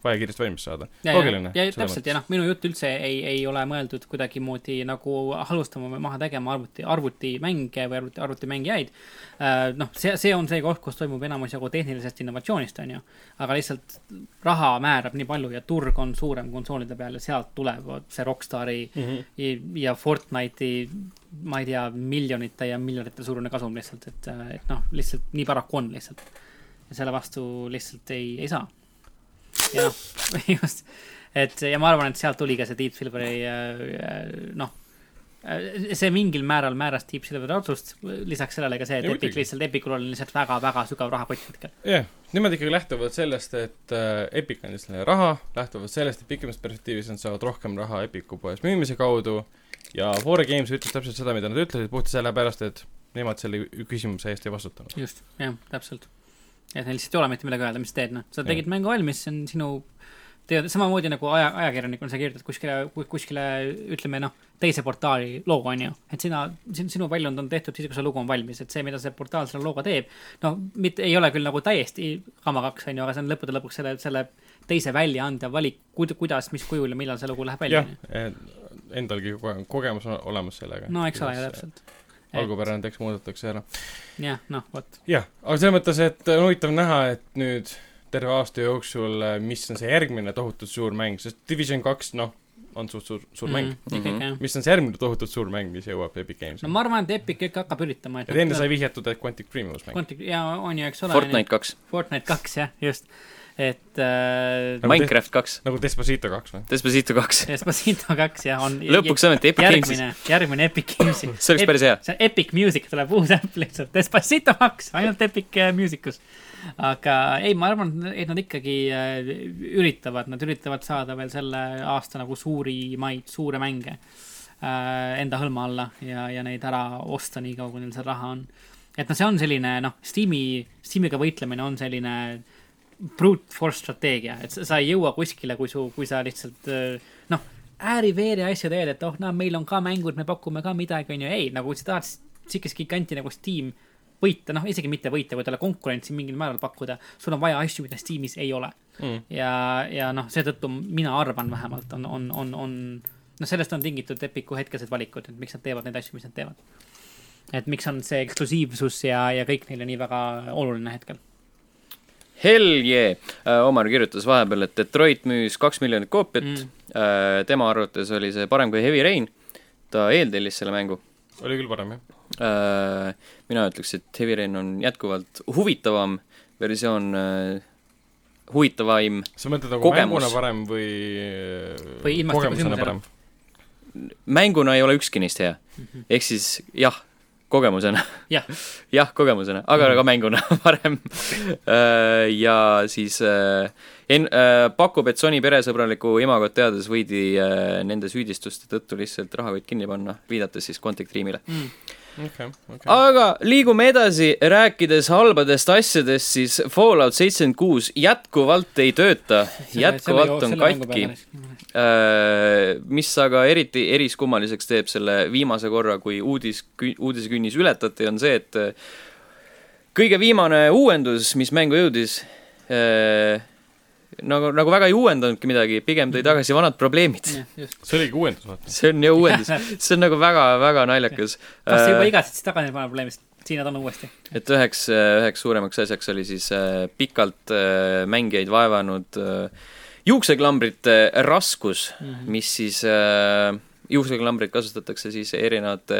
vaja kiiresti valmis saada .
ja ,
loogiline .
ja täpselt ja . noh , minu jutt üldse ei , ei ole mõeldud kuidagimoodi nagu halvustama või maha tegema arvuti , arvutimänge või arvuti , arvutimängijaid . noh , see , see on see koht , kus toimub enamus jagu tehnilisest innovatsioonist , on ju . aga lihtsalt raha määrab nii palju ja turg on suurem konsoolide peal ja sealt tuleb see Rockstari ja- ja Fortnite'i , ma ei tea , miljonite ja miljonite suurune kasum lihtsalt , et , et noh , lihtsalt nii paraku on lihtsalt . ja selle vastu lihtsalt ei , ei saa . ja noh , just , et ja ma arvan , et sealt tuli ka see Deep Silveri äh, äh, noh , see mingil määral määras Deep Silveri otsust , lisaks sellele ka see , et
Ei,
Epic
muidugi.
lihtsalt , Epicul on lihtsalt väga-väga sügav rahakott hetkel .
jah , nemad ikkagi lähtuvad sellest , et äh, Epic andis neile raha , lähtuvad sellest , et pikemas perspektiivis nad saavad rohkem raha Epicu poes müümise kaudu ja Fore Games ütles täpselt seda , mida nad ütlesid , puhtalt sellepärast , et nemad selle küsimuse eest ei vastutanud .
just , jah , täpselt . et neil lihtsalt ei ole mitte midagi öelda , mis sa teed , noh , sa
Jah.
tegid mängu valmis , see on sinu tead , samamoodi nagu aja , ajakirjanikuna sa kirjutad kuskile , kuskile ütleme noh , teise portaali loo , on ju . et sina , sinu väljund on tehtud siis , kui see lugu on valmis , et see , mida see portaal selle looga teeb , no mitte , ei ole küll nagu täiesti kama kaks , on ju , aga see on lõppude lõpuks selle , selle teise väljaande valik , kuidas , mis kujul ja millal see lugu läheb välja ,
jah
on ju .,
endalgi koge- kogemus on olemas sellega .
no eks ole , täpselt .
algupärane tekst muudetakse ära .
jah , noh , vot ,
jah , aga selles mõttes , et on huvitav näha , et nüüd terve aasta jooksul , mis on see järgmine tohutult suur mäng , sest Division kaks , noh , on suht suur , suur mm -hmm. mäng .
ikkagi
Mhm.
jah .
mis on see järgmine tohutult suur mäng , mis jõuab Epic Games'i
no ? ma arvan , et Epic ikka hakkab üritama , et
et enne sai vihjatud , et Quantic Dream uus mäng .
Quantic ja on ju , eks ole .
Fortnite kaks ,
Fortnite kaks jah , just , et äh,
Nagu
Minecraft kaks ,
nagu Despacito kaks või ?
Despacito kaks .
Despacito kaks jah , on .
lõpuks ometi Epic Games'is ,
järgmine , järgmine Epic Games'i .
see oleks päris hea .
see on Epic Music tuleb uus äpp lihtsalt , Despacito kaks , ainult Epic äh, Musicus . aga ei , ma arvan , et nad ikkagi äh, üritavad , nad üritavad saada veel selle aasta nagu suurimaid , suure mänge äh, enda hõlma alla ja , ja neid ära osta nii kaua , kui neil seal raha on . et noh , see on selline noh , Steam'i , Steam'iga võitlemine on selline brute force strateegia , et sa- sa ei jõua kuskile , kui su , kui sa lihtsalt äh, noh , ääri-veeri asju teed , et oh , no meil on ka mängud , me pakume ka midagi , on ju , ei , nagu sa tahad sihukest giganti nagu Steam võita , noh , isegi mitte võita , kui talle konkurentsi mingil määral pakkuda , sul on vaja asju , mida Steamis ei ole
Mm.
ja , ja noh , seetõttu mina arvan vähemalt on , on , on , on , noh , sellest on tingitud Epiku hetkesed valikud , et miks nad teevad neid asju , mis nad teevad . et miks on see eksklusiivsus ja , ja kõik neile nii väga oluline hetkel .
Hell yeah , Omar kirjutas vahepeal , et Detroit müüs kaks miljonit koopiat mm.
Mm. ,
tema arvates oli see parem kui Heavy Rain , ta eeltellis selle mängu .
oli küll parem , jah .
Äh, mina ütleks , et Heavy Rain on jätkuvalt huvitavam versioon , huvitavaim
sa mõtled nagu
Kogemus.
kogemus. mänguna parem või ,
Või ilmastiku
kogemusena
sündmusena.
parem ?
mänguna ei ole ükski neist hea . ehk siis jah , kogemusena
Jah. ,
jah , kogemusena , aga ka mänguna parem . ja siis äh, en- , pakub , et Sony peresõbralikku imagot teades võidi äh, nende süüdistuste tõttu lihtsalt rahakott kinni panna , viidates siis Contact Dreamile .
okei , okei .
aga liigume edasi , rääkides halbadest asjadest , siis Fallout seitsekümmend kuus jätkuvalt ei tööta , jätkuvalt on katki
Mm,
Äh, mis aga eriti eriskummaliseks teeb selle viimase korra , kui uudis , uudisekünnis ületati , on see , et äh, kõige viimane uuendus , mis mängu jõudis , nagu , nagu väga ei uuendanudki midagi , pigem
Mhm.
tõi tagasi vanad probleemid .
just ,
see oligi uuendus , vaata .
see on ju uuendus , see on nagu väga-väga naljakas . Äh,
kas sa juba igatsetsid tagasi vana probleemist , siin nad on uuesti .
et üheks , üheks suuremaks asjaks oli siis äh, pikalt äh, mängijaid vaevanud eh, äh, juukseklambrite
Mhm.
eh, raskus mm , -hmm. mis siis äh, , juukseklambrit kasutatakse siis erinevate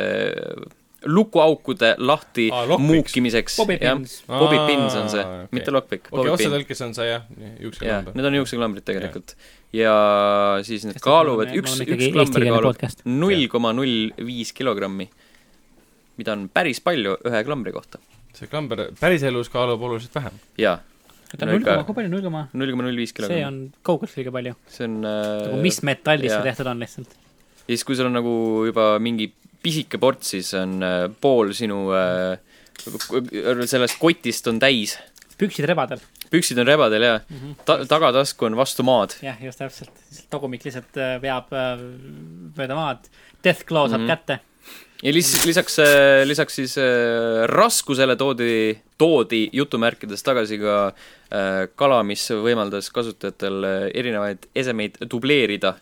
lukuaukude lahti
Aa,
ah,
lockpicks.
muukimiseks .
Bobipins.
Bobipins on see
Aa, okei.
okay. , mitte lockpick ,
okei ,
bobipin .
otsetõlkes on see jah ,
jah ,
juuksekamber .
need on juukseklambrid tegelikult . ja siis need kaaluvad , üks , üks klamber kaalub
kaalub .
null koma null viis kilogrammi , mida on päris palju ühe klambri kohta .
see klamber päriselus kaalub oluliselt vähem .
jaa ,
oota ,
No
null
ikka.
koma , kui palju null koma ?
null koma null viis
see
kilogrammi .
on kaugelt liiga palju .
see on äh,
nagu mis metallist
jaa.
see tehtud on lihtsalt .
ja siis , kui sul on nagu juba mingi pisike ports , siis on äh, pool sinu äh, k- sellest kotist on täis .
püksid rebadel .
püksid on rebadel ja
Mhm.
ta tagatasku on vastu maad .
jah , just täpselt . togumik lihtsalt äh, veab äh, mööda maad . Death Claw saab
Mhm.
kätte .
ja lis- , lisaks äh, , lisaks siis äh, raskusele toodi , toodi jutumärkides tagasi ka äh, kala , mis võimaldas kasutajatel äh, erinevaid esemeid dubleerida ,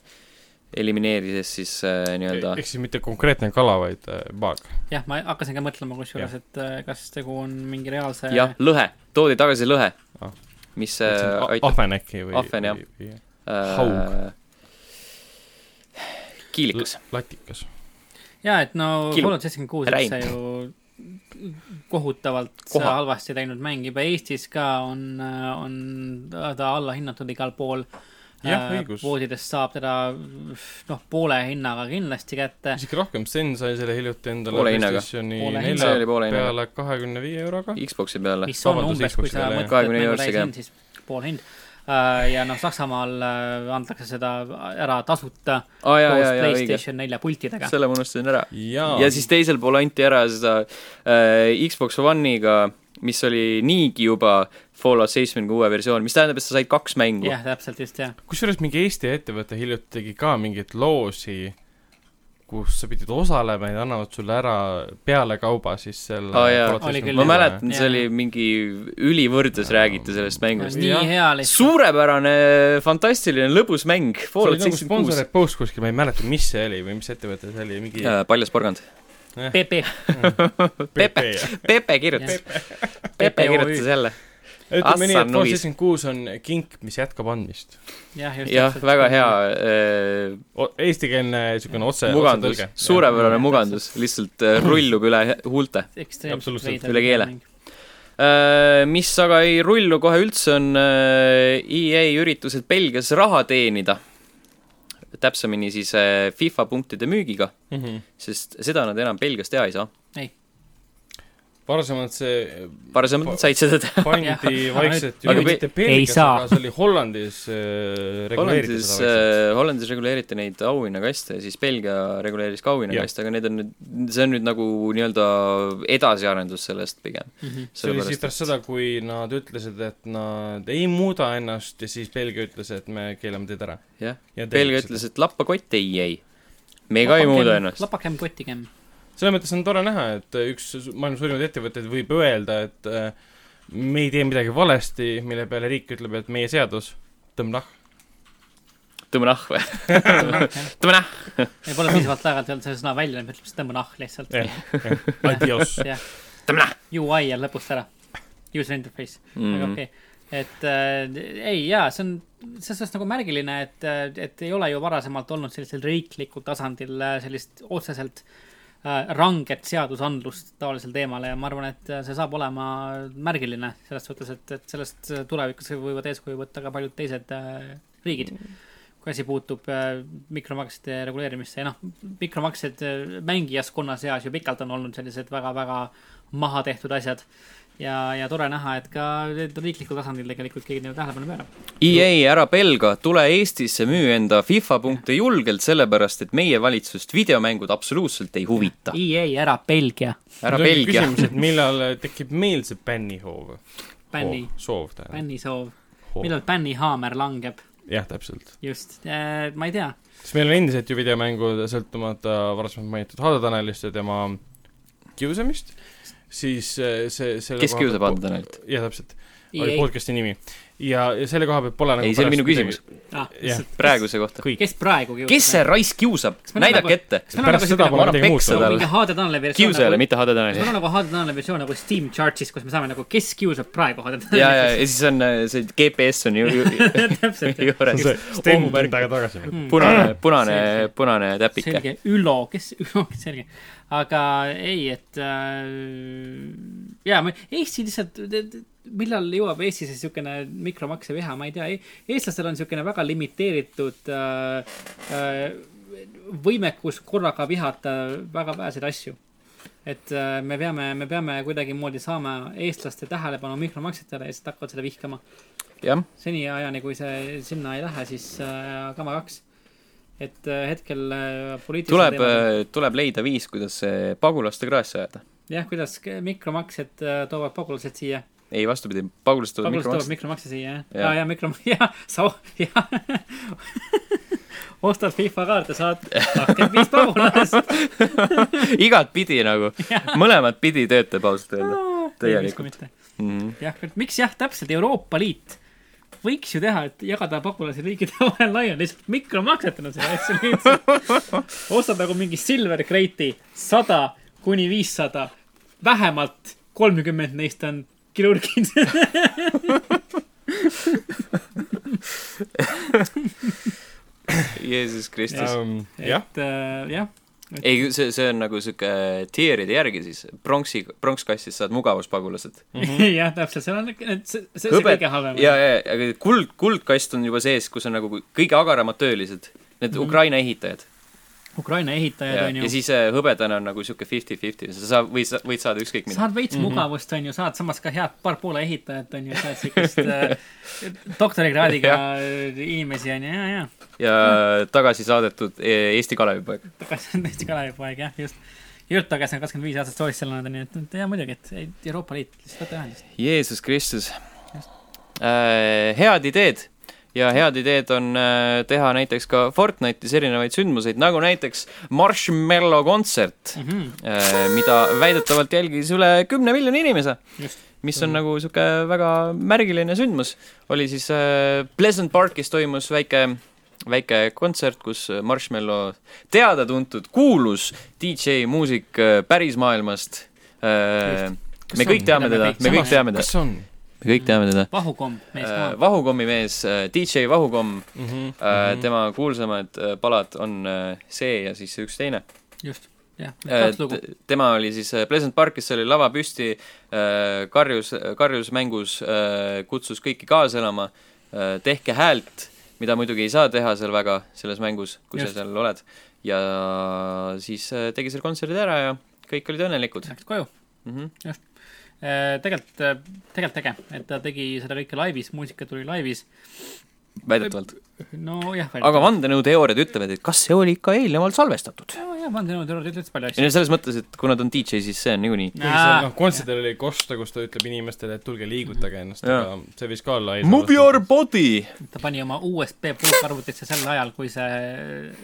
elimineerides siis äh, nii-öelda
ehk siis mitte konkreetne kala , vaid äh, baag .
jah , ma hakkasin ka mõtlema kusjuures , et äh, kas tegu on mingi reaalse
jah , lõhe , toodi tagasi lõhe
Ah. ,
mis äh, aitab äh,
ahven äkki või ?
Ahven, jah. .
ah, Haug.
kiilikas .
latikas .
jaa , et no
Kilu.
Fallout seitsekümmend kuus ,
Räim.
eks see ju kohutavalt
Koha.
Koha. halvasti läinud mäng , juba Eestis ka on , on ta allahinnatud igal pool .
Jah, õigus.
poodidest saab teda noh , poole hinnaga kindlasti kätte .
isegi rohkem , Sten sai selle hiljuti endale
Poole hinnaga.
PlayStationi
Poole hinnaga.
See oli
nelja
poole hinnaga.
peale kahekümne viie euroga .
Xbox'i peale .
mis on
Vabandust,
umbes , kui
Xbox'ile,
sa
jah.
mõtled , et
24
mängu
eurosega.
täishind , siis pool hind . ja noh , Saksamaal äh, antakse seda ära tasuta
aa jaa ,
koos
jaa , jaa , õige .
Playstation nelja pultidega .
selle ma unustasin ära .
jaa
ja siis teisel pool anti ära seda äh, Xbox One'iga , mis oli niigi juba Fallout seitsmekümne kuue versioon , mis tähendab , et sa said kaks mängu .
jah , täpselt just , jah .
kusjuures mingi Eesti ettevõte hiljuti tegi ka mingit loosi , kus sa pidid osalema ja annavad sulle ära pealekauba siis selle
Aa, Oh, jaa.
Fallout
Oli
76
küll,
ma
jah.
mäletan ,
Jaa.
see oli mingi ülivõrdes räägiti sellest mängust .
nii
Jah.
hea lihtsalt .
suurepärane , fantastiline , lõbus mäng ,
see oli
Fallout
nagu
seitsekümmend kuus .
sponsoreid post kuskil , ma ei mäleta , mis see oli või mis ettevõte see oli , mingi
Äh, paljas porgand .
PP ,
PP .
Pepe kirjutas , Pepe
PPOÜ.
kirjutas jälle .
ütleme nii ,
Assan
et Fallout
Nuis.
seitsekümmend kuus on kink , mis jätkab andmist .
jah , just .
jah , väga hea äh,
Eestikeelne niisugune otse ,
mugandus
otsetõlge .,
suurepärane
Jah.
mugandus , lihtsalt äh, rullub üle huulte .
ekstreemselt
Absoluutselt.
veider .
Üle keele. . mis aga ei rullu kohe üldse , on äh, EA üritused Belgias raha teenida . täpsemini siis äh, FIFA punktide müügiga ,
Mhm.
sest seda nad enam Belgias teha ei saa .
varasemalt see
varasemalt nad said seda teha .
pandi
Jah.
vaikselt
Aga
ju
pe-
mitte
ei
Belgias ,
saa.
aga see oli Hollandis äh, reguleeritud
Hollandis äh,
seda vaikselt .,
Hollandis reguleeriti neid auhinnakaste ja siis Belgia reguleeris ka auhinnakaste , aga need on nüüd , see on nüüd nagu nii-öelda edasiarendus sellest pigem .
Mhm. see oli siis pärast seda , kui nad ütlesid , et nad ei muuda ennast ja siis Belgia ütles , et me keelame teid ära .
jah , Belgia ütles , et lappa kotti , ei , ei . me ka ei
Lapakem-
muuda ennast .
lapakem , kotikem .
selles mõttes on tore näha , et üks maailma suurimaid ettevõtteid võib öelda , et äh, me ei tee midagi valesti , mille peale riik ütleb , et meie seadus , tõmb nahk .
tõmbame nahku või ?
ei
tõmbame nahku .
pole piisavalt aeg-ajalt öelnud selle sõna välja , nüüd ütleb , et tõmba nahh lihtsalt .
Adios .
jah ,
tõmbame nahku . Mm.
UI jääb lõpust ära . User interface , aga
Mhm.
okei . et äh, ei jaa , see on selles suhtes nagu märgiline , et , et ei ole ju varasemalt olnud sellisel riiklikul tasandil äh, sellist otseselt äh, ranget seadusandlust taolisel teemal ja ma arvan , et äh, see saab olema märgiline selles suhtes , et , et sellest äh, tulevikus võivad eeskuju võtta ka paljud teised äh, riigid . kui asi puutub äh, mikromaksete reguleerimisse ja noh , mikromaksed äh, mängijaskonna seas ju pikalt on olnud sellised väga-väga maha tehtud asjad ja , ja tore näha , et ka riiklikul tasandil tegelikult keegi neile tähelepanu pöörab .
EA , E ära pelga , tule Eestisse , müü enda FIFA punkte julgelt , sellepärast et meie valitsust videomängud absoluutselt ei huvita .
EA ära Belgia
ära pelga .
küsimus , et millal tekib meil see bännihoov ?
bänni ,
soov tähendab .
bännisoov , millal bännihaamer langeb ,
jah , täpselt .
just , ma ei tea ,
sest meil on endiselt ju videomängud , sõltumata varasemalt mainitud Hado Tanelist ja tema kiusamist , siis äh, see , see
kes kiusab Hando Tanelit ?
jah , täpselt . oli
EA ,
podcast'i nimi . ja , ja selle koha pealt pole nagu
ei , see oli
pärast
minu küsimus .
ah ,
jah.
praeguse kohta .
Kõik.
kes praegu kiusab ?
kes see raisk kiusab ?
me
näidake
nagu-
ette .
kas meil on
pärast seda
nagu siuke
pole
nagu
midagi
peksa
muutunud .
tal-
nagu mingi HD Taneli versioon
kiusajale ,
nagu ,
mitte Hade
kas meil
Taneli .
on nagu HD Taneli versioon nagu Steam Charts'is , kus me saame nagu , kes kiusab praegu HD
ja , ja , ja
Tanelit
siis on äh, see GPS on ju , ju ,
täpselt ,
juures .
Sten
Mm.
tund aega Mm. tagasi .
punane , punane , punane täpike .
selge , Ülo , kes , Ülo , selge . aga ei, et äh, jaa, Eesti lihtsalt, millal jõuab Eestisse niisugune mikromakse viha, ma ei tea, eestlastel on niisugune väga limiteeritud äh, äh, võimekus korraga vihata väga väheseid asju et äh, me peame, me peame kuidagimoodi saama eestlaste tähelepanu mikromaksetele ja siis nad hakkavad seda vihkama. seni ajani, kui see sinna ei lähe, siis äh, kama kaks. et äh, hetkel äh,
tuleb teemad..., tuleb leida viis, kuidas see pagulaste kraesse ajada.
jah, kuidas mikromaksed äh, toovad pagulased siia.
ei, vastupidi, pagulased toovad
pagulased toovad mikromakse siia, jah. aa, jaa, mikromakse, jah, sa, jah ostad FIFA kaarte, saad kakskümmend viis pagulast.
igatpidi nagu, mõlemat pidi töötab ausalt öelda,
tegelikult.
Mhm.
jah, miks jah, täpselt Euroopa Liit võiks ju teha, et jagada pagulasi riikide vahel laiali, lihtsalt mikromaksetena seda asja lihtsalt. ostad nagu mingi Silver Crate'i sada kuni viissada, vähemalt kolmkümmend neist on kirurgid
Jeesus Kristus
um, . jah
et äh, jah ,
ei , see , see on nagu sihuke tier'ide järgi siis , pronksi , pronkskassis saad mugavuspagulased .
jah , täpselt , seal on , see , see on kõige halvem .
Mhm. ja , ja , aga kuld , kuldkast on juba sees , kus on nagu kõige agaramad töölised , need mm -hmm. Ukraina ehitajad .
Ukraina
ja,
ehitajad Mhm. on
ja
ju ,
siis äh, hõbedane on nagu sihuke fifty-fifty , sa saad , võid , võid saada ükskõik mida .
saad veits mugavust , on ju , saad samas ka head paar poole ehitajat , on ju , saad siukest äh, doktorikraadiga inimesi , on ju , ja , ja .
ja tagasi saadetud e- Eesti Kalevipoeg .
tagasi on täitsa Kalevipoeg , jah , just . Jürt Tagas on kakskümmend viis aastat soovis seal olnud , nii et , et jaa , muidugi , et et Euroopa Liit , lihtsalt võta ühendust .
Jeesus Kristus . Äh, head ideed ja head ideed on äh, teha näiteks ka Fortnite'is erinevaid sündmuseid , nagu näiteks Marshmallow kontsert mm , -hmm. mida väidetavalt jälgis üle kümne miljoni inimese
Just.
mis
Mhm.
on nagu sihuke väga märgiline sündmus , oli siis äh, Pleasant Parkis toimus väike , väike kontsert , kus Marshmallow , teada-tuntud , kuulus DJ muusik äh, pärismaailmast äh, . me
Kas
kõik
on?
teame teda , me kõik
Samas-
teame teda
kas , on
me kõik teame teda .
vahukomm mees
Äh,
ka .
vahukommimees , äh, DJ Vahukomm ,
mm ? -hmm.
äh,
Mhm.
tema kuulsamad äh, palad on äh, see ja siis üks teine .
just , jah , Noh,
Äh,
kaks lugu .
T- tema oli siis äh, Pleasant Parkis , seal oli lava püsti , karjus , karjus mängus , kutsus kõiki kaasa elama , tehke häält , mida muidugi ei saa teha seal väga selles mängus , kui sa
Just.
seal oled . ja siis äh, tegi seal kontserdid ära ja kõik olid õnnelikud
Läks koju .
mm . -hmm.
tegelikult , tegelikult äge , et ta tegi seda kõike laivis , muusika tuli laivis .
väidetavalt .
nojah ,
aga vandenõuteooriad ütlevad , et kas see oli ikka eelnevalt salvestatud ?
jah , vandenõuteooriad ütlevad palju
ei
asju .
no selles mõttes , et kuna ta on DJ , siis see on niikuinii .
Äh,
seal noh , kontserdil oli Kosta , kus ta ütleb inimestele , et tulge liigutage ennast ,
Jaa.
aga see võis ka olla
Move your body !
ta pani oma USB pulkarvutisse sel ajal , kui see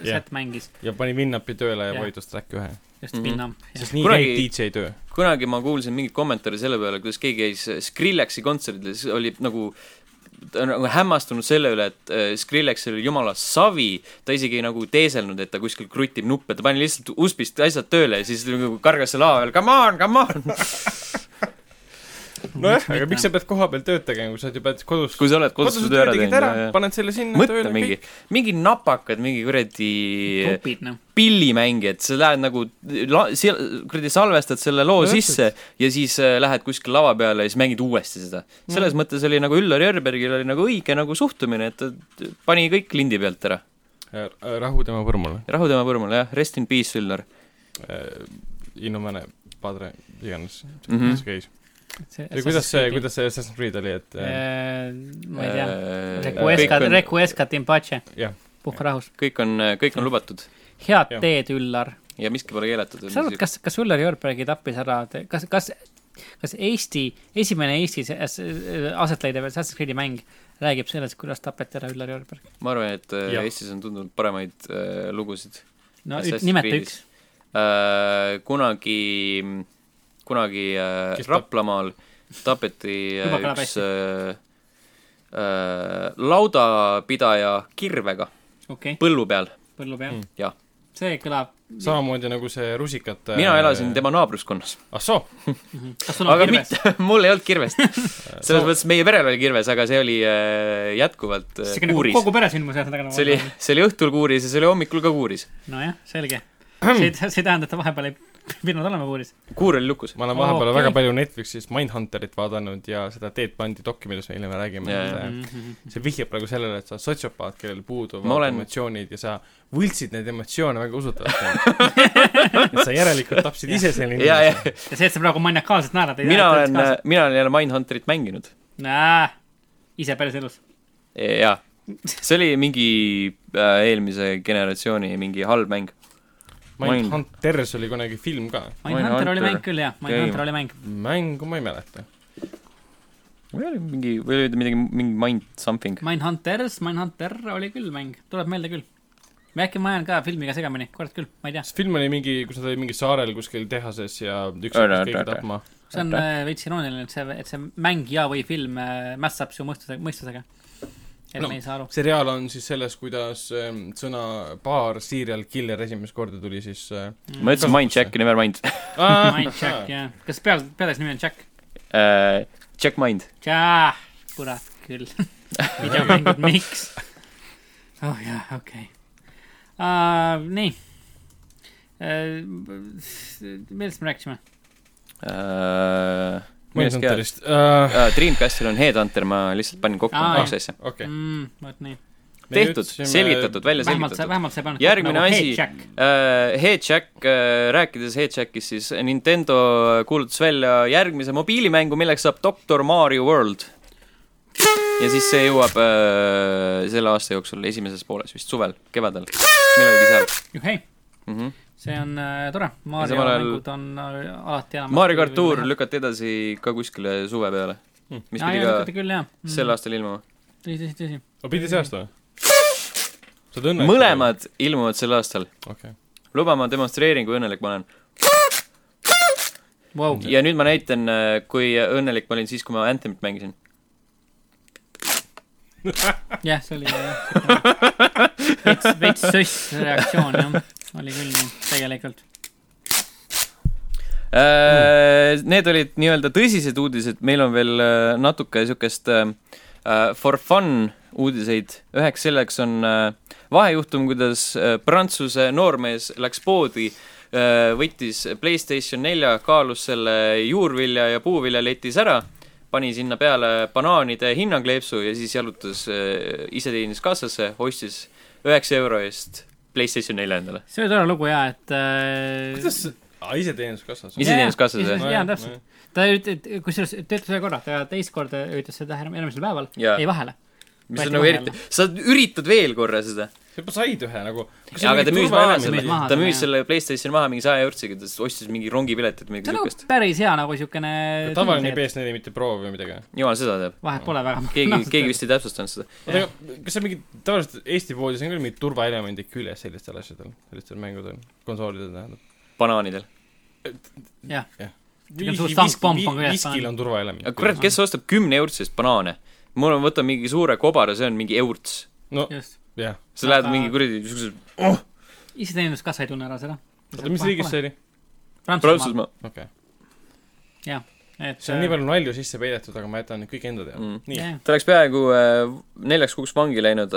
Jah.
set mängis ,
ja pani Winampi tööle ja
Jah.
vaidlus track ühe .
just
Mhm.
Vietnam .
sest nii
Kunagi-
käib DJ töö .
kunagi ma kuulsin mingit kommentaari selle peale , kuidas keegi käis Skrillexi kontserdil , siis oli nagu ta on nagu hämmastunud selle üle , et äh, Skrillexil oli jumala savi , ta isegi ei nagu teeselnud , et ta kuskil krutib nuppe , ta pani lihtsalt USB-st asjad tööle ja siis nagu kargas selle lava peal , come on , come on .
nojah , aga
mitte?
miks sa pead kohapeal tööd tegema , kui sa oled ju pead kodus .
kui sa oled kodus su töö ära teinud ,
ära
ja , ja .
paned selle sinna
mõtle mingi , mingi napakad , mingi kuradi
tupid noh ,
pillimängijad , sa lähed nagu la- , kuradi salvestad selle loo
No
sisse ja siis äh, lähed kuskil lava peale ja siis mängid uuesti seda . selles mõttes oli nagu Üllar Jörbergil oli nagu õige nagu suhtumine , et ta t- pani kõik lindi pealt ära .
kõik . Äh, rahu tema põrmule .
rahu tema põrmule , jah , rest in peace , Üllar .
Innumene , Äh, Padre , iganes
Mhm.
see käis .
see
ja kuidas see , kuidas see Assassin's Creed oli , et äh,
ma ei tea , Recuesca ,
kõik on ,
Recuesca Timpache ,
jah ,
puhka rahus .
kõik on , kõik on lubatud
head
Jah.
teed , Üllar .
ja miski pole keelatud .
kas sa arvad , kas , kas Üllar Jörbergi tappis ära , kas , kas , kas Eesti , esimene Eestis as- aset leidev Assassin's Creed'i mäng räägib sellest , kuidas tapeti ära Üllar Jörberg ?
ma arvan , et äh,
Jah.
Eestis on tunduvalt paremaid äh, lugusid
no üt-
Assassin's
nimeta
Creedis.
üks .
Äh, kunagi , kunagi äh,
Kes tap-
Raplamaal tapeti äh,
Juba kõlab
üks
hästi.
äh, äh, laudapidaja kirvega
okei okay. ,
põllu peal .
põllu peal
Mm.
mm. .
Jah.
see kõlab .
samamoodi nagu see äh, rusikate
mina elasin . tema naabruskonnas ,
ah soo ,
kas sul on
aga
kirves ?
mitte , mul ei olnud kirvest . selles
Sama-
mõttes meie perel oli kirves , aga see oli äh, jätkuvalt äh,
see on nagu
kuuris .
kogu peresündmus ühesõnaga
see oli , see oli õhtul kuuris ja see oli hommikul ka kuuris .
nojah , selge . see ei , see ei tähenda , et ta vahepeal ei pidanud olema puuris.
kuur oli lukus.
ma olen vahepeal okay. väga palju Netflixis Mindhunterit vaadanud ja seda Dead Bondi dokki, millest me hiljem räägime
Jaa, jaa.
yeah. . see vihjab praegu sellele , et sa oled sotsiopaat , kellel puuduvad
Ma olen-
emotsioonid ja sa võltsid neid emotsioone väga usutavalt . et sa järelikult tapsid ise selle
ja , ja
inimese .
ja see , et sa praegu maniakaalselt naerad .
mina olen , äh, mina olen jälle Mindhunterit mänginud .
olen . ise päriselus .
jaa , see oli mingi äh, eelmise generatsiooni mingi halb mäng .
Mindhunters oli kunagi film ka .
Mindhunter oli
Mindhunter.
mäng küll jah ,
Game.
Mindhunter oli mäng .
mängu ma ei mäleta .
või oli mingi , või oli midagi , mingi Mind something .
Mindhunters , Mindhunter oli küll mäng , tuleb meelde küll . või äkki ma jään ka filmiga segamini , kurat küll , ma ei tea .
see film oli mingi , kus nad olid mingi saarel kuskil tehases ja üks
Ära,
hakkas kõiki
ära, ära.
tapma .
see on
Aitäh.
äh, veits irooniline , et see , et see mäng ja , või film äh, mässab su mõistuse , mõistusega . et
No.
no. me ei saa aru .
seriaal on siis selles , kuidas ähm, sõna paar serial killer esimest korda tuli siis äh,
ma ütlesin Mind Jack , never mind .
Mindjack , jah . kas peal , peales nimi on Jack ?
Äh, Jack Mind .
Jah , kurat küll . videomängud , miks ? oh jah , okei uh, . nii uh, . millest me rääkisime ?
Dreamcastil
Mindhunterist uh, .
Äh, on Headhunter , ma lihtsalt panin kokku
Aa,
kaks asja .
okei .
Mm, vot nii .
tehtud , selgitatud , välja
vähemalt sa ,
selgitatud .
vähemalt sa ei pannud
Järgmine
kokku
asi-
hey, Jack.
Äh, Headjack , rääkides Headjackist , siis Nintendo kuulutas välja järgmise mobiilimängu , milleks saab Doctor Mario World . ja siis see jõuab äh, selle aasta jooksul esimeses pooles vist suvel , kevadel , millalgi seal
juhei ,
mm . -hmm.
see on äh, tore , Mario
samal ajal-
mängud on äh, alati enam
Mario kart Tour lükati edasi ka kuskile suve peale , mis
mis pidi
pidi ka
ka küll jah ,
sel aastal ilmuma .
tõsi , tõsi , tõsi ,
aga Oh, pidi see aasta või ? sa oled õnnelik .
mõlemad ilmuvad sel aastal .
okei okay. .
luba , ma demonstreerin , kui õnnelik ma olen .
vau ,
ja nüüd ma näitan , kui õnnelik ma olin siis , kui ma Anthemit mängisin .
jah , see oli jah , veits , veits sõss reaktsioon jah , oli küll nii , tegelikult .
Äh, Need olid nii-öelda tõsised uudised , meil on veel äh, natuke niisugust for fun uudiseid , üheks selleks on äh, vahejuhtum , kuidas äh, Prantsuse noormees läks poodi , võttis Playstation nelja , kaalus selle juurvilja ja puuvilja letis ära , pani sinna peale banaanide hinnakleepsu ja siis jalutas äh, iseteeninduskassasse , ostis üheksa euro eest Playstation nelja endale .
see oli tore lugu ja , et äh,
kuidas see , aa iseteeninduskassas ?
Ise- iseteeninduskassas, jah?
jah , täpselt .. ta üt- , kusjuures ta ütles ühe korra , ta teist korda üritas seda järg- järgmisel päeval ,
Jaa.
jäi vahele .
mis on nagu eriti , sa üritad veel korra seda
sa juba said ühe nagu .
ja aga ta müüs maha selle
müüs maha ,
ta
selle,
müüs
jah.
selle Playstationi maha mingi saja eurtsiga , ta ostis mingi rongipiletit või midagi
see on
siukest
nagu . päris hea nagu siukene
tavaline PS4 , mitte Pro või midagi .
jumal seda teab .
vahet pole väga .
keegi , keegi vist ei täpsustanud seda .
oota , aga kas see mingi , tavaliselt Eesti poodis on küll mingid turvaelemendid küljes sellistel asjadel , sellistel mängudel , konsoolidel tähendab .
banaanidel .
jah , suur stankpomp on küljes
viskil on turvaelement .
aga kurat , kes ostab kümne eurtsist banaane ? mul on , võta mingi suure kobara , see on mingi eurts .
no
just .
jah ,
sa lähed
Aga-
mingi kuradi niisuguse
iseteeninduskassa ei tunne ära seda .
oota mis riigis see ? oli ?
Prantsusmaa .
Prantsusmaa .
okei okay. ,
et äh,
see on nii palju nalju sisse peidetud , aga ma jätan nüüd kõik enda teada
Mm.
mm. . nii ,
jah,
ta oleks peaaegu äh, neljaks kuuks vangi läinud ,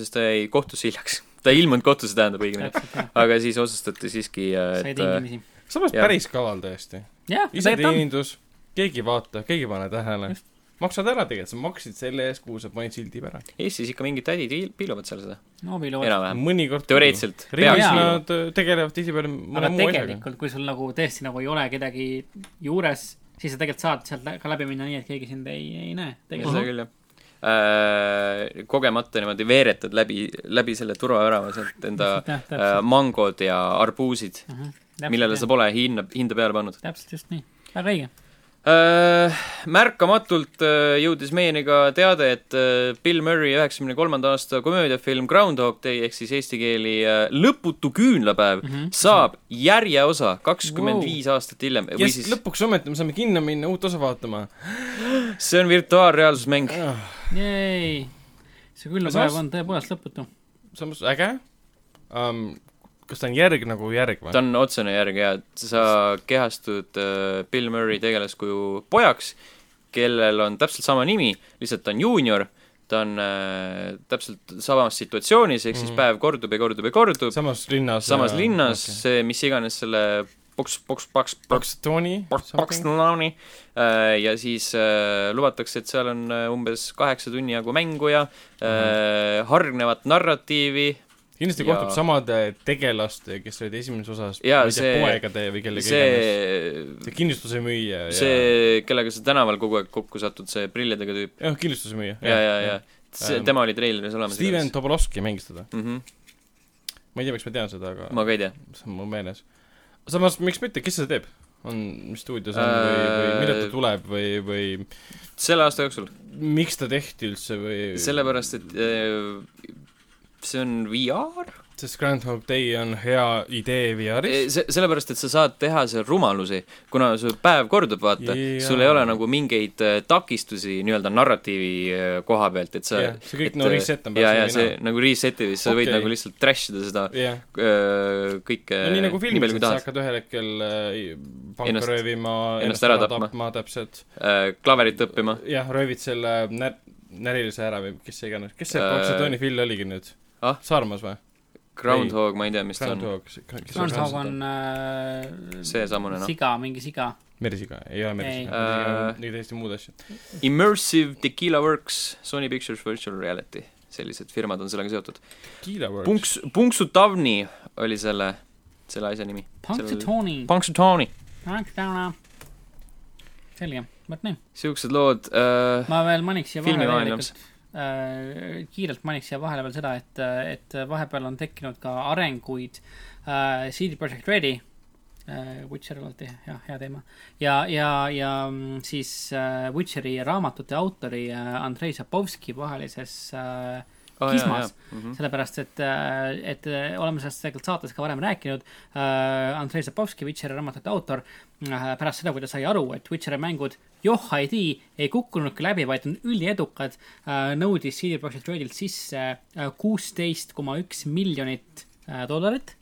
sest ta jäi kohtusse hiljaks . ta ei ilmunud kohtusse , tähendab õigemini .
täpselt jah ,
aga siis otsustati siiski ,
sai
et äh,
tingimisi .
samas
Jah.
päris kaval tõesti .
jah , tegelikult on .
iseteenindus , keegi ei vaata , keegi ei pane tähele . maksad ära tegelikult , sa maksid selle eest , kuhu sa panid sildi ära .
Eestis ikka mingid tädid piil- piiluvad seal seda ,
noobilood .
enam-vähem .
mõnikord
teoreetiliselt .
riigis
Jaa.
nad öö, tegelevad tihtipeale
aga
mõne muu asjaga .
tegelikult , kui sul nagu tõesti nagu ei ole kedagi juures , siis sa tegelikult saad sealt lä- ka läbi minna nii , et keegi sind ei , ei näe .
ja seda
tegelikult
küll jah Äh, kogemata niimoodi veeretad läbi , läbi selle turvavärava sealt enda
Täpselt, täpselt. Mhm.
äh, mangod ja arbuusid ,
Täpselt,
millele sa
jah.
pole hinna , hinda peale pannud
täpselt just nii , väga õige .
äh, . märkamatult äh, jõudis meieni ka teade , et äh, Bill Murray üheksakümne kolmanda aasta komöödiafilm Groundhog Day ehk siis eesti keeli äh, Lõputu küünlapäev mm -hmm. saab järjeosa kakskümmend
Mhm. Wow.
viis aastat hiljem yes, või
jess ,
siis
lõpuks ometi me saame kinno minna , uut osa vaatama .
see on virtuaalreaalsusmäng .
Äh. jäi , see
Samas-
küllapäev on tõepoolest lõputu .
samas äge um, . kas ta on järg nagu järg või
ta ? on otsene järg ja sa kehastud äh, Bill Murray tegelaskuju pojaks , kellel on täpselt sama nimi , lihtsalt ta on juunior , ta on äh, täpselt samas situatsioonis , ehk siis päev kordub ja kordub ja kordub ,
samas linnas . äh,
samas linnas okay. , see mis iganes selle Box , Box , Box , Box ,
Tony .
Box , Box , Nonani . ja siis äh, lubatakse , et seal on äh, umbes kaheksa tunni jagu mängu ja äh, hargnevat narratiivi .
kindlasti
Ja-
kohtub samade tegelaste , kes olid esimeses osas ,
Jaa,
ma ei tea ,
see-
poegade või kellegi iganes .
see ,
see kindlustuse müüja ja
see , kellega sa tänaval kogu aeg kokku satud , see prillidega tüüp .
jah , kindlustuse müüja .
ja , ja , ja . see
Ähm, ,
tema oli treileris olemas .
Steven Tobolovski mängis teda .
mm .
ma ei tea , miks ma tean seda , aga
-hmm. ma ka ei tea .
see on mu meeles . samas , miks mitte , kes seda teeb ? on , mis stuudio see on või , või
Äh,
millal ta tuleb või , või
selle aasta jooksul ,
miks ta tehti üldse või ?
sellepärast et äh, see on VR ,
sest Groundhog Day on hea idee VR-is .
see , sellepärast et sa saad teha seal rumalusi , kuna su päev kordub , vaata
Jaa.
yeah. , sul ei ole nagu mingeid äh, takistusi nii-öelda narratiivi äh, koha pealt , et sa
Jah, see kõik
et,
nagu reset on
ja ,
pärast
ja
nagu
see
näha.
nagu reset'i , siis sa okay. võid
Okei.
nagu lihtsalt trash ida seda
jah ,
äh, kõike
no nii nagu
nii
filmis ,
palju
et
kui
sa
tahad .
hakkad ühel hetkel äh, panka
Ennast-
röövima ,
ennast ära tapma. Ah.
täpselt .
Äh, klaverit õppima .
jah , röövid selle nä- , närilise ära või kes see iganes , kes see
Äh,
Oksatoni Phil oligi nüüd
Ah? ?
Saarmas või ?
Groundhog , ma ei tea , mis ta on .
Groundhog .
Groundhog on äh,
Seesamune, noh.
siga , mingi siga .
merisiga , ei ole merisiga ,
Ei.
merisiga
Äh,
on mingi täiesti muud asjad .
Immersive Tequila Works , Sony Pictures Virtual Reality , sellised firmad on sellega seotud .
Punks .
Punks , Punksutavni oli selle , selle asja nimi .
Punxsutawney ,
Punksutavni .
Punxsutawney . selge , vot nii .
siuksed lood äh, .
ma veel maniks siia vahele
filmimaailmas
tegelikult , äh, kiirelt mainiks siia vahele veel seda , et , et vahepeal on tekkinud ka arenguid äh, CD Projekt Redi äh, . Witcher alati jah , hea teema ja , ja , ja mm, siis äh, Witcheri raamatute autori äh, Andrei Zabovski vahelises äh,
oh, .
Kismas.
Mm -hmm.
sellepärast , et , et äh, oleme sellest tegelikult saates ka varem rääkinud . Andrei Zabovski , Witcheri raamatute autor , pärast seda , kui ta sai aru , et Witcheri mängud johhaidi ei kukkunudki läbi , vaid on üliedukad , nõudis CD Projekt Redilt sisse äh, kuusteist koma üks miljonit äh, dollarit .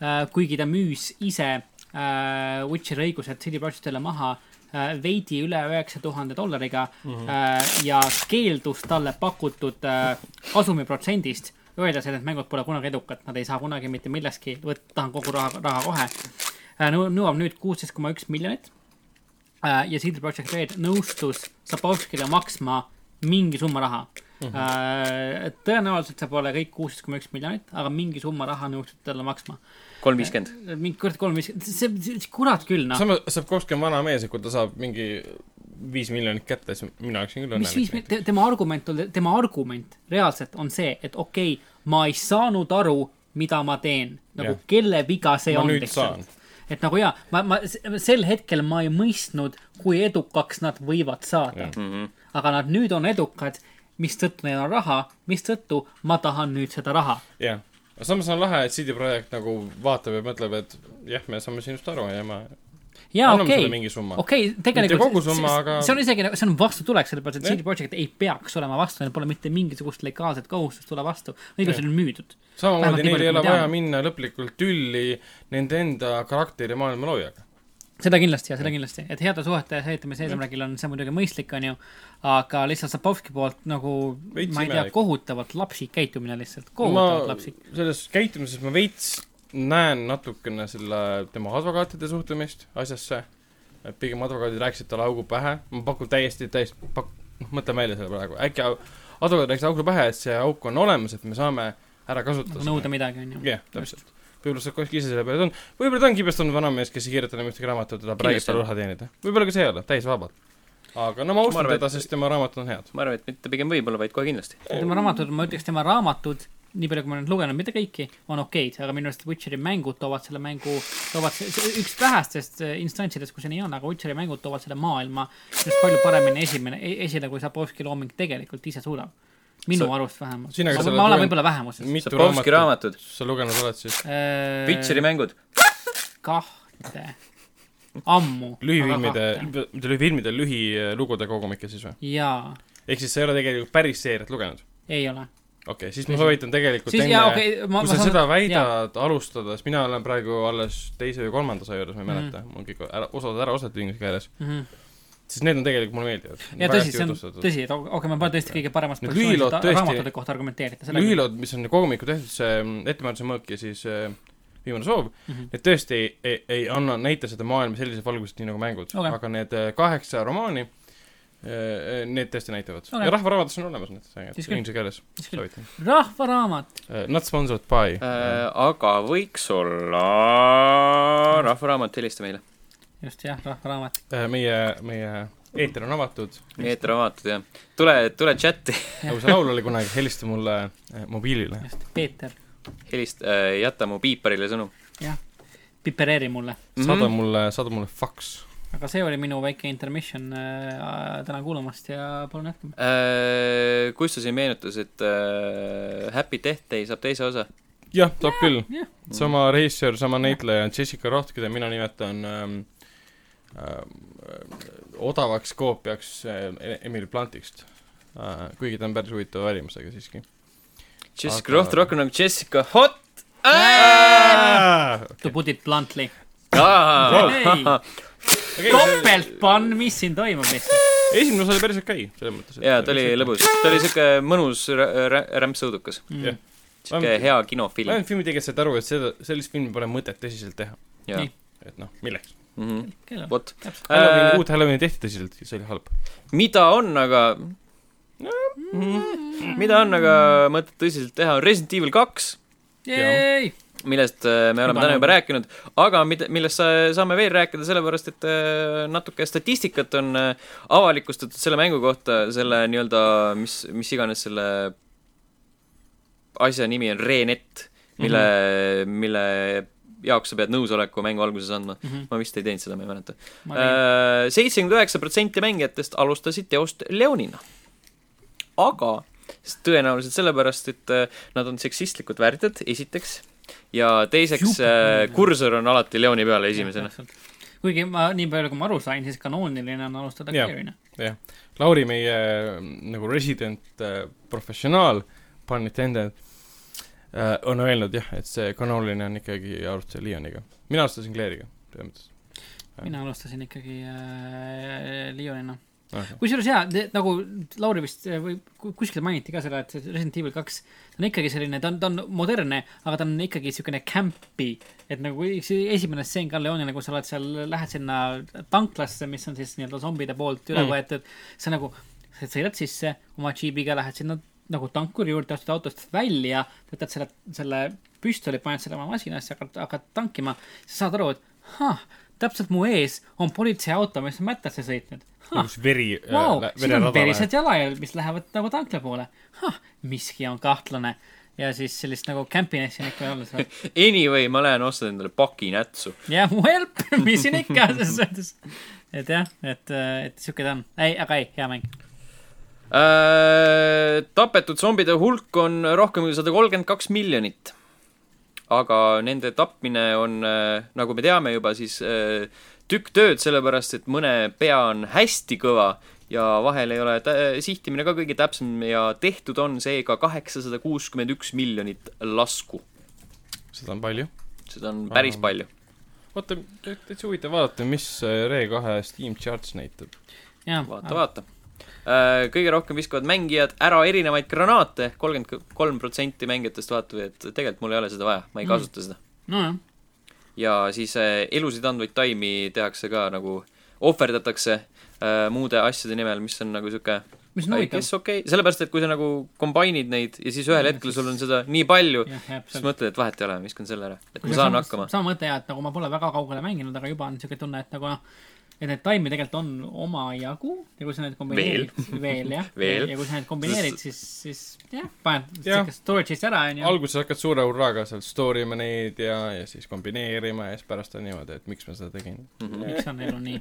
Äh, kuigi ta müüs ise äh, Witcheri õigused CD Projektile maha äh, veidi üle üheksa tuhande dollariga äh, ja keeldus talle pakutud äh, kasumiprotsendist , öeldes , et need mängud pole kunagi edukad , nad ei saa kunagi mitte millestki , tahan kogu raha , raha kohe äh, . nõuab nüüd kuusteist koma üks miljonit äh, ja CD Projekt Red nõustus Zabovskile maksma mingi summa raha mm . -hmm. tõenäoliselt see pole kõik kuusteist koma üks miljonit , aga mingi summa raha nõustuti talle maksma .
kolm viiskümmend .
mingi kord kolm viiskümmend , see, see , kurat küll noh .
sama , Sapkovski on vana mees ja kui ta saab mingi viis miljonit kätte , siis mina oleksin küll
mis viis
õnnelik .
miljonit , tema argument on , tema argument reaalselt on see , et okei okay, , ma ei saanud aru , mida ma teen . nagu
Jah.
yeah. kelle viga see
Ma
on
nüüd saan.
lihtsalt . et nagu jaa , ma , ma s- sel hetkel ma ei mõistnud , kui edukaks nad võivad saada
Jah. .
aga nad nüüd on edukad , mistõttu neil on raha , mistõttu ma tahan nüüd seda raha .
jah , aga samas on lahe , et CD Projekt nagu vaatab ja mõtleb , et jah , me saame sinust aru ja ma
jaa ,
anname
okei
sulle , mingi summa .
okei , tegelikult
kogu summa,
see-
aga-
see on isegi , see on vastutulek , sellepärast et
Jah.
CD Projekt ei peaks olema vastu , neil pole mitte mingisugust legaalset kohustust tulla vastu , õigused on müüdud
samamoodi
vähemalt nii
neil ei
palju,
ole
kui ma
vaja
tean.
minna lõplikult tülli nende enda karakteri maailma loojaga .
seda kindlasti ja seda kindlasti , et heade suhete säilitamise eesmärgil on see muidugi mõistlik , onju , aga lihtsalt Zabovski poolt nagu , ma
Veits
ei tea
imelik. ,
kohutavalt lapsik käitumine lihtsalt ,
ma
kohutavalt ma... lapsik .
selles käitumises ma veits näen natukene selle , tema advokaatide suhtumist asjasse . et pigem advokaadid rääkisid talle augu pähe , ma pakun täiesti , täiesti , pak- , noh , mõtlen välja selle praegu , äkki au- advokaadid rääkisid augu pähe , et see auk on olemas , et me saame ära kasutada
nagu nõuda . midagi , onju .
jah , täpselt . võib-olla Sakovski ise selle peale on , võib-olla ta on kibestanud vanamees , kes ei kirjuta enam ühtegi raamatut ja tahab
Kindlasti
räägida
on.
raha teenida . võib-olla ka see ei ole , täis vabalt . aga no ma
Ma
austan
arvan,
teda ,
et-
sest tema raamatud on head .
ma arvan , et mitte pigem võib-olla , vaid kohe kindlasti .
tema raamatud , ma ütleks , tema raamatud , nii palju , kui ma nüüd lugenud , mitte kõiki , on okeid , aga minu arust Witcheri mängud toovad selle mängu , toovad , üks vähestest äh, instantsidest , kus see nii on , aga Witcheri mängud toovad selle maailma just palju paremini esimene , esile , kui Zabovski looming tegelikult ise suudab . minu
Sa-
arust vähemalt .
Sina, kas sa oled
ma, ma olen
lugenud-
võib-olla vähemuses .
mitu
Sapolski
raamatut
raamatud ,
sa lugenud oled siis ?
Witcheri mängud .
kahte , ammu .
lühifilmide , mitte lühifilmide , lühilugude kogumike siis või ?
jaa ,
ehk siis sa ei ole tegelikult päris seeriat lugenud ?
ei ole .
okei okay, , siis ma soovitan tegelikult
siis
enne
jaa , okei okay, , ma ,
kui
ma
sa
saan
seda väidad alustada , sest mina olen praegu alles teise või kolmanda saja juures , ma ei
Mhm.
mäleta , mul kõik ära , osad ära osatud inglise keeles ,
mm . -hmm.
siis need on tegelikult mulle meeldivad .
ja tõsi , see on tõsi , et okei okay, , ma pole tõesti kõige paremas
Need
positsioonis
lühilood
seda
tõesti-
raamatute kohta argumenteerida .
lühilood , mis on kogumiku tehtud , see mm, Ettemääruse mõõk ja siis äh, viimane soov mm,
Mhm.
-hmm. need tõesti ei, ei, ei anna, näita seda maailma sellises valguses, nii nagu mängud
Okei.
okay. , aga need äh, kaheksa romaani , need tõesti näitavad
Okei.
okay. ja rahvaraamatus on olemas need asjad
Siis küll.
inglise keeles ,
Siis küll.
soovitan .
rahvaraamat .
Not sponsored by
äh, . aga võiks olla rahvaraamat , helista meile .
just jah , rahvaraamat .
Äh, meie , meie eeter on avatud ,
eetriraamatud , jah . tule , tule chati ,
nagu see laul oli kunagi , helista mulle äh, mobiilile .
just , Peeter ,
helista äh, , jäta mu piiparile sõnum .
jah , pipereeri mulle .
saada mulle , saada mulle faks .
aga see oli minu väike intermission äh, täna kuulamast ja palun jätkame .
Äh, kustusin meenutus , et äh, Happy Death Day saab teise osa .
jah , saab küll
jah. .
sama reisijal , sama näitleja on Jessica Roth , keda mina nimetan ähm, ähm, odavaks koopiaks äh, Emily Bluntist äh, . kuigi ta on päris huvitava välimusega siiski .
Jessica
Aga-
Roth rohkem nagu Jessica Hot . Äh!
To put it bluntly . Ei.
jaa ,
topeltpann , mis siin toimub lihtsalt .
esimene osa oli päris okei okay, , selles mõttes .
ta oli . lõbus , ta oli siuke mõnus rä- rä- rämpsõudukas ,
jah ,
siuke hea kinofilm
ma . olen filmi tegijad said aru , et seda , sellist filmi pole mõtet tõsiselt teha .
jaa Mhm.
Nii. ,
et noh , milleks .
vot .
Halloween , uut Halloweeni tehti tõsiselt ja see oli halb .
mida on aga , mida on aga mõtet tõsiselt teha , on Resident Evil kaks ,
jäi ,
millest äh, me oleme
Juba
täna juba
nagu.
rääkinud , aga mida , millest sa- saame veel rääkida , sellepärast et äh, natuke statistikat on äh, avalikustatud selle mängu kohta , selle nii-öelda , mis , mis iganes selle asja nimi on , Renet , mille mm , -hmm. mille jaoks sa pead nõusoleku mängu alguses andma mm . -hmm. ma vist ei teinud seda , ma ei mäleta . seitsekümmend üheksa protsenti mängijatest alustasid teost Leonina . aga s- tõenäoliselt sellepärast , et äh, nad on seksistlikud värdjad , esiteks , ja teiseks äh,
Jupp, ,
kursor on alati Leoni peal esimesena ..
kuigi ma , nii palju kui ma aru sain , siis kanooniline on alustada
Jah.
Kerina .
jah , Lauri , meie äh, nagu resident äh, professionaal , pun intended , on öelnud jah , et see kanooniline on ikkagi arvutuse Leoniga . mina alustasin Claire'iga , selles mõttes .
mina alustasin ikkagi äh, Leonina .
Okay.
kusjuures jaa , nagu Lauri vist äh, või ku- kuskil mainiti ka seda , et see Resident Evil kaks , ta on ikkagi selline , ta on , ta on modernne , aga ta on ikkagi siukene campy . et nagu see esimene stseen ka Leonina , kus sa oled seal , lähed sinna tanklasse , mis on siis nii-öelda zombide poolt üle
Mm.
võetud mm. . sa nagu , sa sõidad sisse oma džiibiga , lähed sinna nagu tankuri juurde , astud autost välja , võtad selle , selle püstoli , paned selle oma masinasse , hakkad , hakkad tankima , sa saad aru , et hah , täpselt mu ees on politseiauto , mis on mättasse sõitnud .
kus veri
Ah. Vau ,
äh, ,
siin on
vererada
verised jalajäljed , mis lähevad nagu tankla poole . miski on kahtlane ja siis sellist nagu campiness siin ikka ei ole seal .
Anyway , ma lähen ostan endale paki nätsu .
jah , help , mis siin ikka , selles mõttes . et jah , et , et siuke ta on . ei , aga ei , hea mäng .
Äh, tapetud zombide hulk on rohkem kui sada kolmkümmend kaks miljonit . aga nende tapmine on , nagu me teame juba , siis äh, tükk tööd , sellepärast et mõne pea on hästi kõva ja vahel ei ole tä- sihtimine ka kõige täpsem ja tehtud on seega kaheksasada kuuskümmend üks miljonit lasku .
seda on palju .
seda on päris
Aa.
palju .
oota , täitsa huvitav vaadata , mis äh, Re2 Steam Charts näitab .
jah ,
vaata , vaata . kõige rohkem viskavad mängijad ära erinevaid granaate , kolmkümmend kolm protsenti mängijatest vaatab , et tegelikult mul ei ole seda vaja , ma ei kasuta seda .
nojah ,
ja siis äh, elusid andvaid taimi tehakse ka nagu , ohverdatakse äh, muude asjade nimel , mis on nagu sihuke
mis on
I
huvitav .
guess okei okay. , sellepärast et kui sa nagu kombainid neid ja siis ühel hetkel sul on seda nii palju ,
jah , jah ,
siis mõtled , et vahet ei ole , viskan selle ära , et ma saan hakkama .
sama mõte jah , et nagu ma pole väga kaugele mänginud , aga juba on siuke tunne , et nagu noh , et neid taimi tegelikult on omajagu ja kui sa need kombineerid , veel jah ,
Veel.
ja kui sa need kombineerid , siis , siis jah , paned
Jah.
siukest storage'ist ära , onju .
alguses hakkad suure hurraaga seal store ima neid ja , ja siis kombineerima ja siis pärast on niimoodi , et miks ma seda tegin .
Mm.
miks on elu nii ?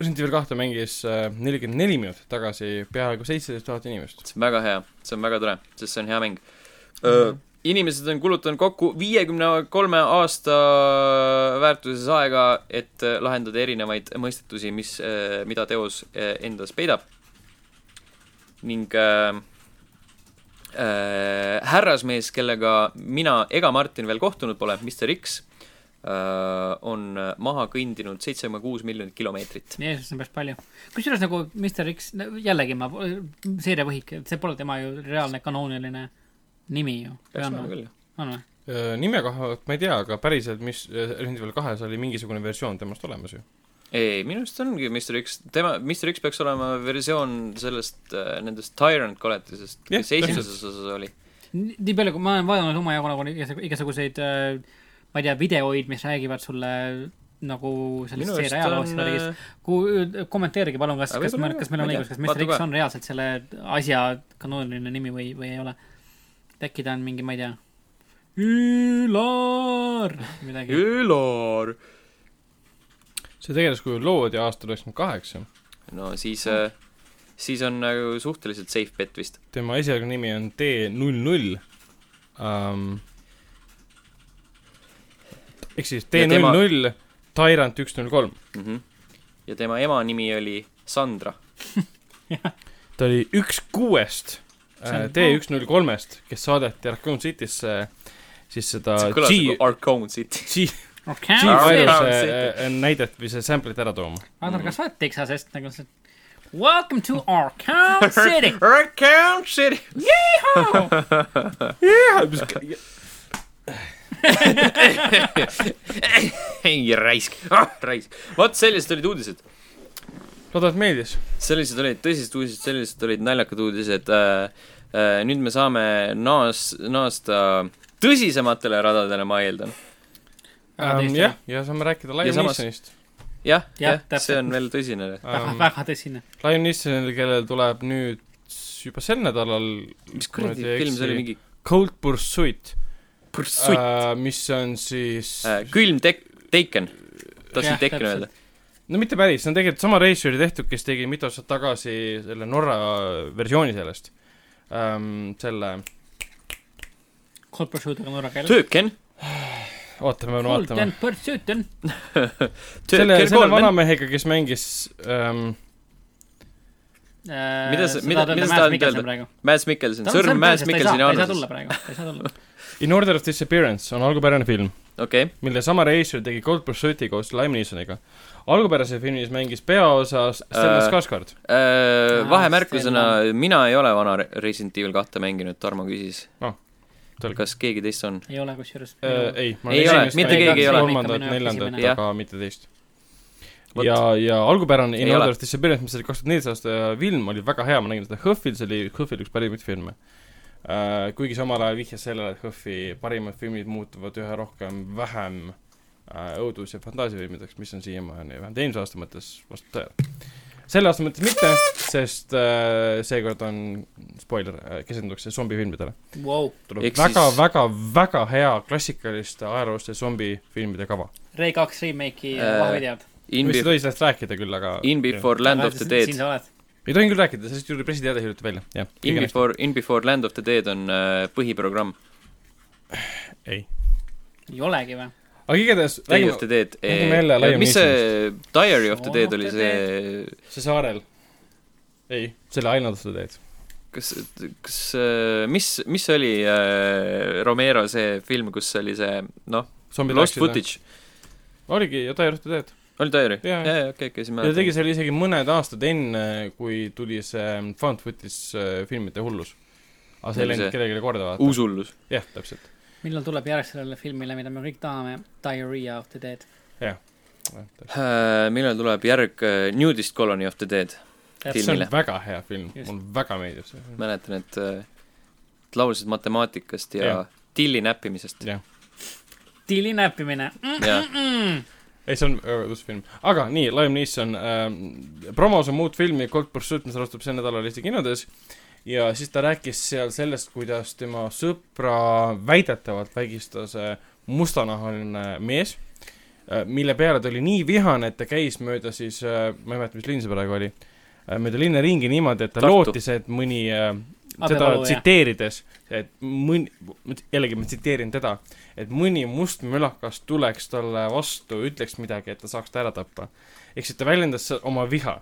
Resident Evil kahte mängis äh, nelikümmend neli minutit tagasi peaaegu seitseteist tuhat inimest .
see on väga hea , see on väga tore , sest see on hea mäng . inimesed on kulutanud kokku viiekümne kolme aasta väärtuses aega , et öö, lahendada erinevaid mõistetusi , mis , mida teos öö, endas peidab . ning äh, äh, härrasmees , kellega mina ega Martin veel kohtunud pole , Mr X äh, , on maha kõndinud seitse koma kuus miljonit kilomeetrit .
Jeesus , see on päris palju . kusjuures nagu Mr X , jällegi ma , seeriavõhik , see pole tema ju reaalne kanooniline nimi ju .
peaks olema küll ,
on või ?
nime kohalt Äh, ma ei tea, aga päriselt, mis äh, Resident Evil kahes oli mingisugune versioon temast olemas ju?
ei, minu arust ongi Mr X, tema, Mr X peaks olema versioon sellest äh,, nendest Tyrant koletisest, kes
Jah,
esimeses osas oli .
nii palju , kui ma olen vaadanud omajagu nagu igasugu- igasuguseid , ma ei tea , videoid , mis räägivad sulle nagu
minu
sellest
arust
seeria
on äh,
ajaloost või midagi , kui , kommenteerige palun , kas ,
Aga
kas me
võib-olla ,
kas meil on
ma ei
õigus ,
tea.
kas Mr
Vaata
X
kohe.
on reaalselt selle asja kanooniline nimi või , või ei ole ? äkki ta on mingi , ma ei tea , Ülar , midagi .
Ülar .
see tegelaskuju loodi aastal üheksakümmend kaheksa .
no siis äh, , siis on nagu suhteliselt safe bet vist .
tema esialgne nimi on D null null . ehk siis D
Ja
null
tema-
null , Tyrant üks null kolm .
mm . -hmm. ja tema ema nimi oli Sandra .
ta oli üks kuuest
See on-
D üks null kolmest , kes saadeti Raccoon City'sse siis seda
see kõlas
Äh, G
nagu , Arcone City .
G , G
Arnold ,
Arkham
viiruse
City.
äh, näidet või see sample'it ära tooma .
kas sa oled Texasest nagu see Welcome to Arkham City ,
Um, Arcone City . ei raisk , ah raisk . vot sellised olid uudised .
loodame , et meeldis .
sellised olid tõsised uudised , sellised olid naljakad uudised äh, . Äh, nüüd me saame naas- , naasta tõsisematele radadele , ma eeldan .
Aga
Ähm,
teist
jah , ja saame rääkida Lion
Ja samas-
Neesonist
jah ,
Jah,
jah , see
täpselt.
on veel tõsine .
väga ,
ähm, .
Um,
väga tõsine .
Lion Neesonil , kellel tuleb nüüd s- juba sel nädalal
mis kuradi film see oli , mingi
Cold Pursuit,
pursuit äh, ,
Äh, mis on siis äh. ,
külm tek- , Taken .
Jah,
tahtsin Taken
täpselt.
öelda .
no mitte päris , see on tegelikult sama reisijal tehtud , kes tegi mitu aastat tagasi selle Norra versiooni sellest ähm, , selle ,
Cold Pursuit on norra keeles .
Tööken ,
oota , me peame
Cold
vaatama .
and Pursuit on .
selle ,
Tööken
selle
Goldman ,
vanamehega , kes mängis ähm, ,
mida
sa- mida- mida sa tahad öelda? ? Mads Mikkelson , sõrm Mads Mikkelsoni
ta ei saa
haardes
tulla . praegu , ta ei saa tulla .
In Order of Disappearance on algupärane film .
okei ,
mille sama reisijal tegi Cold Pursuiti koos Lime Neesoniga . algupärases filmis mängis peaosas Stellan
Äh,
Skarsgård .
vahemärkusena , mina ei ole vana Re- Resident Evil kahte mänginud , Tarmo küsis
Ah, . selge.
kas keegi teist on ?
ei ole kusjuures .
Äh, ei , ma
Äh, ei ole, mitte keegi ei ole.
Ikka
kolmandat ,
minu
neljandat ,
esimene.
aga mitte teist .
Vot.
ja , ja algupärane In
Ei
Order
ole.
of Disappearance , mis oli kaks tuhat neliteist aasta äh, film , oli väga hea , ma nägin seda HÖFFil , see oli HÖFFil üks parimaid filme . kuigi samal ajal vihjas sellele , et HÖFFi parimad filmid muutuvad üha rohkem vähem äh, õudus- ja fantaasiafilmideks , mis on siiamaani vähemalt eelmise aasta mõttes vastab tõele . selle aasta mõttes mitte , sest äh, seekord on spoiler äh, , keskendutakse zombifilmidele .
Wow.
tuleb
Ehk
väga
siis-
siis... , väga , väga hea klassikaliste ajalooliste zombifilmide kava .
Ray kaks remake'i
Äh,
vahevideod .
In
võiks
Be- ,
seda sellest rääkida küll , aga
In Before Land of the
siin
Dead ,
sa oled .
ei tohin küll rääkida , sellest tuli pressiteade hiljuti välja , jah .
In Before , In Before Land of the Dead on äh, põhiprogramm .
ei .
ei olegi või ?
aga igatahes ,
Day of the Dead äh,
räägime jälle . Liam
mis see Diary of the Dead oli
Of the
see ,
see saarel . ei , selle ainult sa teed .
kas , kas , mis , mis oli äh, Romero see film , kus oli see , noh ,
zombid
Lost . Footage ,
oligi , ja Diary of the Dead .
oli Diary ?
Jaa.
jaa , jaa , okei , okei , siis ma
ja ta tegi selle isegi mõned aastad enne , kui tuli see mm, Found Footage äh, filmide hullus . aga see ei
Oli
läinud
see-
kellelegi korda vaata .
uus hullus .
jah , täpselt .
millal tuleb järjest sellele filmile , mida me kõik tahame , Diarrhea of the Dead .
Äh, millal tuleb järg äh, Nudist Colony of the Dead ?
see on
Filmile.
väga hea film ,
Just.
mulle väga meeldib see film .
mäletan , et äh, laulsid matemaatikast ja
Jah.
tilli näppimisest .
jah .
diili näppimine mm .
Jah.
-mm.
ei , see on väga tõus film , aga nii , Liam Neeson ähm, promos on muud filmi Cold Pursuit , mis alustab sel nädalal Eesti kinodes ja siis ta rääkis seal sellest , kuidas tema sõpra väidetavalt vägistas äh, mustanahaline mees , mille peale ta oli nii vihane , et ta käis mööda siis , ma ei mäleta , mis linn see praegu oli , mööda linna ringi niimoodi , et ta
Tartu.
lootis , et mõni äh, teda
Abielu, jah.
tsiteerides , et mõni , jällegi ma tsiteerin teda , et mõni must mölakas tuleks talle vastu , ütleks midagi , et ta saaks ta ära tappa . ehk siis ta väljendas se- oma viha .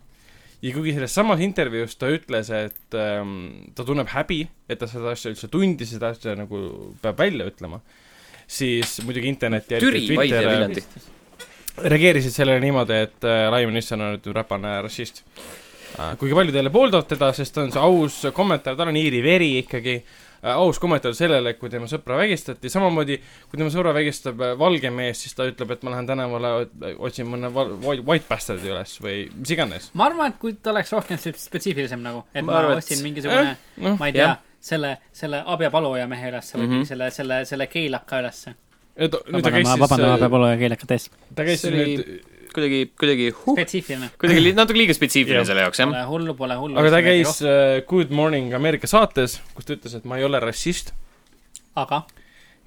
ja kuigi selles samas intervjuus ta ütles , et ähm, ta tunneb häbi , et ta seda asja üldse tundis , seda asja nagu peab välja ütlema , siis muidugi internet ja
Türi , Paide ja
Twitter
Viljandi .
reageerisid sellele niimoodi , et äh, Raimond Nisson on nüüd räpane rassist . kuigi paljud jälle pooldavad teda , sest ta on see aus kommentaar , tal on iiri veri ikkagi , aus kommentaar sellele, kui tema sõpra vägistati, samamoodi kui tema sõbra vägistab äh, valge mees, siis ta ütleb, et ma lähen tänavale, otsin mõne white, white bastard'i üles või mis iganes.
ma arvan, et kui ta oleks rohkem spetsiifilisem nagu, et ma, ma otsin mingisugune eh,, no, ma ei tea, selle, selle abipaluja mehe üles või mm -hmm. selle, selle, selle keilaka ülesse.
vabandan,
vabandan abipaluja keilakate ees.
äh, ta käis see nüüd oli
kuidagi, kuidagi
huh, spetsiifiline.
kuidagi li, natuke liiga spetsiifiline selle jaoks, jah.
Pole hullu, pole hullu.
aga ta käis uh, Good Morning America saates, kus ta ütles, et ma ei ole rassist.
aga?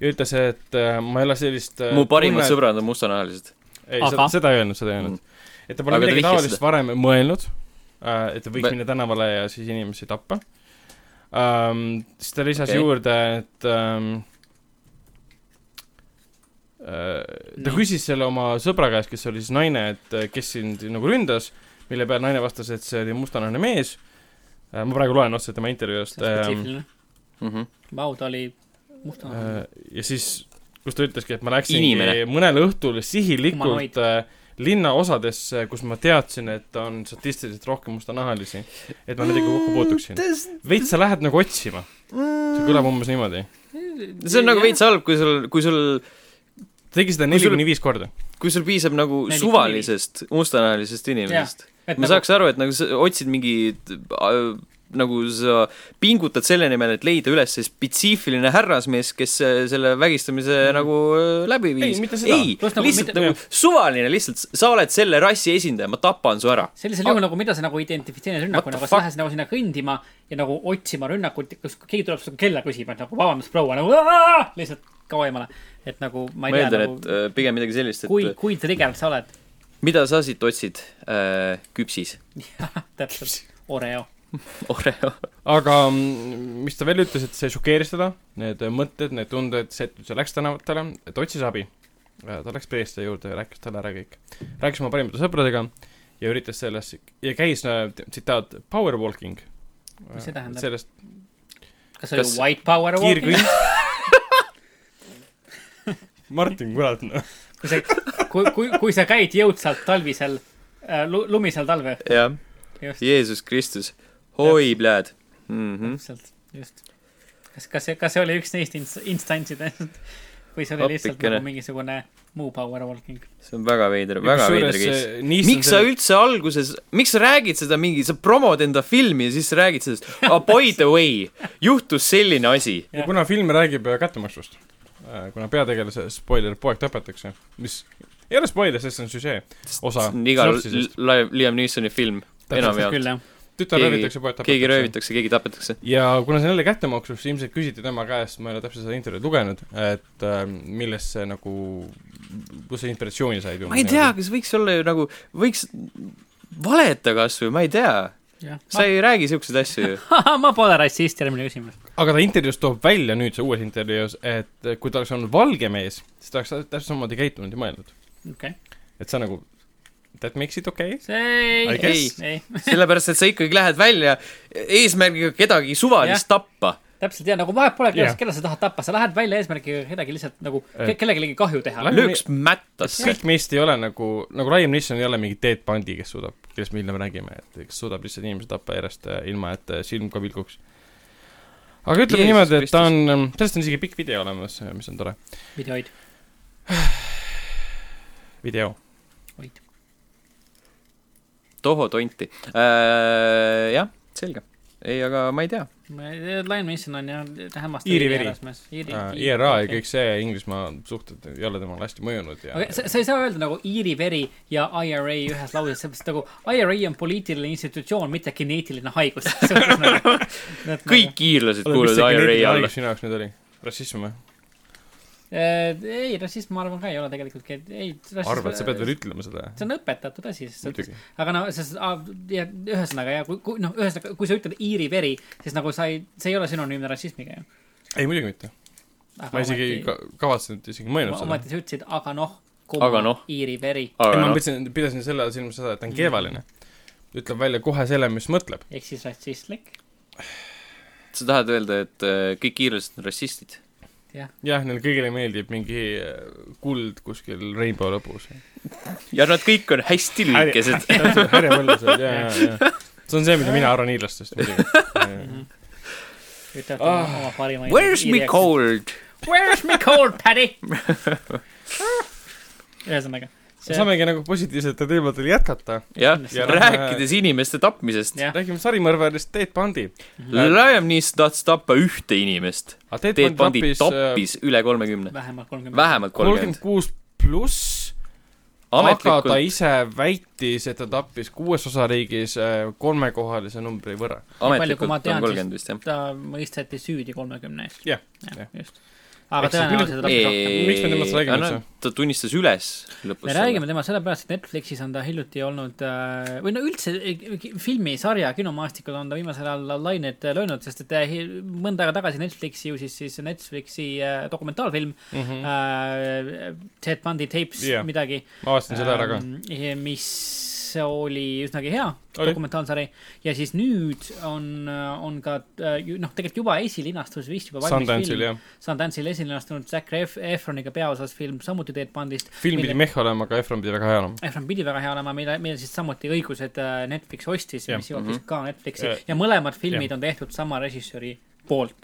ja ütles, et uh, ma ei ole sellist uh,
mu parimad Äh, tunne... sõbrad on mustanahalised.
ei, seda ei öelnud, seda ei öelnud mm.. et ta pole aga midagi taolist varem mõelnud uh,, et ta võiks Be... minna tänavale ja siis inimesi tappa um,. siis ta lisas okay. juurde, et um, äh, ta no. küsis selle oma sõbra käest, kes oli siis naine, et kes sind nagu ründas, mille peale naine vastas, et see oli mustanahane mees. Äh, ma praegu loen otse tema intervjuust. ähm,
see on spetsiifiline mm
Mhm.
-hmm.. Vau, ta oli nagu. mustanahane.
Äh, ja siis, kus ta ütleski, et ma läksingi mõnel õhtul sihilikult äh, linnaosadesse, kus ma teadsin, et on statistiliselt rohkem mustanahalisi, et ma nendega kokku puutuksin. veits sa lähed nagu otsima. see kõlab umbes niimoodi.
see on nagu veits halb, kui sul, kui sul
ta tegi seda neli kuni viis korda.
kui sul piisab nagu 40. suvalisest mustanahalisest inimesest. ma nagu... saaks aru, et nagu sa otsid mingi äh, nagu sa pingutad selle nimel, et leida üles see spetsiifiline härrasmees, kes äh, selle vägistamise mm. nagu läbi viis.
ei,
ei, nagu, lihtsalt mida... nagu suvaline, lihtsalt sa oled selle rassi esindaja, ma tapan su ära.
sellisel juhul nagu, mida sa nagu identifitseerid rünnakuna, kas lähed nagu sinna kõndima ja nagu otsima rünnakut, kas keegi tuleb sulle kella küsima, et nagu vabandust, proua, nagu aah! lihtsalt kao eemale. et nagu ma ei
ma eeldan
nagu,,
et äh, pigem midagi sellist, et
kui, kui trigger sa oled.
mida sa siit otsid äh,? küpsis.
jah, täpselt, Oreo
Oreo.
aga mm, mis ta veel ütles, et see šokeeris teda, need mõtted, need tunded, see, et ta läks tänavatele, et otsis abi. ta läks preester juurde ja rääkis talle ära kõik. rääkis oma parimate sõpradega ja üritas sellest ja käis äh, tsitaat power walking.
mis see tähendab?
sellest.
kas see oli kas... white power walking?
Martin, kurat noh.
kui sa, kui, kui, kui sa käid jõudsalt talvisel äh,, lumisel talve.
jah, Jeesus Kristus oi, pljääd mm.
täpselt -hmm., just. kas, kas see, kas see oli üks neist inst-, instantsidest või see oli Appikene. lihtsalt nagu mingisugune muu power walking?
see on väga veider, väga veider case.
äh,
miks sa üldse alguses, miks sa räägid seda mingi, sa promod enda filmi ja siis räägid sellest oh,, by the way, juhtus selline asi.
ja kuna film räägib äh, kättemaksust, äh, kuna peategelase spoiler poeg tapetakse, mis ei ole spoiler, sest see on süžee osa.
igal Liam Neesoni film enamjaolt
tütar keegi, röövitakse, poeg tapetakse.
keegi röövitakse, keegi tapetakse.
ja kuna see on jälle kättemaksus, ilmselt küsiti tema käest, ma ei ole täpselt seda intervjuud lugenud, et äh, millest see nagu, kust see inspiratsiooni sai.
ma ei tea, kas võiks olla ju nagu, võiks valeta kas või, ma ei tea. sa ma... ei räägi siukseid asju ju
ma pole rassist, järgmine küsimus.
aga ta intervjuus toob välja nüüd, see uues intervjuus, et kui ta oleks olnud valge mees, siis ta oleks täpselt samamoodi käitunud ja mõelnud.
okei okay..
et sa nagu that makes it okay?
ei,
ei, ei. sellepärast, et sa ikkagi lähed välja eesmärgiga kedagi suvalist ja. tappa.
täpselt ja nagu vahet pole, kelle, kelle sa tahad tappa, sa lähed välja eesmärgiga kedagi lihtsalt nagu ke kellelegi kahju teha.
lööks mättasse.
kõik meist ei ole nagu, nagu Ryan Neeson ei ole mingi Ted Bundy, kes suudab, kellest me hiljem räägime, et kes suudab lihtsalt inimesi tappa järjest äh, ilma, et silm ka vilguks aga ütleme niimoodi, et ta on, ähm, sellest on isegi pikk video olemas, äh, mis on tore.
videoid.
video.
oid
toho tonti äh,. jah, selge. ei, aga ma ei tea.
Lion Mason on jah hämmastav
iiri veri. IRA E ja kõik see Inglismaa suhted ei ole temale hästi mõjunud ja
okay,. sa, sa ei saa öelda nagu iiri veri ja IRA ühes lauses, sellepärast nagu IRA on poliitiline institutsioon, mitte geneetiline haigus
nagu, kõik iirlased kuuluvad IRA alla.
sinu jaoks nüüd oli? rassism või?
eh, ei, rassism, ma arvan ka ei ole tegelikult, ei.
arvad, sa pead veel ütlema seda?
see on õpetatud asi, sest, aga no, sest, ah, ja ühesõnaga ja kui, kui noh, ühesõnaga, kui sa ütled iiri veri, siis nagu sa ei, see ei ole sünonüümne rassismiga ju.
ei, muidugi mitte. ma isegi ei ka, kavatsenud isegi mõelnud seda.
ometi sa ütlesid, aga noh, kumma no. iiri veri.
ei,
noh,
ma mõtlesin, pidasin selle all silmas seda, et ta on keevaline. ütleb välja kohe selle, mis mõtleb.
ehk siis rassistlik.
sa tahad öelda, et äh, kõik iirlased on rassistid?
jah
ja,, neile kõigile meeldib mingi äh, kuld kuskil rainbow lõpus.
ja nad kõik on hästi lühikesed.
Mhm.
härjapõlvesed, ja, ja, ja. see on see, mida mina arvan hiidlastest muidugi.
ütlevad oh. oma parima
Ah, Where's me cold?
Where's me cold, Paddy? ühesõnaga
see... saamegi nagu positiivsetel teemadel jätkata.
jah ja, ja, rääkides äh... inimeste tapmisest.
räägime sarimõrvarist Ted Bundy
mm -hmm.. Liam Neeson tahtis tappa ühte inimest.
Ah,
Ted Bundy tappis äh... üle kolmekümne.
vähemalt kolmkümmend.
vähemalt kolmkümmend.
kolmkümmend kuus pluss. Ametlikult... aga ta ise väitis, et ta tappis kuues osariigis äh, kolmekohalise numbri võrra.
ametlikult on kolmkümmend vist, jah.
ta mõisteti süüdi kolmekümne eest.
jah, jah.
just aga tõenäoliselt ta tahab rohkem.
miks me temast räägime üldse?
ta tunnistas üles lõpus.
me räägime temast sellepärast, et Netflixis on ta hiljuti olnud äh, või no üldse e, filmisarja kinomaastikul on ta viimasel ajal lained löönud, sest et äh, mõnda aega tagasi Netflixi ju siis, siis Netflixi äh, dokumentaalfilm mm
Mhm.
Mhm.
-hmm. äh, Ted Bundy Tapes yeah. midagi.
ma avastasin seda ära ka.
Ehm, eh, mis oli üsnagi hea dokumentaalsari ja siis nüüd on, äh, on ka noh, tegelikult juba esilinastus vist juba valmis
Sundance'il,
film.
jah.
Sundance'il esilinastunud Zac Ef-, Efroniga peaosas film, samuti Ted Bundist.
film pidi mehh olema, aga Efron pidi väga hea olema.
Efron pidi väga hea olema, mille, mille siis samuti õigused äh, Netflix ostis, mis jõuab vist ka Netflixi ja, ja mõlemad filmid ja. on tehtud sama režissööri poolt.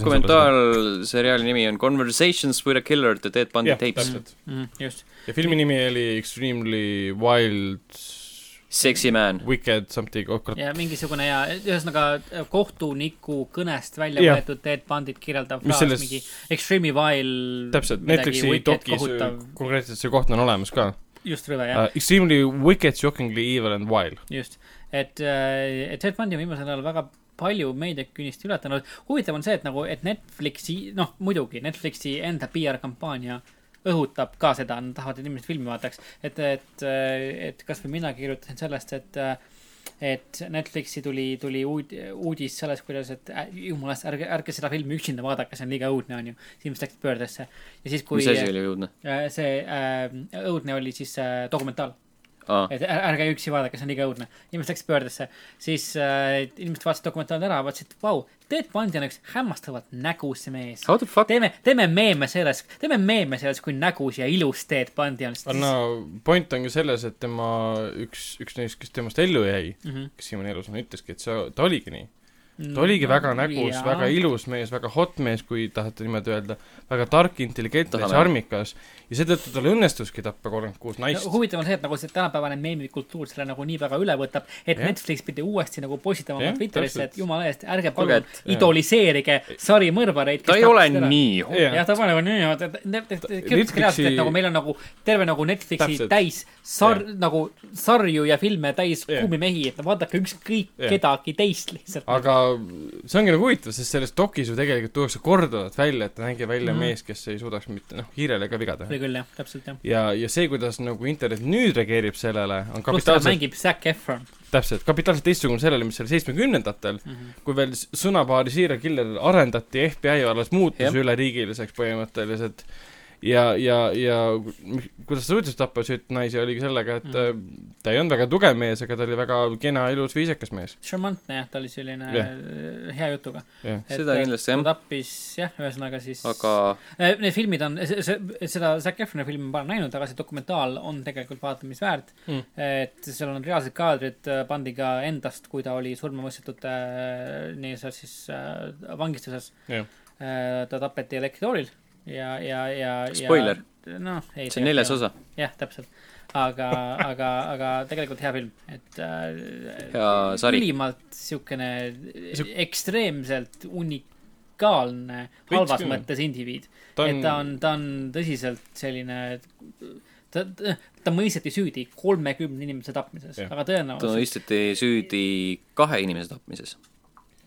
dokumentaalseriaali Äh, nimi on Conversations with a killer, the dead Bundy yeah, tapes.
Mm, just.
ja filmi nimi oli Extremely wild
Sexy man.
Wicked something oh,, kurat.
ja mingisugune ja ühesõnaga äh, kohtuniku kõnest välja yeah. võetud Dead Bandit kirjeldav fraas selles..., mingi extremely vile.
täpselt, Netflixi dokis Ah. konkreetselt see koht on olemas ka. Äh,
just, rõve, jah uh,.
Extremely wicked, shockingly evil and vile.
just, et, eh, et Dead Bundy on viimasel ajal väga palju meediakünnist ületanud. huvitav on see, et nagu, et Netflixi, noh, muidugi Netflixi enda PR-kampaania õhutab ka seda, nad tahavad, et inimesed filmi vaataks. et, et, eh, et kasvõi mina kirjutasin sellest, et, eh, et Netflixi tuli, tuli uud-, uudis sellest, kuidas, et äh, jumala eest, ärge, ärge seda filmi üksinda vaadake, see on liiga õudne, onju. siis inimesed läksid pöördesse. ja siis, kui.
mis asi oli õudne?
see äh, õudne oli siis äh, dokumentaal Ah. et ärge üksi vaadake, see on liiga õudne. inimesed läksid pöördesse, siis äh, inimesed vaatasid dokumentaali ära, vaatasid, vau, Ted Bundy on üks hämmastavalt nägus mees. teeme, teeme meeme sellest, teeme meeme sellest, kui nägus ja ilus Ted Bundy on.
no point on ju selles, et tema üks, üks neist, kes temast ellu jäi mm,
Mhm.
-hmm. kes siiamaani elus on, ütleski, et see, ta oligi nii ta oligi
Mm,
no, väga nägus, väga ilus mees, väga hot mees, kui tahate niimoodi öelda, väga tark, intelligentne, charmikas ja seetõttu tal õnnestuski tappa kolmkümmend kuus naist
no,. huvitav on see, et nagu see tänapäevane meemikultuur selle nagu nii väga üle võtab, et ja. Netflix pidi uuesti nagu postitama oma Twitterisse, et jumala eest, ärge palun idoliseerige sarimõrvareid.
ta ei ole nii
hoog. jah, ta pole nagu nii hoog, et kirjutas ka reaalselt, et nagu meil on nagu terve nagu Netflixi täis sar-, nagu sarju ja filme täis kuumi mehi, et vaadake ükskõik kedagi teist lihtsalt.
aga see ongi nagu huvitav, sest selles dokis ju tegelikult tuuakse korduvalt välja, et ta nägi välja mm -hmm. mees, kes ei suudaks mitte noh, hiirele ka viga teha.
oli küll jah, täpselt jah.
ja, ja see, kuidas nagu internet nüüd reageerib sellele, on kapitaalselt
mängib Zac Efron.
täpselt, kapitaalselt teistsugune sellele, mis oli seitsmekümnendatel mm,
Mhm.
-hmm. kui veel sõnapaari Serial Killer arendati, FBI alles muutus yeah. üleriigiliseks põhimõtteliselt ja, ja, ja kuidas ta suutis tappa süüt naisi, oligi sellega,
Mhm.
et mm. ta ei olnud väga tugev mees, aga ta oli väga kena, ilus, viisakas mees.
šarmantne jah, ta oli selline yeah. hea jutuga
yeah.. seda kindlasti
jah. tappis jah, ühesõnaga siis
aga
Äh, need filmid on, seda Zac Efroni filmi ma olen näinud, aga see dokumentaal on tegelikult vaatamisväärt mm.. et seal on reaalsed kaadrid pandiga endast, kui ta oli surmamõistetute nii-öelda siis äh, vangistuses Äh,
yeah.
ta tapeti elektritoolil ja, ja, ja, ja.
Spoiler.
noh, ei.
see on neljas osa.
jah, täpselt. aga aga, aga tegelikult hea film, et äh,.
hea sari.
ülimalt siukene Suk... ekstreemselt unikaalne, halvas Võitskümne. mõttes indiviid. On... et ta on, ta on tõsiselt selline ta, ta, ta mõisteti süüdi kolmekümne inimese tapmises, aga tõenäoliselt.
ta mõisteti süüdi kahe inimese tapmises.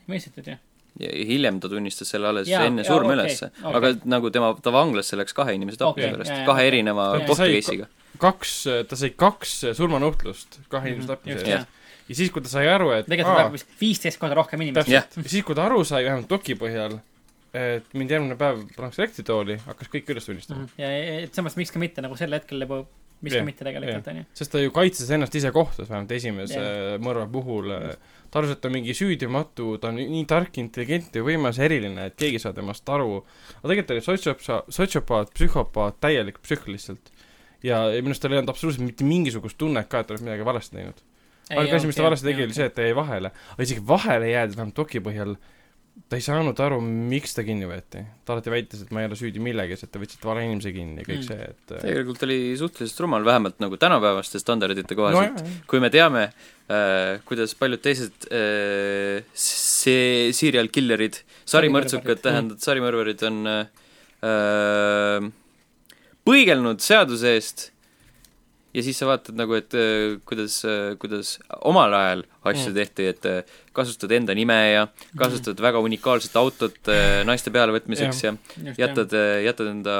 mõistetud, jah
ja hiljem ta tunnistas selle alles ja, enne surma okay, ülesse okay., aga nagu tema, ta vanglasse läks kahe inimese tapmise okay, pärast, kahe erineva kohtu case'iga.
kaks, ta sai kaks surmanuhtlust kahe inimese tapmise eest yeah. ja siis, kui ta sai aru, et
Mhm, tegelikult ta tapis viisteist korda rohkem inimesi.
ja siis, kui ta aru sai, vähemalt doki põhjal, et mind järgmine päev pannakse elektritooli, hakkas kõik üles tunnistama.
Mhm. ja, et samas miks ka mitte, nagu sel hetkel juba miks ka mitte tegelikult, onju.
sest ta ju kaitses ennast ise kohtus, vähemalt esimese yeah. mõrva puhul. ta arvas, et ta on mingi süüdimatu, ta on nii tark, intelligentne ja võimas, eriline, et keegi ei saa temast aru. aga tegelikult ta oli sotsiopaat, sotsiopaat, psühhopaat, täielik psühh lihtsalt. ja minu arust tal ei olnud absoluutselt mitte mingisugust tunnet ka, et ta oleks midagi valesti teinud. ainuke asi, mis ta valesti tegi, oli see, et ta jäi vahele. aga isegi vahele jäädes vähemalt doki põhjal ta ei saanud aru , miks ta kinni võeti . ta alati väitis , et ma ei ole süüdi millegis , et te võtsite vale inimese kinni ja kõik see , et
tegelikult oli suhteliselt rumal , vähemalt nagu tänapäevaste standardite kohaselt
nojah ,
kui me teame äh, , kuidas paljud teised äh, see serial killer'id , sarimõrtsukad ,
Sarimõrvarid.
tähendab , sarimõrvarid on äh, põigelnud seaduse eest ja siis sa vaatad nagu , et äh, kuidas äh, , kuidas omal ajal asju mm. tehti , et äh, kasutad enda nime ja kasutad mm. väga unikaalset autot äh, naiste pealevõtmiseks ja, ja jätad , jätad enda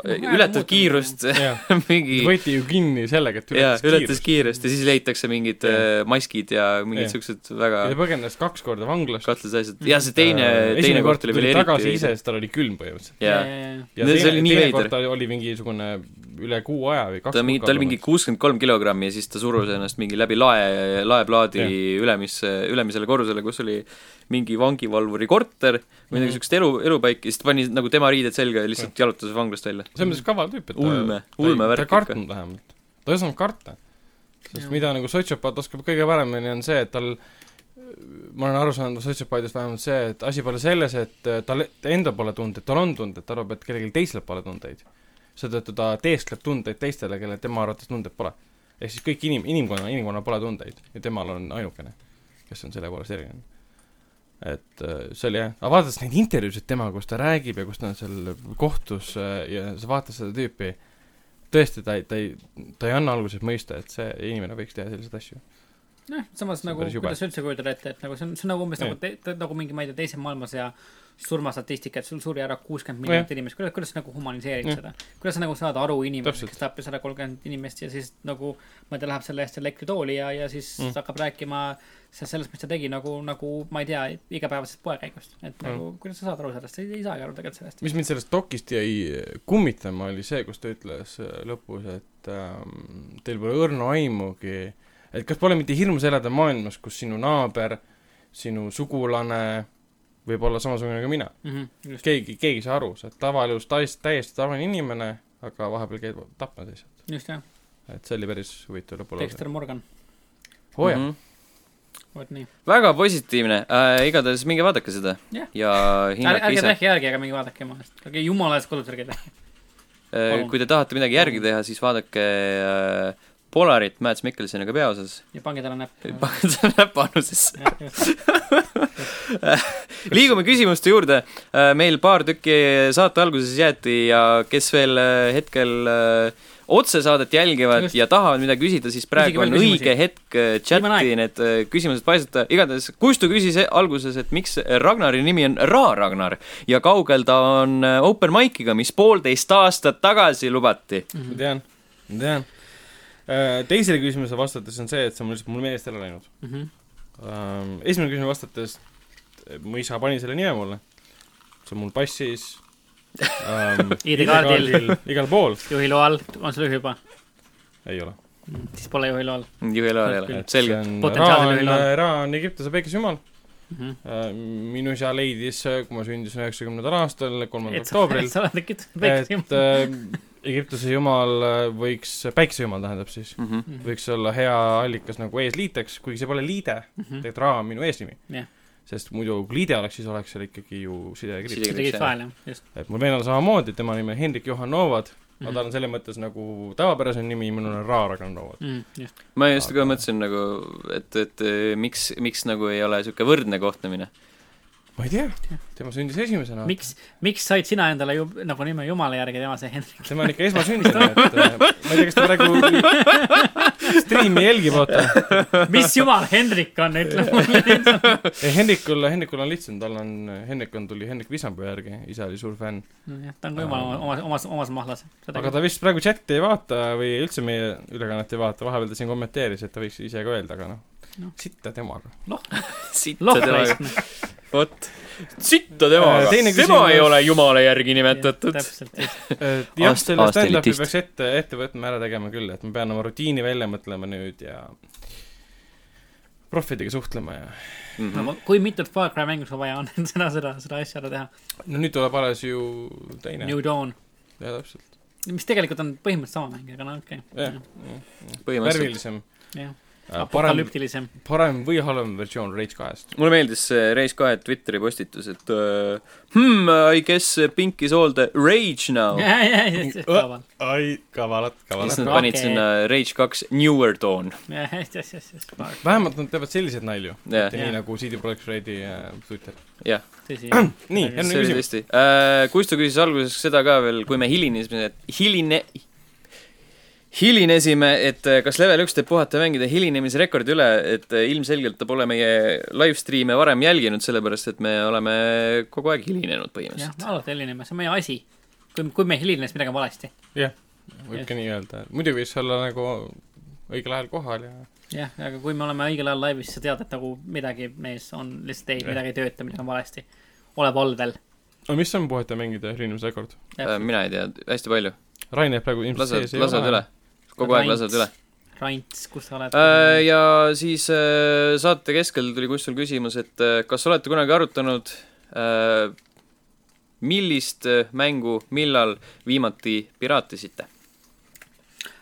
No, aeg on
ületad
muutunud.
kiirust
jah ,
mingi
võeti ju kinni sellega , et
jaa ,
ületas
ületas
kiirust .
kiirust ja siis leitakse mingid
Jah.
äh, maskid ja mingid
Jah.
siukesed väga
ja ta põgenes kaks korda vanglast .
kahtlased asjad ja see teine , teine
esimene
kord
kord
tuli veel
tuli tagasi
eriti
ise , sest tal oli külm põhimõtteliselt .
jaa ,
ja
No see
teine
oli , nii
teine
veider.
kord ta oli mingisugune üle kuu aja või kaks
ta mingi , ta oli mingi kuuskümmend kolm kilogrammi ja siis ta surus ennast mingi läbi lae , laeplaadi ülemisse , ülemisele korrusele , kus oli mingi vangivalvuri korter või
Mhm.
midagi siukest elu , elupaik ja siis ta pani nagu tema riided selga ja lihtsalt jalutas vanglast välja .
selles mõttes kaval tüüp , et ta-
Ulme-
ta ei-
ulme värk
ta ei
ikka.
kartnud vähemalt . ta ei osanud karta . sest mida nagu sotsiopaat oskab kõige paremini , on see , et tal ma olen aru saanud sotsiopaadist vähemalt see , et asi pole selles , et äh, tal endal pole tundeid , tal on tunded , ta arvab , et kellelgi teisel pole tundeid . seetõttu ta teeskleb tundeid teistele , kellel tema arvates tundeid pole . ehk siis kõik inim- , inimkonna , inimkonnal pole tundeid ja temal on ainukene , kes on selle poolest erinev . et äh, see oli jah , aga vaadates neid intervjuusid temaga , kus ta räägib ja kus ta on seal kohtus äh, ja sa vaatad seda tüüpi , tõesti , ta ei , ta ei , ta ei anna alguses mõista , et see inimene võiks teha selliseid asju .
noh , samas
See on
nagu
päris jube.
kuidas üldse kujutada ette , et nagu see on , see on nagu umbes
Jah.
nagu te, te, nagu mingi , ma ei tea , teise maailmasõja surmastatistika , et sul suri ära kuuskümmend
Nojah.
miljonit inimest , kuidas , kuidas sa nagu humaniseerid
Jah.
seda ? kuidas sa nagu saad aru inimesest ,
Täpselt.
kes tappis ära kolmkümmend inimest ja siis nagu , ma ei tea , läheb selle eest elektritooli ja , ja siis
Mm.
mm. hakkab rääkima se- sellest , mis ta tegi nagu , nagu ma ei tea , igapäevasest poekäigust . et mm. nagu , kuidas sa saad aru sellest , ei, ei saagi aru tegelikult sellest .
mis mind sellest dokist jäi kummitama , oli see , kus ta ütles äh, lõpus , et ähm, teil pole õrna aimugi , et kas pole mitte hirmus elada maailmas , kus sinu naaber , sinu sugulane võib olla samasugune kui mina .
Mhm, just ,
keegi , keegi ei saa aru , sa oled tavaelus täis , täiesti tavaline inimene , aga vahepeal käid tapmas lihtsalt .
just jah ,
et see oli päris huvitav lõpulause .
Dexter Morgan ,
oo
Mhm.
jaa ,
vot nii .
väga positiivne äh, , igatahes minge vaadake seda
Jah.
ja hinnake
ärge
ise .
tehke järgi , aga minge vaadake oma eest , ärge jumala eest kodus ärge tehke .
Äh, kui te tahate midagi järgi teha , siis vaadake äh, Polarit Mads Mikkelsoniga peaosas .
ja pange talle näppu .
pange selle näpp annusesse .
Jah, just.
liigume küsimuste juurde . meil paar tükki saate alguses jäeti ja kes veel äh, hetkel äh, otsesaadet jälgivad
Just.
ja tahavad midagi küsida , siis praegu
Küsige
on
veel küsimusi.
õige hetk äh,
Viimane
chati
aeg.
need äh, küsimused paisata . igatahes Kustu küsis e- alguses , et miks Ragnari nimi on Ra-Ragnar ja kaugel ta on äh, open mic'iga , mis poolteist aastat tagasi lubati .
ma tean , ma tean . teisele küsimusele vastates on see , et see on mul lihtsalt mul meelest ära läinud .
Mhm.
Ähm, esimene küsimus vastates , mu isa pani selle nime mulle , see on mul passis ähm,
ID-kaardil.
ID-kaardil, igal pool ,
juhiloa all , on sul juhi juba ,
ei ole .
siis pole juhiloa all
juhi loal ei ole , selge .
Potentsiaalne üleüldine.
Ra on Egiptuse päikese jumal
mm . -hmm.
äh, , minu isa leidis , kui ma sündisin üheksakümnendal aastal , kolmandal
et sa ,
oktoobril
et , sa oled tekitanud väiksem
et . äh, Egiptuse jumal äh, võiks , päikese jumal tähendab siis ,
Mhm.
Mhm.
võiks olla hea allikas nagu eesliiteks , kuigi see pole liide ,
Mhm.
tegelikult Ra on minu eesnimi
Jah. .
sest muidu kui liide oleks , siis oleks seal ikkagi ju sidekriips .
sa tegid vahel jah , just .
et mul vennal samamoodi , tema nimi on Hendrik Johan Novad mm , -hmm.
Mhm.
aga tal on selles mõttes nagu tavapärasem nimi , minul on Ra Ragnar Novad .
Mhm, just ,
ma just ka
Aga-
mõtlesin nagu , et , et eh, miks , miks nagu ei ole niisugune võrdne kohtlemine .
ma ei tea , tema sündis esimesena ,
miks , miks said sina endale ju nagu nime jumala järgi , tema sai Hendrik ,
tema on ikka esmasündinu , et äh, ma ei tea , kas ta praegu striimi jälgib , vaata .
mis jumal Hendrik on , ütle mulle .
Hendrikul , Hendrikul on lihtsam , tal on , Hendrik on , tuli Hendrik Visapuu järgi , isa oli suur fänn .
jah , ta on ka jumal oma , omas , omas mahlas .
aga ta vist praegu chati ei vaata või üldse meie ülekannet ei vaata , vahepeal ta siin kommenteeris , et ta võiks ise ka öelda , aga noh
Noh. ,
sitta temaga .
sitta
lohk
temaga ,
raiskab .
vot , sitta temaga
Äh, , teine
tema
küsimus-
ei ole jumala järgi nimetatud .
täpselt , just .
jah ,
Aast-
selle stand-up'i
aastaelitist.
peaks ette , ette võtma , ära tegema küll , et ma pean oma rutiini välja mõtlema nüüd ja proffidega suhtlema ja
Mhm.
kui mitut Far Cry mängu sul vaja on , et seda , seda , seda asja ära teha .
no nüüd tuleb alles ju teine ,
New Dawn ,
jah täpselt ,
mis tegelikult on põhimõtteliselt sama mäng , aga no okei
jah
okay. .,
põhimõtteliselt .
värvilisem .
Jah.
parem ,
apokalüptilisem .
parem või halvem versioon Rage kahest .
mulle meeldis see Race kahe Twitteri postitus , et uh, hmm, I guess pink is all the rage now .
Äh.
kaval .
ai , kavalad ,
siis
kavalad .
nad panid
Okei.
sinna Rage kaks Newer Dawn .
vähemalt nad teevad selliseid nalju ,
jah ,
nii
Jah.
nagu CD Projekt Redi äh, Twitter .
jah .
tõsi .
see
nii , järgmine
oli
küsimus .
tõesti uh, . Kuisto küsis alguses seda ka veel , kui me hilinesime , et hiline , hilinesime , et äh, kas level üks teeb puhata ja mängida hilinemisrekordi üle , et äh, ilmselgelt ta pole meie live stream'e varem jälginud , sellepärast et me oleme kogu aeg hilinenud
jah
põhimõtteliselt .,
alati helineme , see on meie asi . kui , kui me helineme , siis midagi on valesti .
jah , võib ka nii öelda , muidu võis olla nagu õigel ajal kohal ja
jah , aga kui me oleme õigel ajal laivis , siis sa tead , et nagu midagi mees on lihtsalt ei ,
Jah.
midagi ei tööta , midagi on valesti . ole valvel .
aga mis on puhata mängida helinemisrekord ?
Äh, mina ei tea , hästi palju .
Rain jääb praegu ilmselt
lased
sees ,, ei
lasevad üle
ole ..
kogu aeg
Rants.
lasevad üle .
Rants , kus sa oled ?
Äh, ja siis äh, saate keskel tuli kuskil küsimus , et äh, kas olete kunagi arutanud , millist äh, mängu , millal viimati piraatisite ?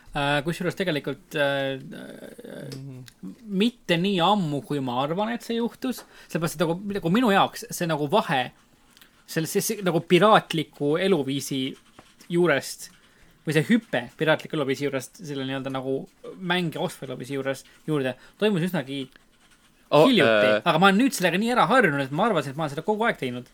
Äh, kusjuures tegelikult äh, äh, mitte nii ammu , kui ma arvan , et see juhtus , sellepärast et nagu , nagu minu jaoks see nagu vahe selles , see nagu piraatliku eluviisi juurest või see hüpe piraatliku eluviisi juurest selle nii-öelda nagu mänge ostva eluviisi juures , juurde toimus üsnagi oh, hiljuti äh... , aga ma olen nüüd sellega nii ära harjunud , et ma arvasin , et ma olen seda kogu aeg teinud .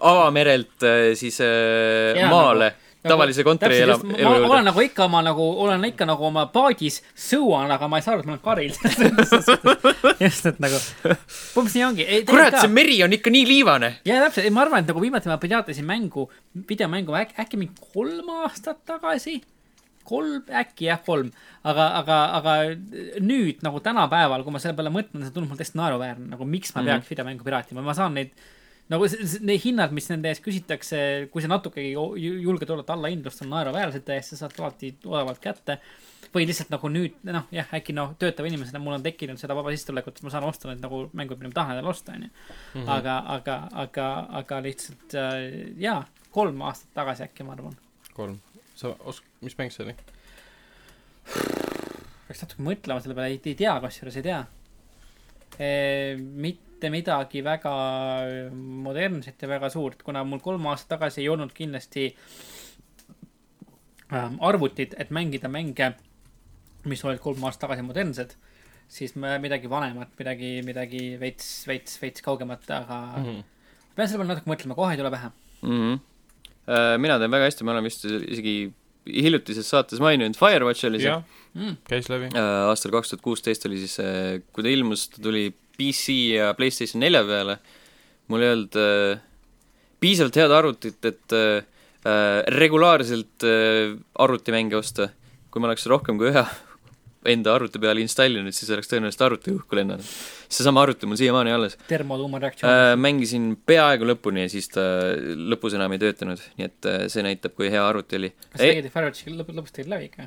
avamerelt äh, siis äh,
Jaa,
maale
nagu-
nagu, , tavalise kontori
täpselt
ela- ,
just, ma-
elu
ma olen
juurde .
nagu ikka oma nagu , olen ikka nagu oma paadis sõuan , aga ma ei saa aru , et ma olen karil . just , et nagu , umbes nii ongi .
kurat , see meri on ikka nii liivane .
jaa , täpselt , ma arvan , et nagu viimati ma pidasin mängu , videomängu äkki , äkki mingi kolm aastat tagasi . kolm , äkki jah , kolm , aga , aga , aga nüüd nagu tänapäeval , kui ma selle peale mõtlen , see tundub mul täiesti naeruväärne , nagu miks ma peaks mm -hmm. videomängu piraatima , ma saan neid nagu see- see- need hinnad , mis nende eest küsitakse , kui sa natukegi ju- julged olla allahindlust , on naeruväärsed täiesti , saad alati odavalt kätte . või lihtsalt nagu nüüd , noh jah , äkki noh , töötava inimesena mul on tekkinud seda vaba sissetulekut , et ma saan osta need nagu mängud , mida ma tahan endale osta , onju . aga , aga , aga , aga lihtsalt äh, jaa , kolm aastat tagasi äkki , ma arvan .
kolm . sa osk- , mis mäng see oli ?
peaks natuke mõtlema selle peale , ei tea , kusjuures ei tea . mitte midagi väga modernset ja väga suurt , kuna mul kolm aastat tagasi ei olnud kindlasti ähm, arvutit , et mängida mänge , mis olid kolm aastat tagasi modernsed , siis ma midagi vanemat , midagi , midagi veits , veits , veits kaugemat , aga mm -hmm. pean selle peale natuke mõtlema , kohe ei tule pähe .
Äh, mina tean väga hästi , ma olen vist isegi hiljutises saates maininud , Firewatch oli see .
jah , käis läbi .
Äh, aastal kaks tuhat kuusteist oli siis , kui ta ilmus , ta tuli PC ja Playstation nelja peale , mul ei olnud äh, piisavalt head arvutit , et äh, äh, regulaarselt äh, arvutimänge osta . kui ma oleks rohkem kui ühe enda arvuti peale installinud , siis oleks tõenäoliselt arvuti õhku lennanud . seesama arvuti mul siiamaani alles .
termotuumareaktsioon
Äh, mängisin peaaegu lõpuni ja siis ta lõpus enam ei töötanud , nii et äh, see näitab , kui hea arvuti oli .
kas tegid Firewatchi lõpp , lõpus tegid läbi ikka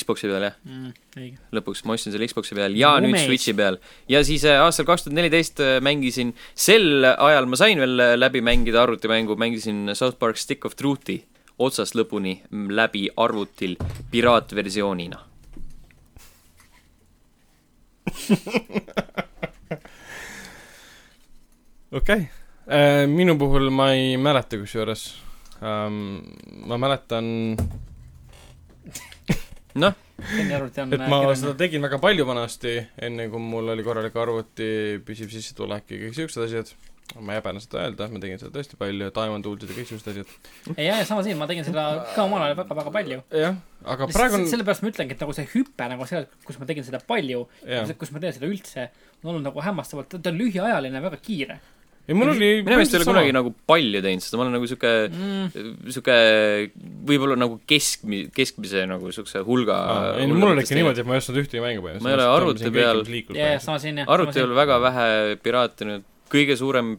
Xboxi peal jah .
mm, ? õige .
lõpuks ma ostsin selle Xboxi peal ja
Mu
nüüd
mees.
Switchi peal . ja siis äh, aastal kaks tuhat neliteist äh, mängisin , sel ajal ma sain veel äh, läbi mängida arvutimängu , mängisin South Park Stick of Truth'i otsast lõpuni m- läbi arvutil piraatversioonina .
okei okay. . minu puhul ma ei mäleta kusjuures . ma mäletan ,
noh ,
Sten Järvelt on äh,
et ma seda tegin väga palju vanasti , enne kui mul oli korralik arvuti , püsiv sissetulek ja kõik siuksed asjad . ma ei häbene seda öelda , ma tegin seda tõesti palju , Diamond Toolsid ja kõik siuksed asjad .
ei , ja sama siin , ma tegin seda ka omal ajal väga-väga palju .
jah , aga praegu
praegu
on ,
sellepärast ma ütlengi , et nagu see hüpe nagu seal , kus ma tegin seda palju ,
jah .
kus ma teen seda üldse , on olnud nagu hämmastavalt , ta on lühiajaline , väga kiire
ei , mul oli
minu meelest ei ole kunagi nagu palju teinud , sest ma olen nagu sihuke
mm. .
sihuke võib-olla nagu keskmi- , keskmise nagu siukse hulga
Aa, ei no mul oli ikka niimoodi , et ma ei ostnud ühtegi mängu põhimõtteliselt .
Ma ei ole arvuti peal-
nagu
ja , ja sama siin jah .
arvuti peal . väga vähe piraatinud , kõige suurem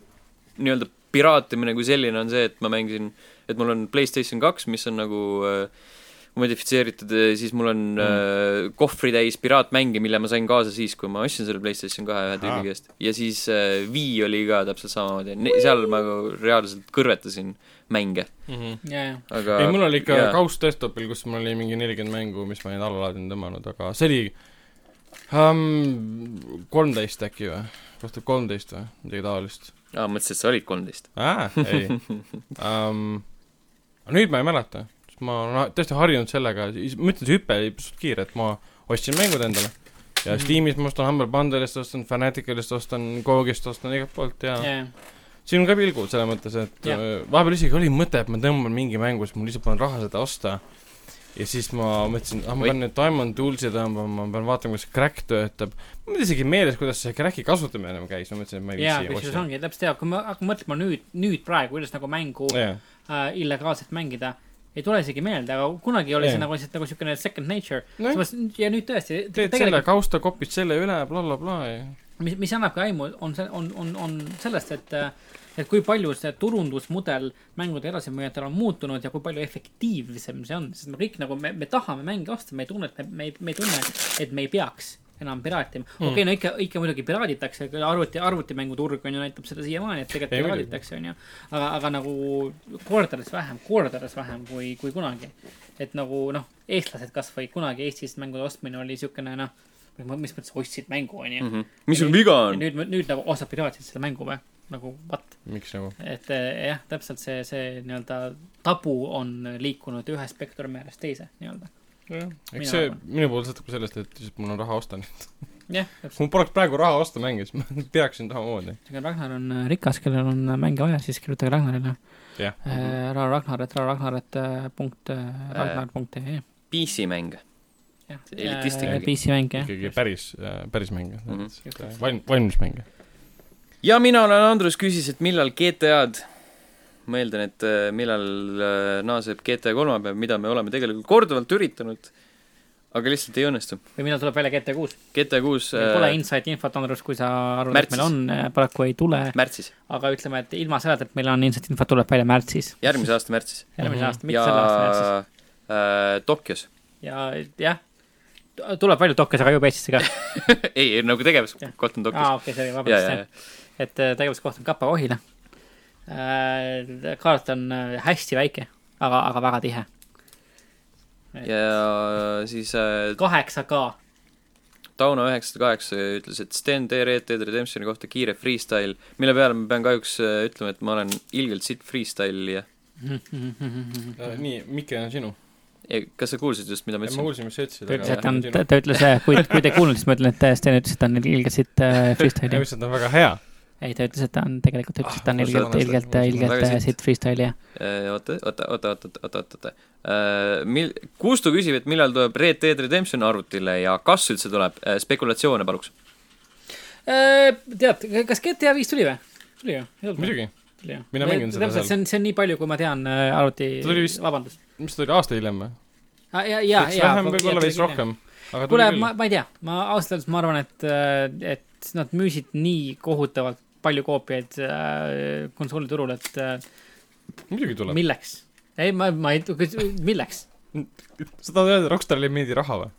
nii-öelda piraatimine kui selline on see , et ma mängisin , et mul on Playstation kaks , mis on nagu äh, modifitseeritud , siis mul on mm. äh, kohvritäis piraatmänge , mille ma sain kaasa siis , kui ma ostsin selle Playstation kahe ühe
Aa.
tüübi käest . ja siis äh, Wii oli ka täpselt samamoodi , seal ma nagu reaalselt kõrvetasin mänge ,
ei ,
ja , ja ,
aga
mul oli ikka
jaa.
kaus desktopil , kus mul oli mingi nelikümmend mängu , mis ma olin alla laadinud , tõmmanud , aga see oli um,? kolmteist äkki või? kas ta kolmteist või? midagi taolist.
aa, mõtlesin, et sa olid kolmteist.
aa, Ah, ei um,. nüüd ma ei mäleta, sest ma olen tõesti harjunud sellega, ma ütlen, see hüpe oli pisut kiire, et ma ostsin mängud endale ja Steamis ma ostan Humble Bundle'ist, ostan Fanaticalist, ostan Gogist, ostan igalt poolt ja yeah. siin on ka pilgud selles mõttes, et yeah. vahepeal isegi oli mõte, et ma tõmban mingi mängu, siis mul lihtsalt pole raha seda osta. ja siis ma mõtlesin, ah ma pean nüüd Diamond Tools'i tõmbama, ma pean vaatama, kuidas crack töötab. mul ei isegi meeles, kuidas see crack'i kasutamine käis, ma mõtlesin, et ma ei
viitsi yeah, osta. kusjuures ongi, täpselt teab, kui me hakkame mõtlema nüüd, nüüd praegu, kuidas nagu mängu yeah. äh, illegaalselt mängida ei tule isegi meelde, aga kunagi oli see nagu lihtsalt nagu siukene second nature no. ja nüüd tõesti
teed tegelikult... selle kausta kopid selle üle blablabla bla, bla,
ja mis, mis annabki aimu, on see, on, on, on sellest, et et kui palju see turundusmudel mängude edasimüüjatel on muutunud ja kui palju efektiivsem see on, sest me kõik nagu me, me tahame mänge osta, me ei tunne, et me, me ei, me ei tunne, et me ei peaks enam piraatima mm.. okei okay,, no ikka, ikka muidugi piraaditakse, arvuti, arvutimänguturg on ju, näitab seda siiamaani, et tegelikult piraaditakse, on ju. aga, aga nagu kordades vähem, kordades vähem kui, kui kunagi. et nagu noh, eestlased kasvõi kunagi Eestis mängude ostmine oli siukene noh, mis mõttes ostsid mängu,
Mhm.
on ju.
mis sul viga on?
nüüd, nüüd, nüüd nagu ostad piraatsid selle mängu või? nagu what?
miks nagu?
et eh, jah, täpselt see, see nii-öelda tabu on liikunud ühe spektrumi äärest teise nii-öelda
jah, eks see minu puhul sõltub ka sellest, et lihtsalt mul on raha osta nüüd.
jah,
täpselt. kui mul poleks praegu raha osta mänge, siis ma peaksin samamoodi.
Ragnar on eh, rikas, kellel on mänge vaja, siis kirjutage Ragnarile. Eh, ära Ragnaret, ära Ragnaret eh, punkt, ragnar punkt E ee.
PC-mänge.
elitistlik. PC-mänge, jah.
ikkagi päris, päris mänge mm, -hmm. valm-, valmis mänge.
ja mina olen Andrus, küsis, et millal GTA-d ma eeldan, et äh, millal äh, naaseb GTA kolme peal, mida me oleme tegelikult korduvalt üritanud, aga lihtsalt ei õnnestu.
või millal tuleb välja GTA kuus?
GTA kuus äh,
Pole inside infot, Andrus, kui sa arvad, et meil on, eh, paraku ei tule.
märtsis.
aga ütleme, et ilma selleta, et meil on inside infot, tuleb välja märtsis.
järgmise aasta märtsis. Mhm.
järgmise aasta, mitte selle aasta märtsis.
Äh, Tokyos.
ja jah, tuleb välja Tokyos, aga jõuab Eestisse ka
ei, nagu tegevuskoht on Tokyos.
aa, okei okay,, see oli, vabandust, jah. et äh, tegevuskoht on Kapa Ohila kaart on äh, hästi väike, aga, aga väga tihe.
ja siis
kaheksa äh, K.
Tauno üheksasada kaheksa ütles, et Sten, tee Red Dead Redemptioni kohta kiire freestyle, mille peale ma pean kahjuks äh, ütlema, et ma olen ilgelt sitt freestyle'ija
Mhm. Äh, nii, Mikkel on sinu.
kas sa kuulsid just, mida ma ütlesin?
ma kuulsin, mis sa ütlesid.
ta ütles, et on, ta ütles, äh, kui, kui te ei kuulnud, siis ma ütlen, et äh, Sten ütles, et ta on ilgelt sitt freestyle'ija.
ma ütlesin, et ta on väga hea
ei, ta ütles, et ta on tegelikult ütles, et ta on
Ah,
ilgelt, ilgelt, ilgelt siit freestyle'ija.
oota, oota, oota, oota, oota, oota, oota. Mil-, Kustu küsib, et millal tuleb Red Dead Redemption arvutile ja kas üldse tuleb, Äh, spekulatsioone paluks.
tead, kas GTA viis tuli või? tuli ju?
Äh, muidugi. mina mängin seda
seal. see on, see on nii palju, kui ma tean äh, arvuti, vabandust.
mis ta tuli, aasta hiljem või?
Ah, ja, ja, ja.
vähem, võib-olla veits rohkem.
kuule, ma, ma ei tea, ma ausalt öeldes, ma arvan, et, äh, et nad müüsid nii kohutavalt palju koopiaid äh, konsooliturul, et. äh,
muidugi tuleb.
milleks? ei, ma, ma ei, milleks?
sa tahad öelda, Rockstarile ei meeldi raha või?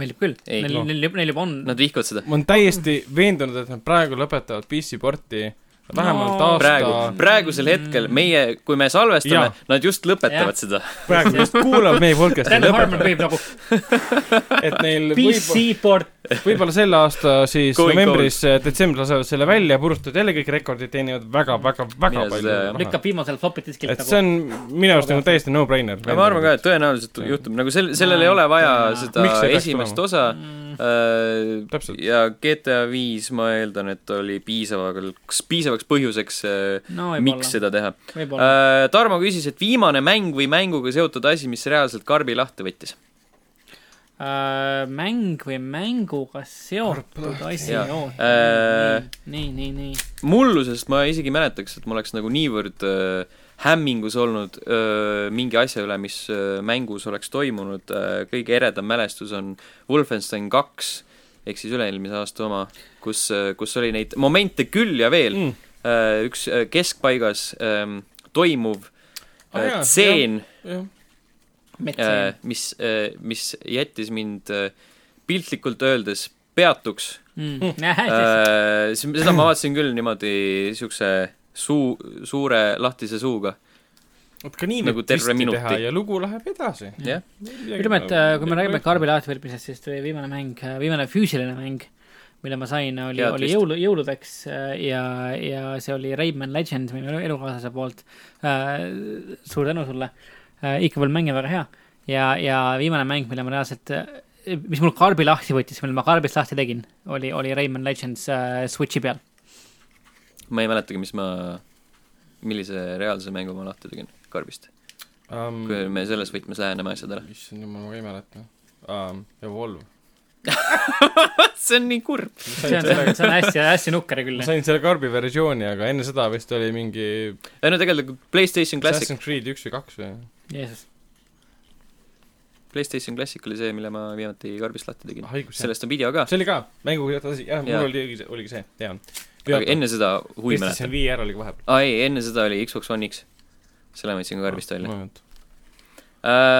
meeldib küll, neil
noh.
no., neil, neil juba on.
Nad vihkavad seda.
ma olen täiesti veendunud, et nad praegu lõpetavad PC porti vähemalt no, aasta.
praegu, praegusel hetkel meie, kui me salvestame, nad just lõpetavad ja. seda.
praegu just kuulavad meie podcast'i.
Dan Harmon võib nagu.
et neil.
PC port.
võib-olla selle aasta siis Going novembris, detsembris lasevad selle välja, purustavad jälle kõik rekordid, teenivad väga, väga, väga Mine
eh,
palju
raha. lükkab viimasel nagu flop'i diskilt.
et see on minu arust nagu täiesti no-brainer.
ma arvan ka, et tõenäoliselt juhtub nagu sel-, sellel ei ole vaja seda esimest tulema? osa mm.. Äh, ja GTA viis, ma eeldan, et oli piisavaks, piisavaks suureks põhjuseks no,, miks seda teha. Äh, Tarmo küsis, et viimane mäng või mänguga seotud asi, mis reaalselt karbi lahti võttis
äh,? mäng või mänguga seotud asi, oo.
äh,
nii, nii, nii.
mullusest ma isegi mäletaks, et ma oleks nagu niivõrd äh, hämmingus olnud öö, mingi asja üle, mis öö, mängus oleks toimunud, Äh, kõige eredam mälestus on Wolfenstein kaks, ehk siis üle-eelmise aasta oma, kus, äh, kus oli neid momente küll ja veel mm.. üks äh, keskpaigas ähm, toimuv äh, tseen ah,, äh, mis äh,, mis jättis mind äh, piltlikult öeldes peatuks Äh,
mm..
äh,
seda ma vaatasin küll niimoodi siukse suu, suure lahtise suuga
vot ka nii nagu terve minuti. ja lugu läheb edasi. nagu.
jah.
ütleme, et
eh,
äh, kui me räägime Karbi lahtivõtmisest, siis tuli viimane mäng, äh, viimane füüsiline mäng, mille ma sain, oli, oli jõulu, jõuludeks äh, ja, ja see oli Rayman Legends minu elukaaslase poolt äh,. suur tänu sulle äh,, ikka veel mäng on väga hea ja, ja viimane mäng, mille ma reaalselt äh, mis mul karbi lahti võttis, mille ma karbist lahti tegin, oli, oli Rayman Legends äh, Switchi peal.
ma ei mäletagi, mis ma, millise reaalse mängu ma lahti tegin karbist um,. kui me selles võtmes läheneme asjadele.
issand jumal, ma ka ei mäleta um,. Evolve
see on nii kurb.
see on, see on hästi, hästi nukker küll.
ma sain selle karbi versiooni, aga enne seda vist oli mingi.
ei no tegelikult Playstation Classic.
Assassin's Creed üks või kaks või?
Jeesus
Playstation Classic oli see, mille ma viimati karbist lahti tegin ah,. sellest on video ka.
see oli ka, mänguga edasi, jah, mul oli, oligi see, tean.
aga enne seda, huvi mäletan.
PlayStation viie ära oli vahepeal.
aa ei, enne seda oli Xbox One X. selle ma võtsin ka karbist välja.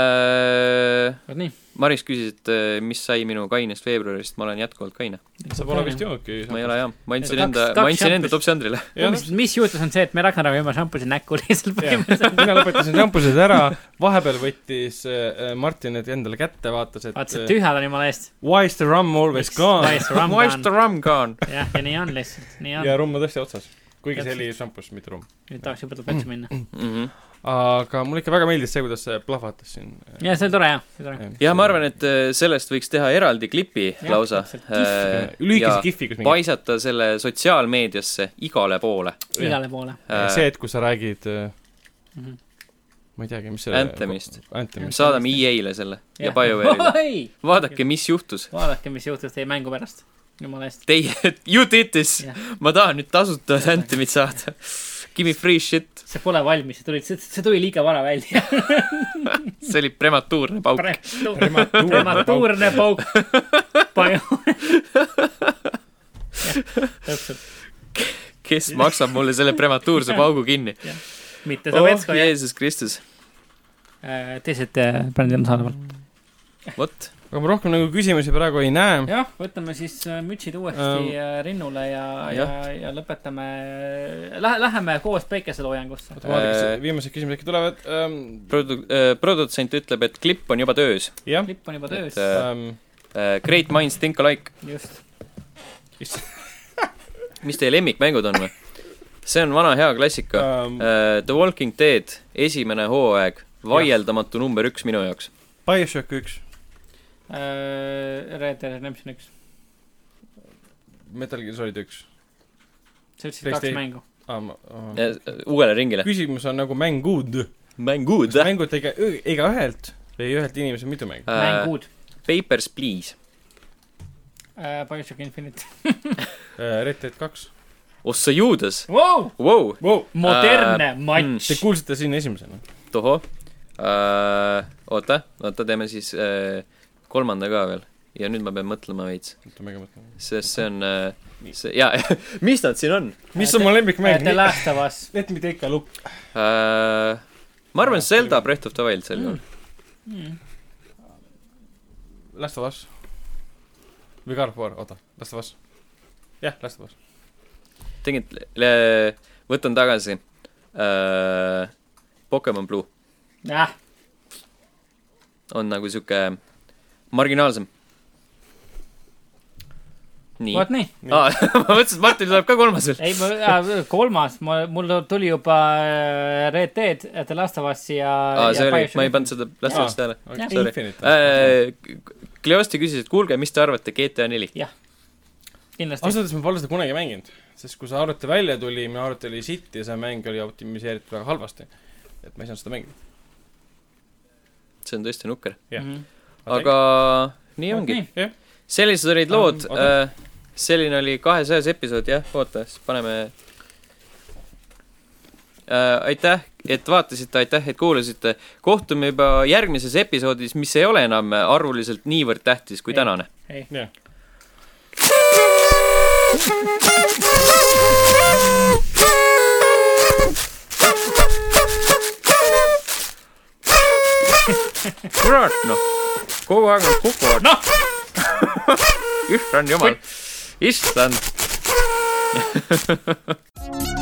vot nii.
Äh, Maris küsis, et äh, mis sai minu kainest veebruarist, ma olen jätkuvalt kaine.
sa pole vist joonudki?
ma ei ole jah, ma andsin enda, ma andsin enda Top Sandrile.
mis, mis juhtus, on see, et me rakendame oma šampusi näkku lihtsalt
põhimõtteliselt. mina lõpetasin šampusid ära, vahepeal võttis äh, Martin need endale kätte, vaatas, et äh,
vaatas, et tühjad on jumala eest.
Why is the rum always gone?
Why is the rum
gone?
jah, ja nii on lihtsalt, nii on.
ja rumm on tõesti otsas, kuigi see oli šampus, mitte rumm.
nüüd tahaks juba tupetsi minna
mm. -hmm
aga mulle ikka väga meeldis see, kuidas see plahvatas siin. äh,
jaa, see oli tore jah, see oli tore.
jah, ma arvan, et äh, sellest võiks teha eraldi klipi ja, lausa.
Äh,
äh,
lühikese kihvi,
kus mingi. paisata selle sotsiaalmeediasse igale poole.
igale poole.
äh,
äh,
Mhm.
see hetk, kus sa räägid mm, -hmm. ma ei teagi, mis selle.
Anthemist. saadame EA-le selle ja, ja BioWare'ile. vaadake, mis juhtus.
vaadake, mis juhtus teie mängu pärast. jumala eest.
Teie, you did this. ma tahan nüüd tasuta Anthemit saada give me free shit.
see pole valmis, see tuli, see tuli liiga vara välja
see oli prematuurne pauk
Pre. prematuurne pauk. täpselt.
kes maksab mulle selle prematuurse paugu kinni?
mitte Sovetsko
oh,. Jeesus Kristus.
teised äh, brändid on saadaval.
vot
aga ma rohkem nagu küsimusi praegu ei näe.
jah, võtame siis äh, mütsid
Ähm,
uuesti um, rinnule ja, ja, ja lõpetame, äh, lähe, läheme koos päikeseloojangusse.
viimased küsimused äkki tulevad um,.
Produ- uh,, produtsent ütleb, et klipp on juba töös.
klipp on juba töös.
Um,
Ähm,
uh, great minds think alike.
just
mis teie lemmikmängud on või? see on vana hea klassika
ähm,
um,. Uh, The Walking Dead, esimene hooaeg, vaieldamatu jah. number üks minu jaoks.
BioShock üks
Uh, Red Dead Redemption üks.
Metal Gear Solid üks.
sa ütlesid kaks mängu.
Ah, ma, ah.
Ja, Äh, uuele ringile.
küsimus on nagu mängud.
mängud. äh?
mängud tege-, igaühelt või ühelt inimeselt mitu mängu
uh,. mängud.
Papers, please
uh,. BioShock Infinite
Äh, Red Dead kaks.
ossa Oh, juudes
wow!.
Wow!
Wow!
Äh,
modernne uh, matš.
mm.
Te kuulsite siin esimesena.
tohoh uh,. oota, oota, teeme siis uh, kolmanda ka veel ja nüüd ma pean mõtlema veits. sest see on äh,, see jaa mis nad siin on?
mis on mu lemmikmäng?
Äh, The Last of Us.
Let me take a look
uh,. ma arvan, Zelda Breath of the Wild sel juhul
mm. mm..
Last of Us. või God of War, oota, Last of Us. jah, Last of Us.
tegelikult, võtan tagasi uh,. Pokemon Blue
ah..
on nagu sihuke marginaalsem. nii.
vot nii.
aa, ma mõtlesin, et Martin tuleb ka kolmas veel.
ei, ma, äh, kolmas, ma, mul tuli juba äh, Red Dead, The Last of Us ja.
aa, see oli, ma ei pannud seda Last of Us tähele. Cleosti küsis, et kuulge, mis te ausalt
öeldes
ma pole seda kunagi mänginud, sest kui see arvuti välja tuli, minu arvuti oli sitt ja see mäng oli optimiseeritud väga halvasti. et ma ei saanud seda mängida.
see on tõesti nukker.
jah yeah. mm -hmm
aga nii ongi
okay..
sellised olid lood um,. Okay. selline oli kahesajas episood, jah, oota, siis paneme äh,. aitäh, et vaatasite, aitäh, et kuulasite. kohtume juba järgmises episoodis, mis ei ole enam arvuliselt niivõrd tähtis kui ei. tänane.
jah.
kurat noh kogu aeg nad kukuvad.
noh.
issand jumal, issand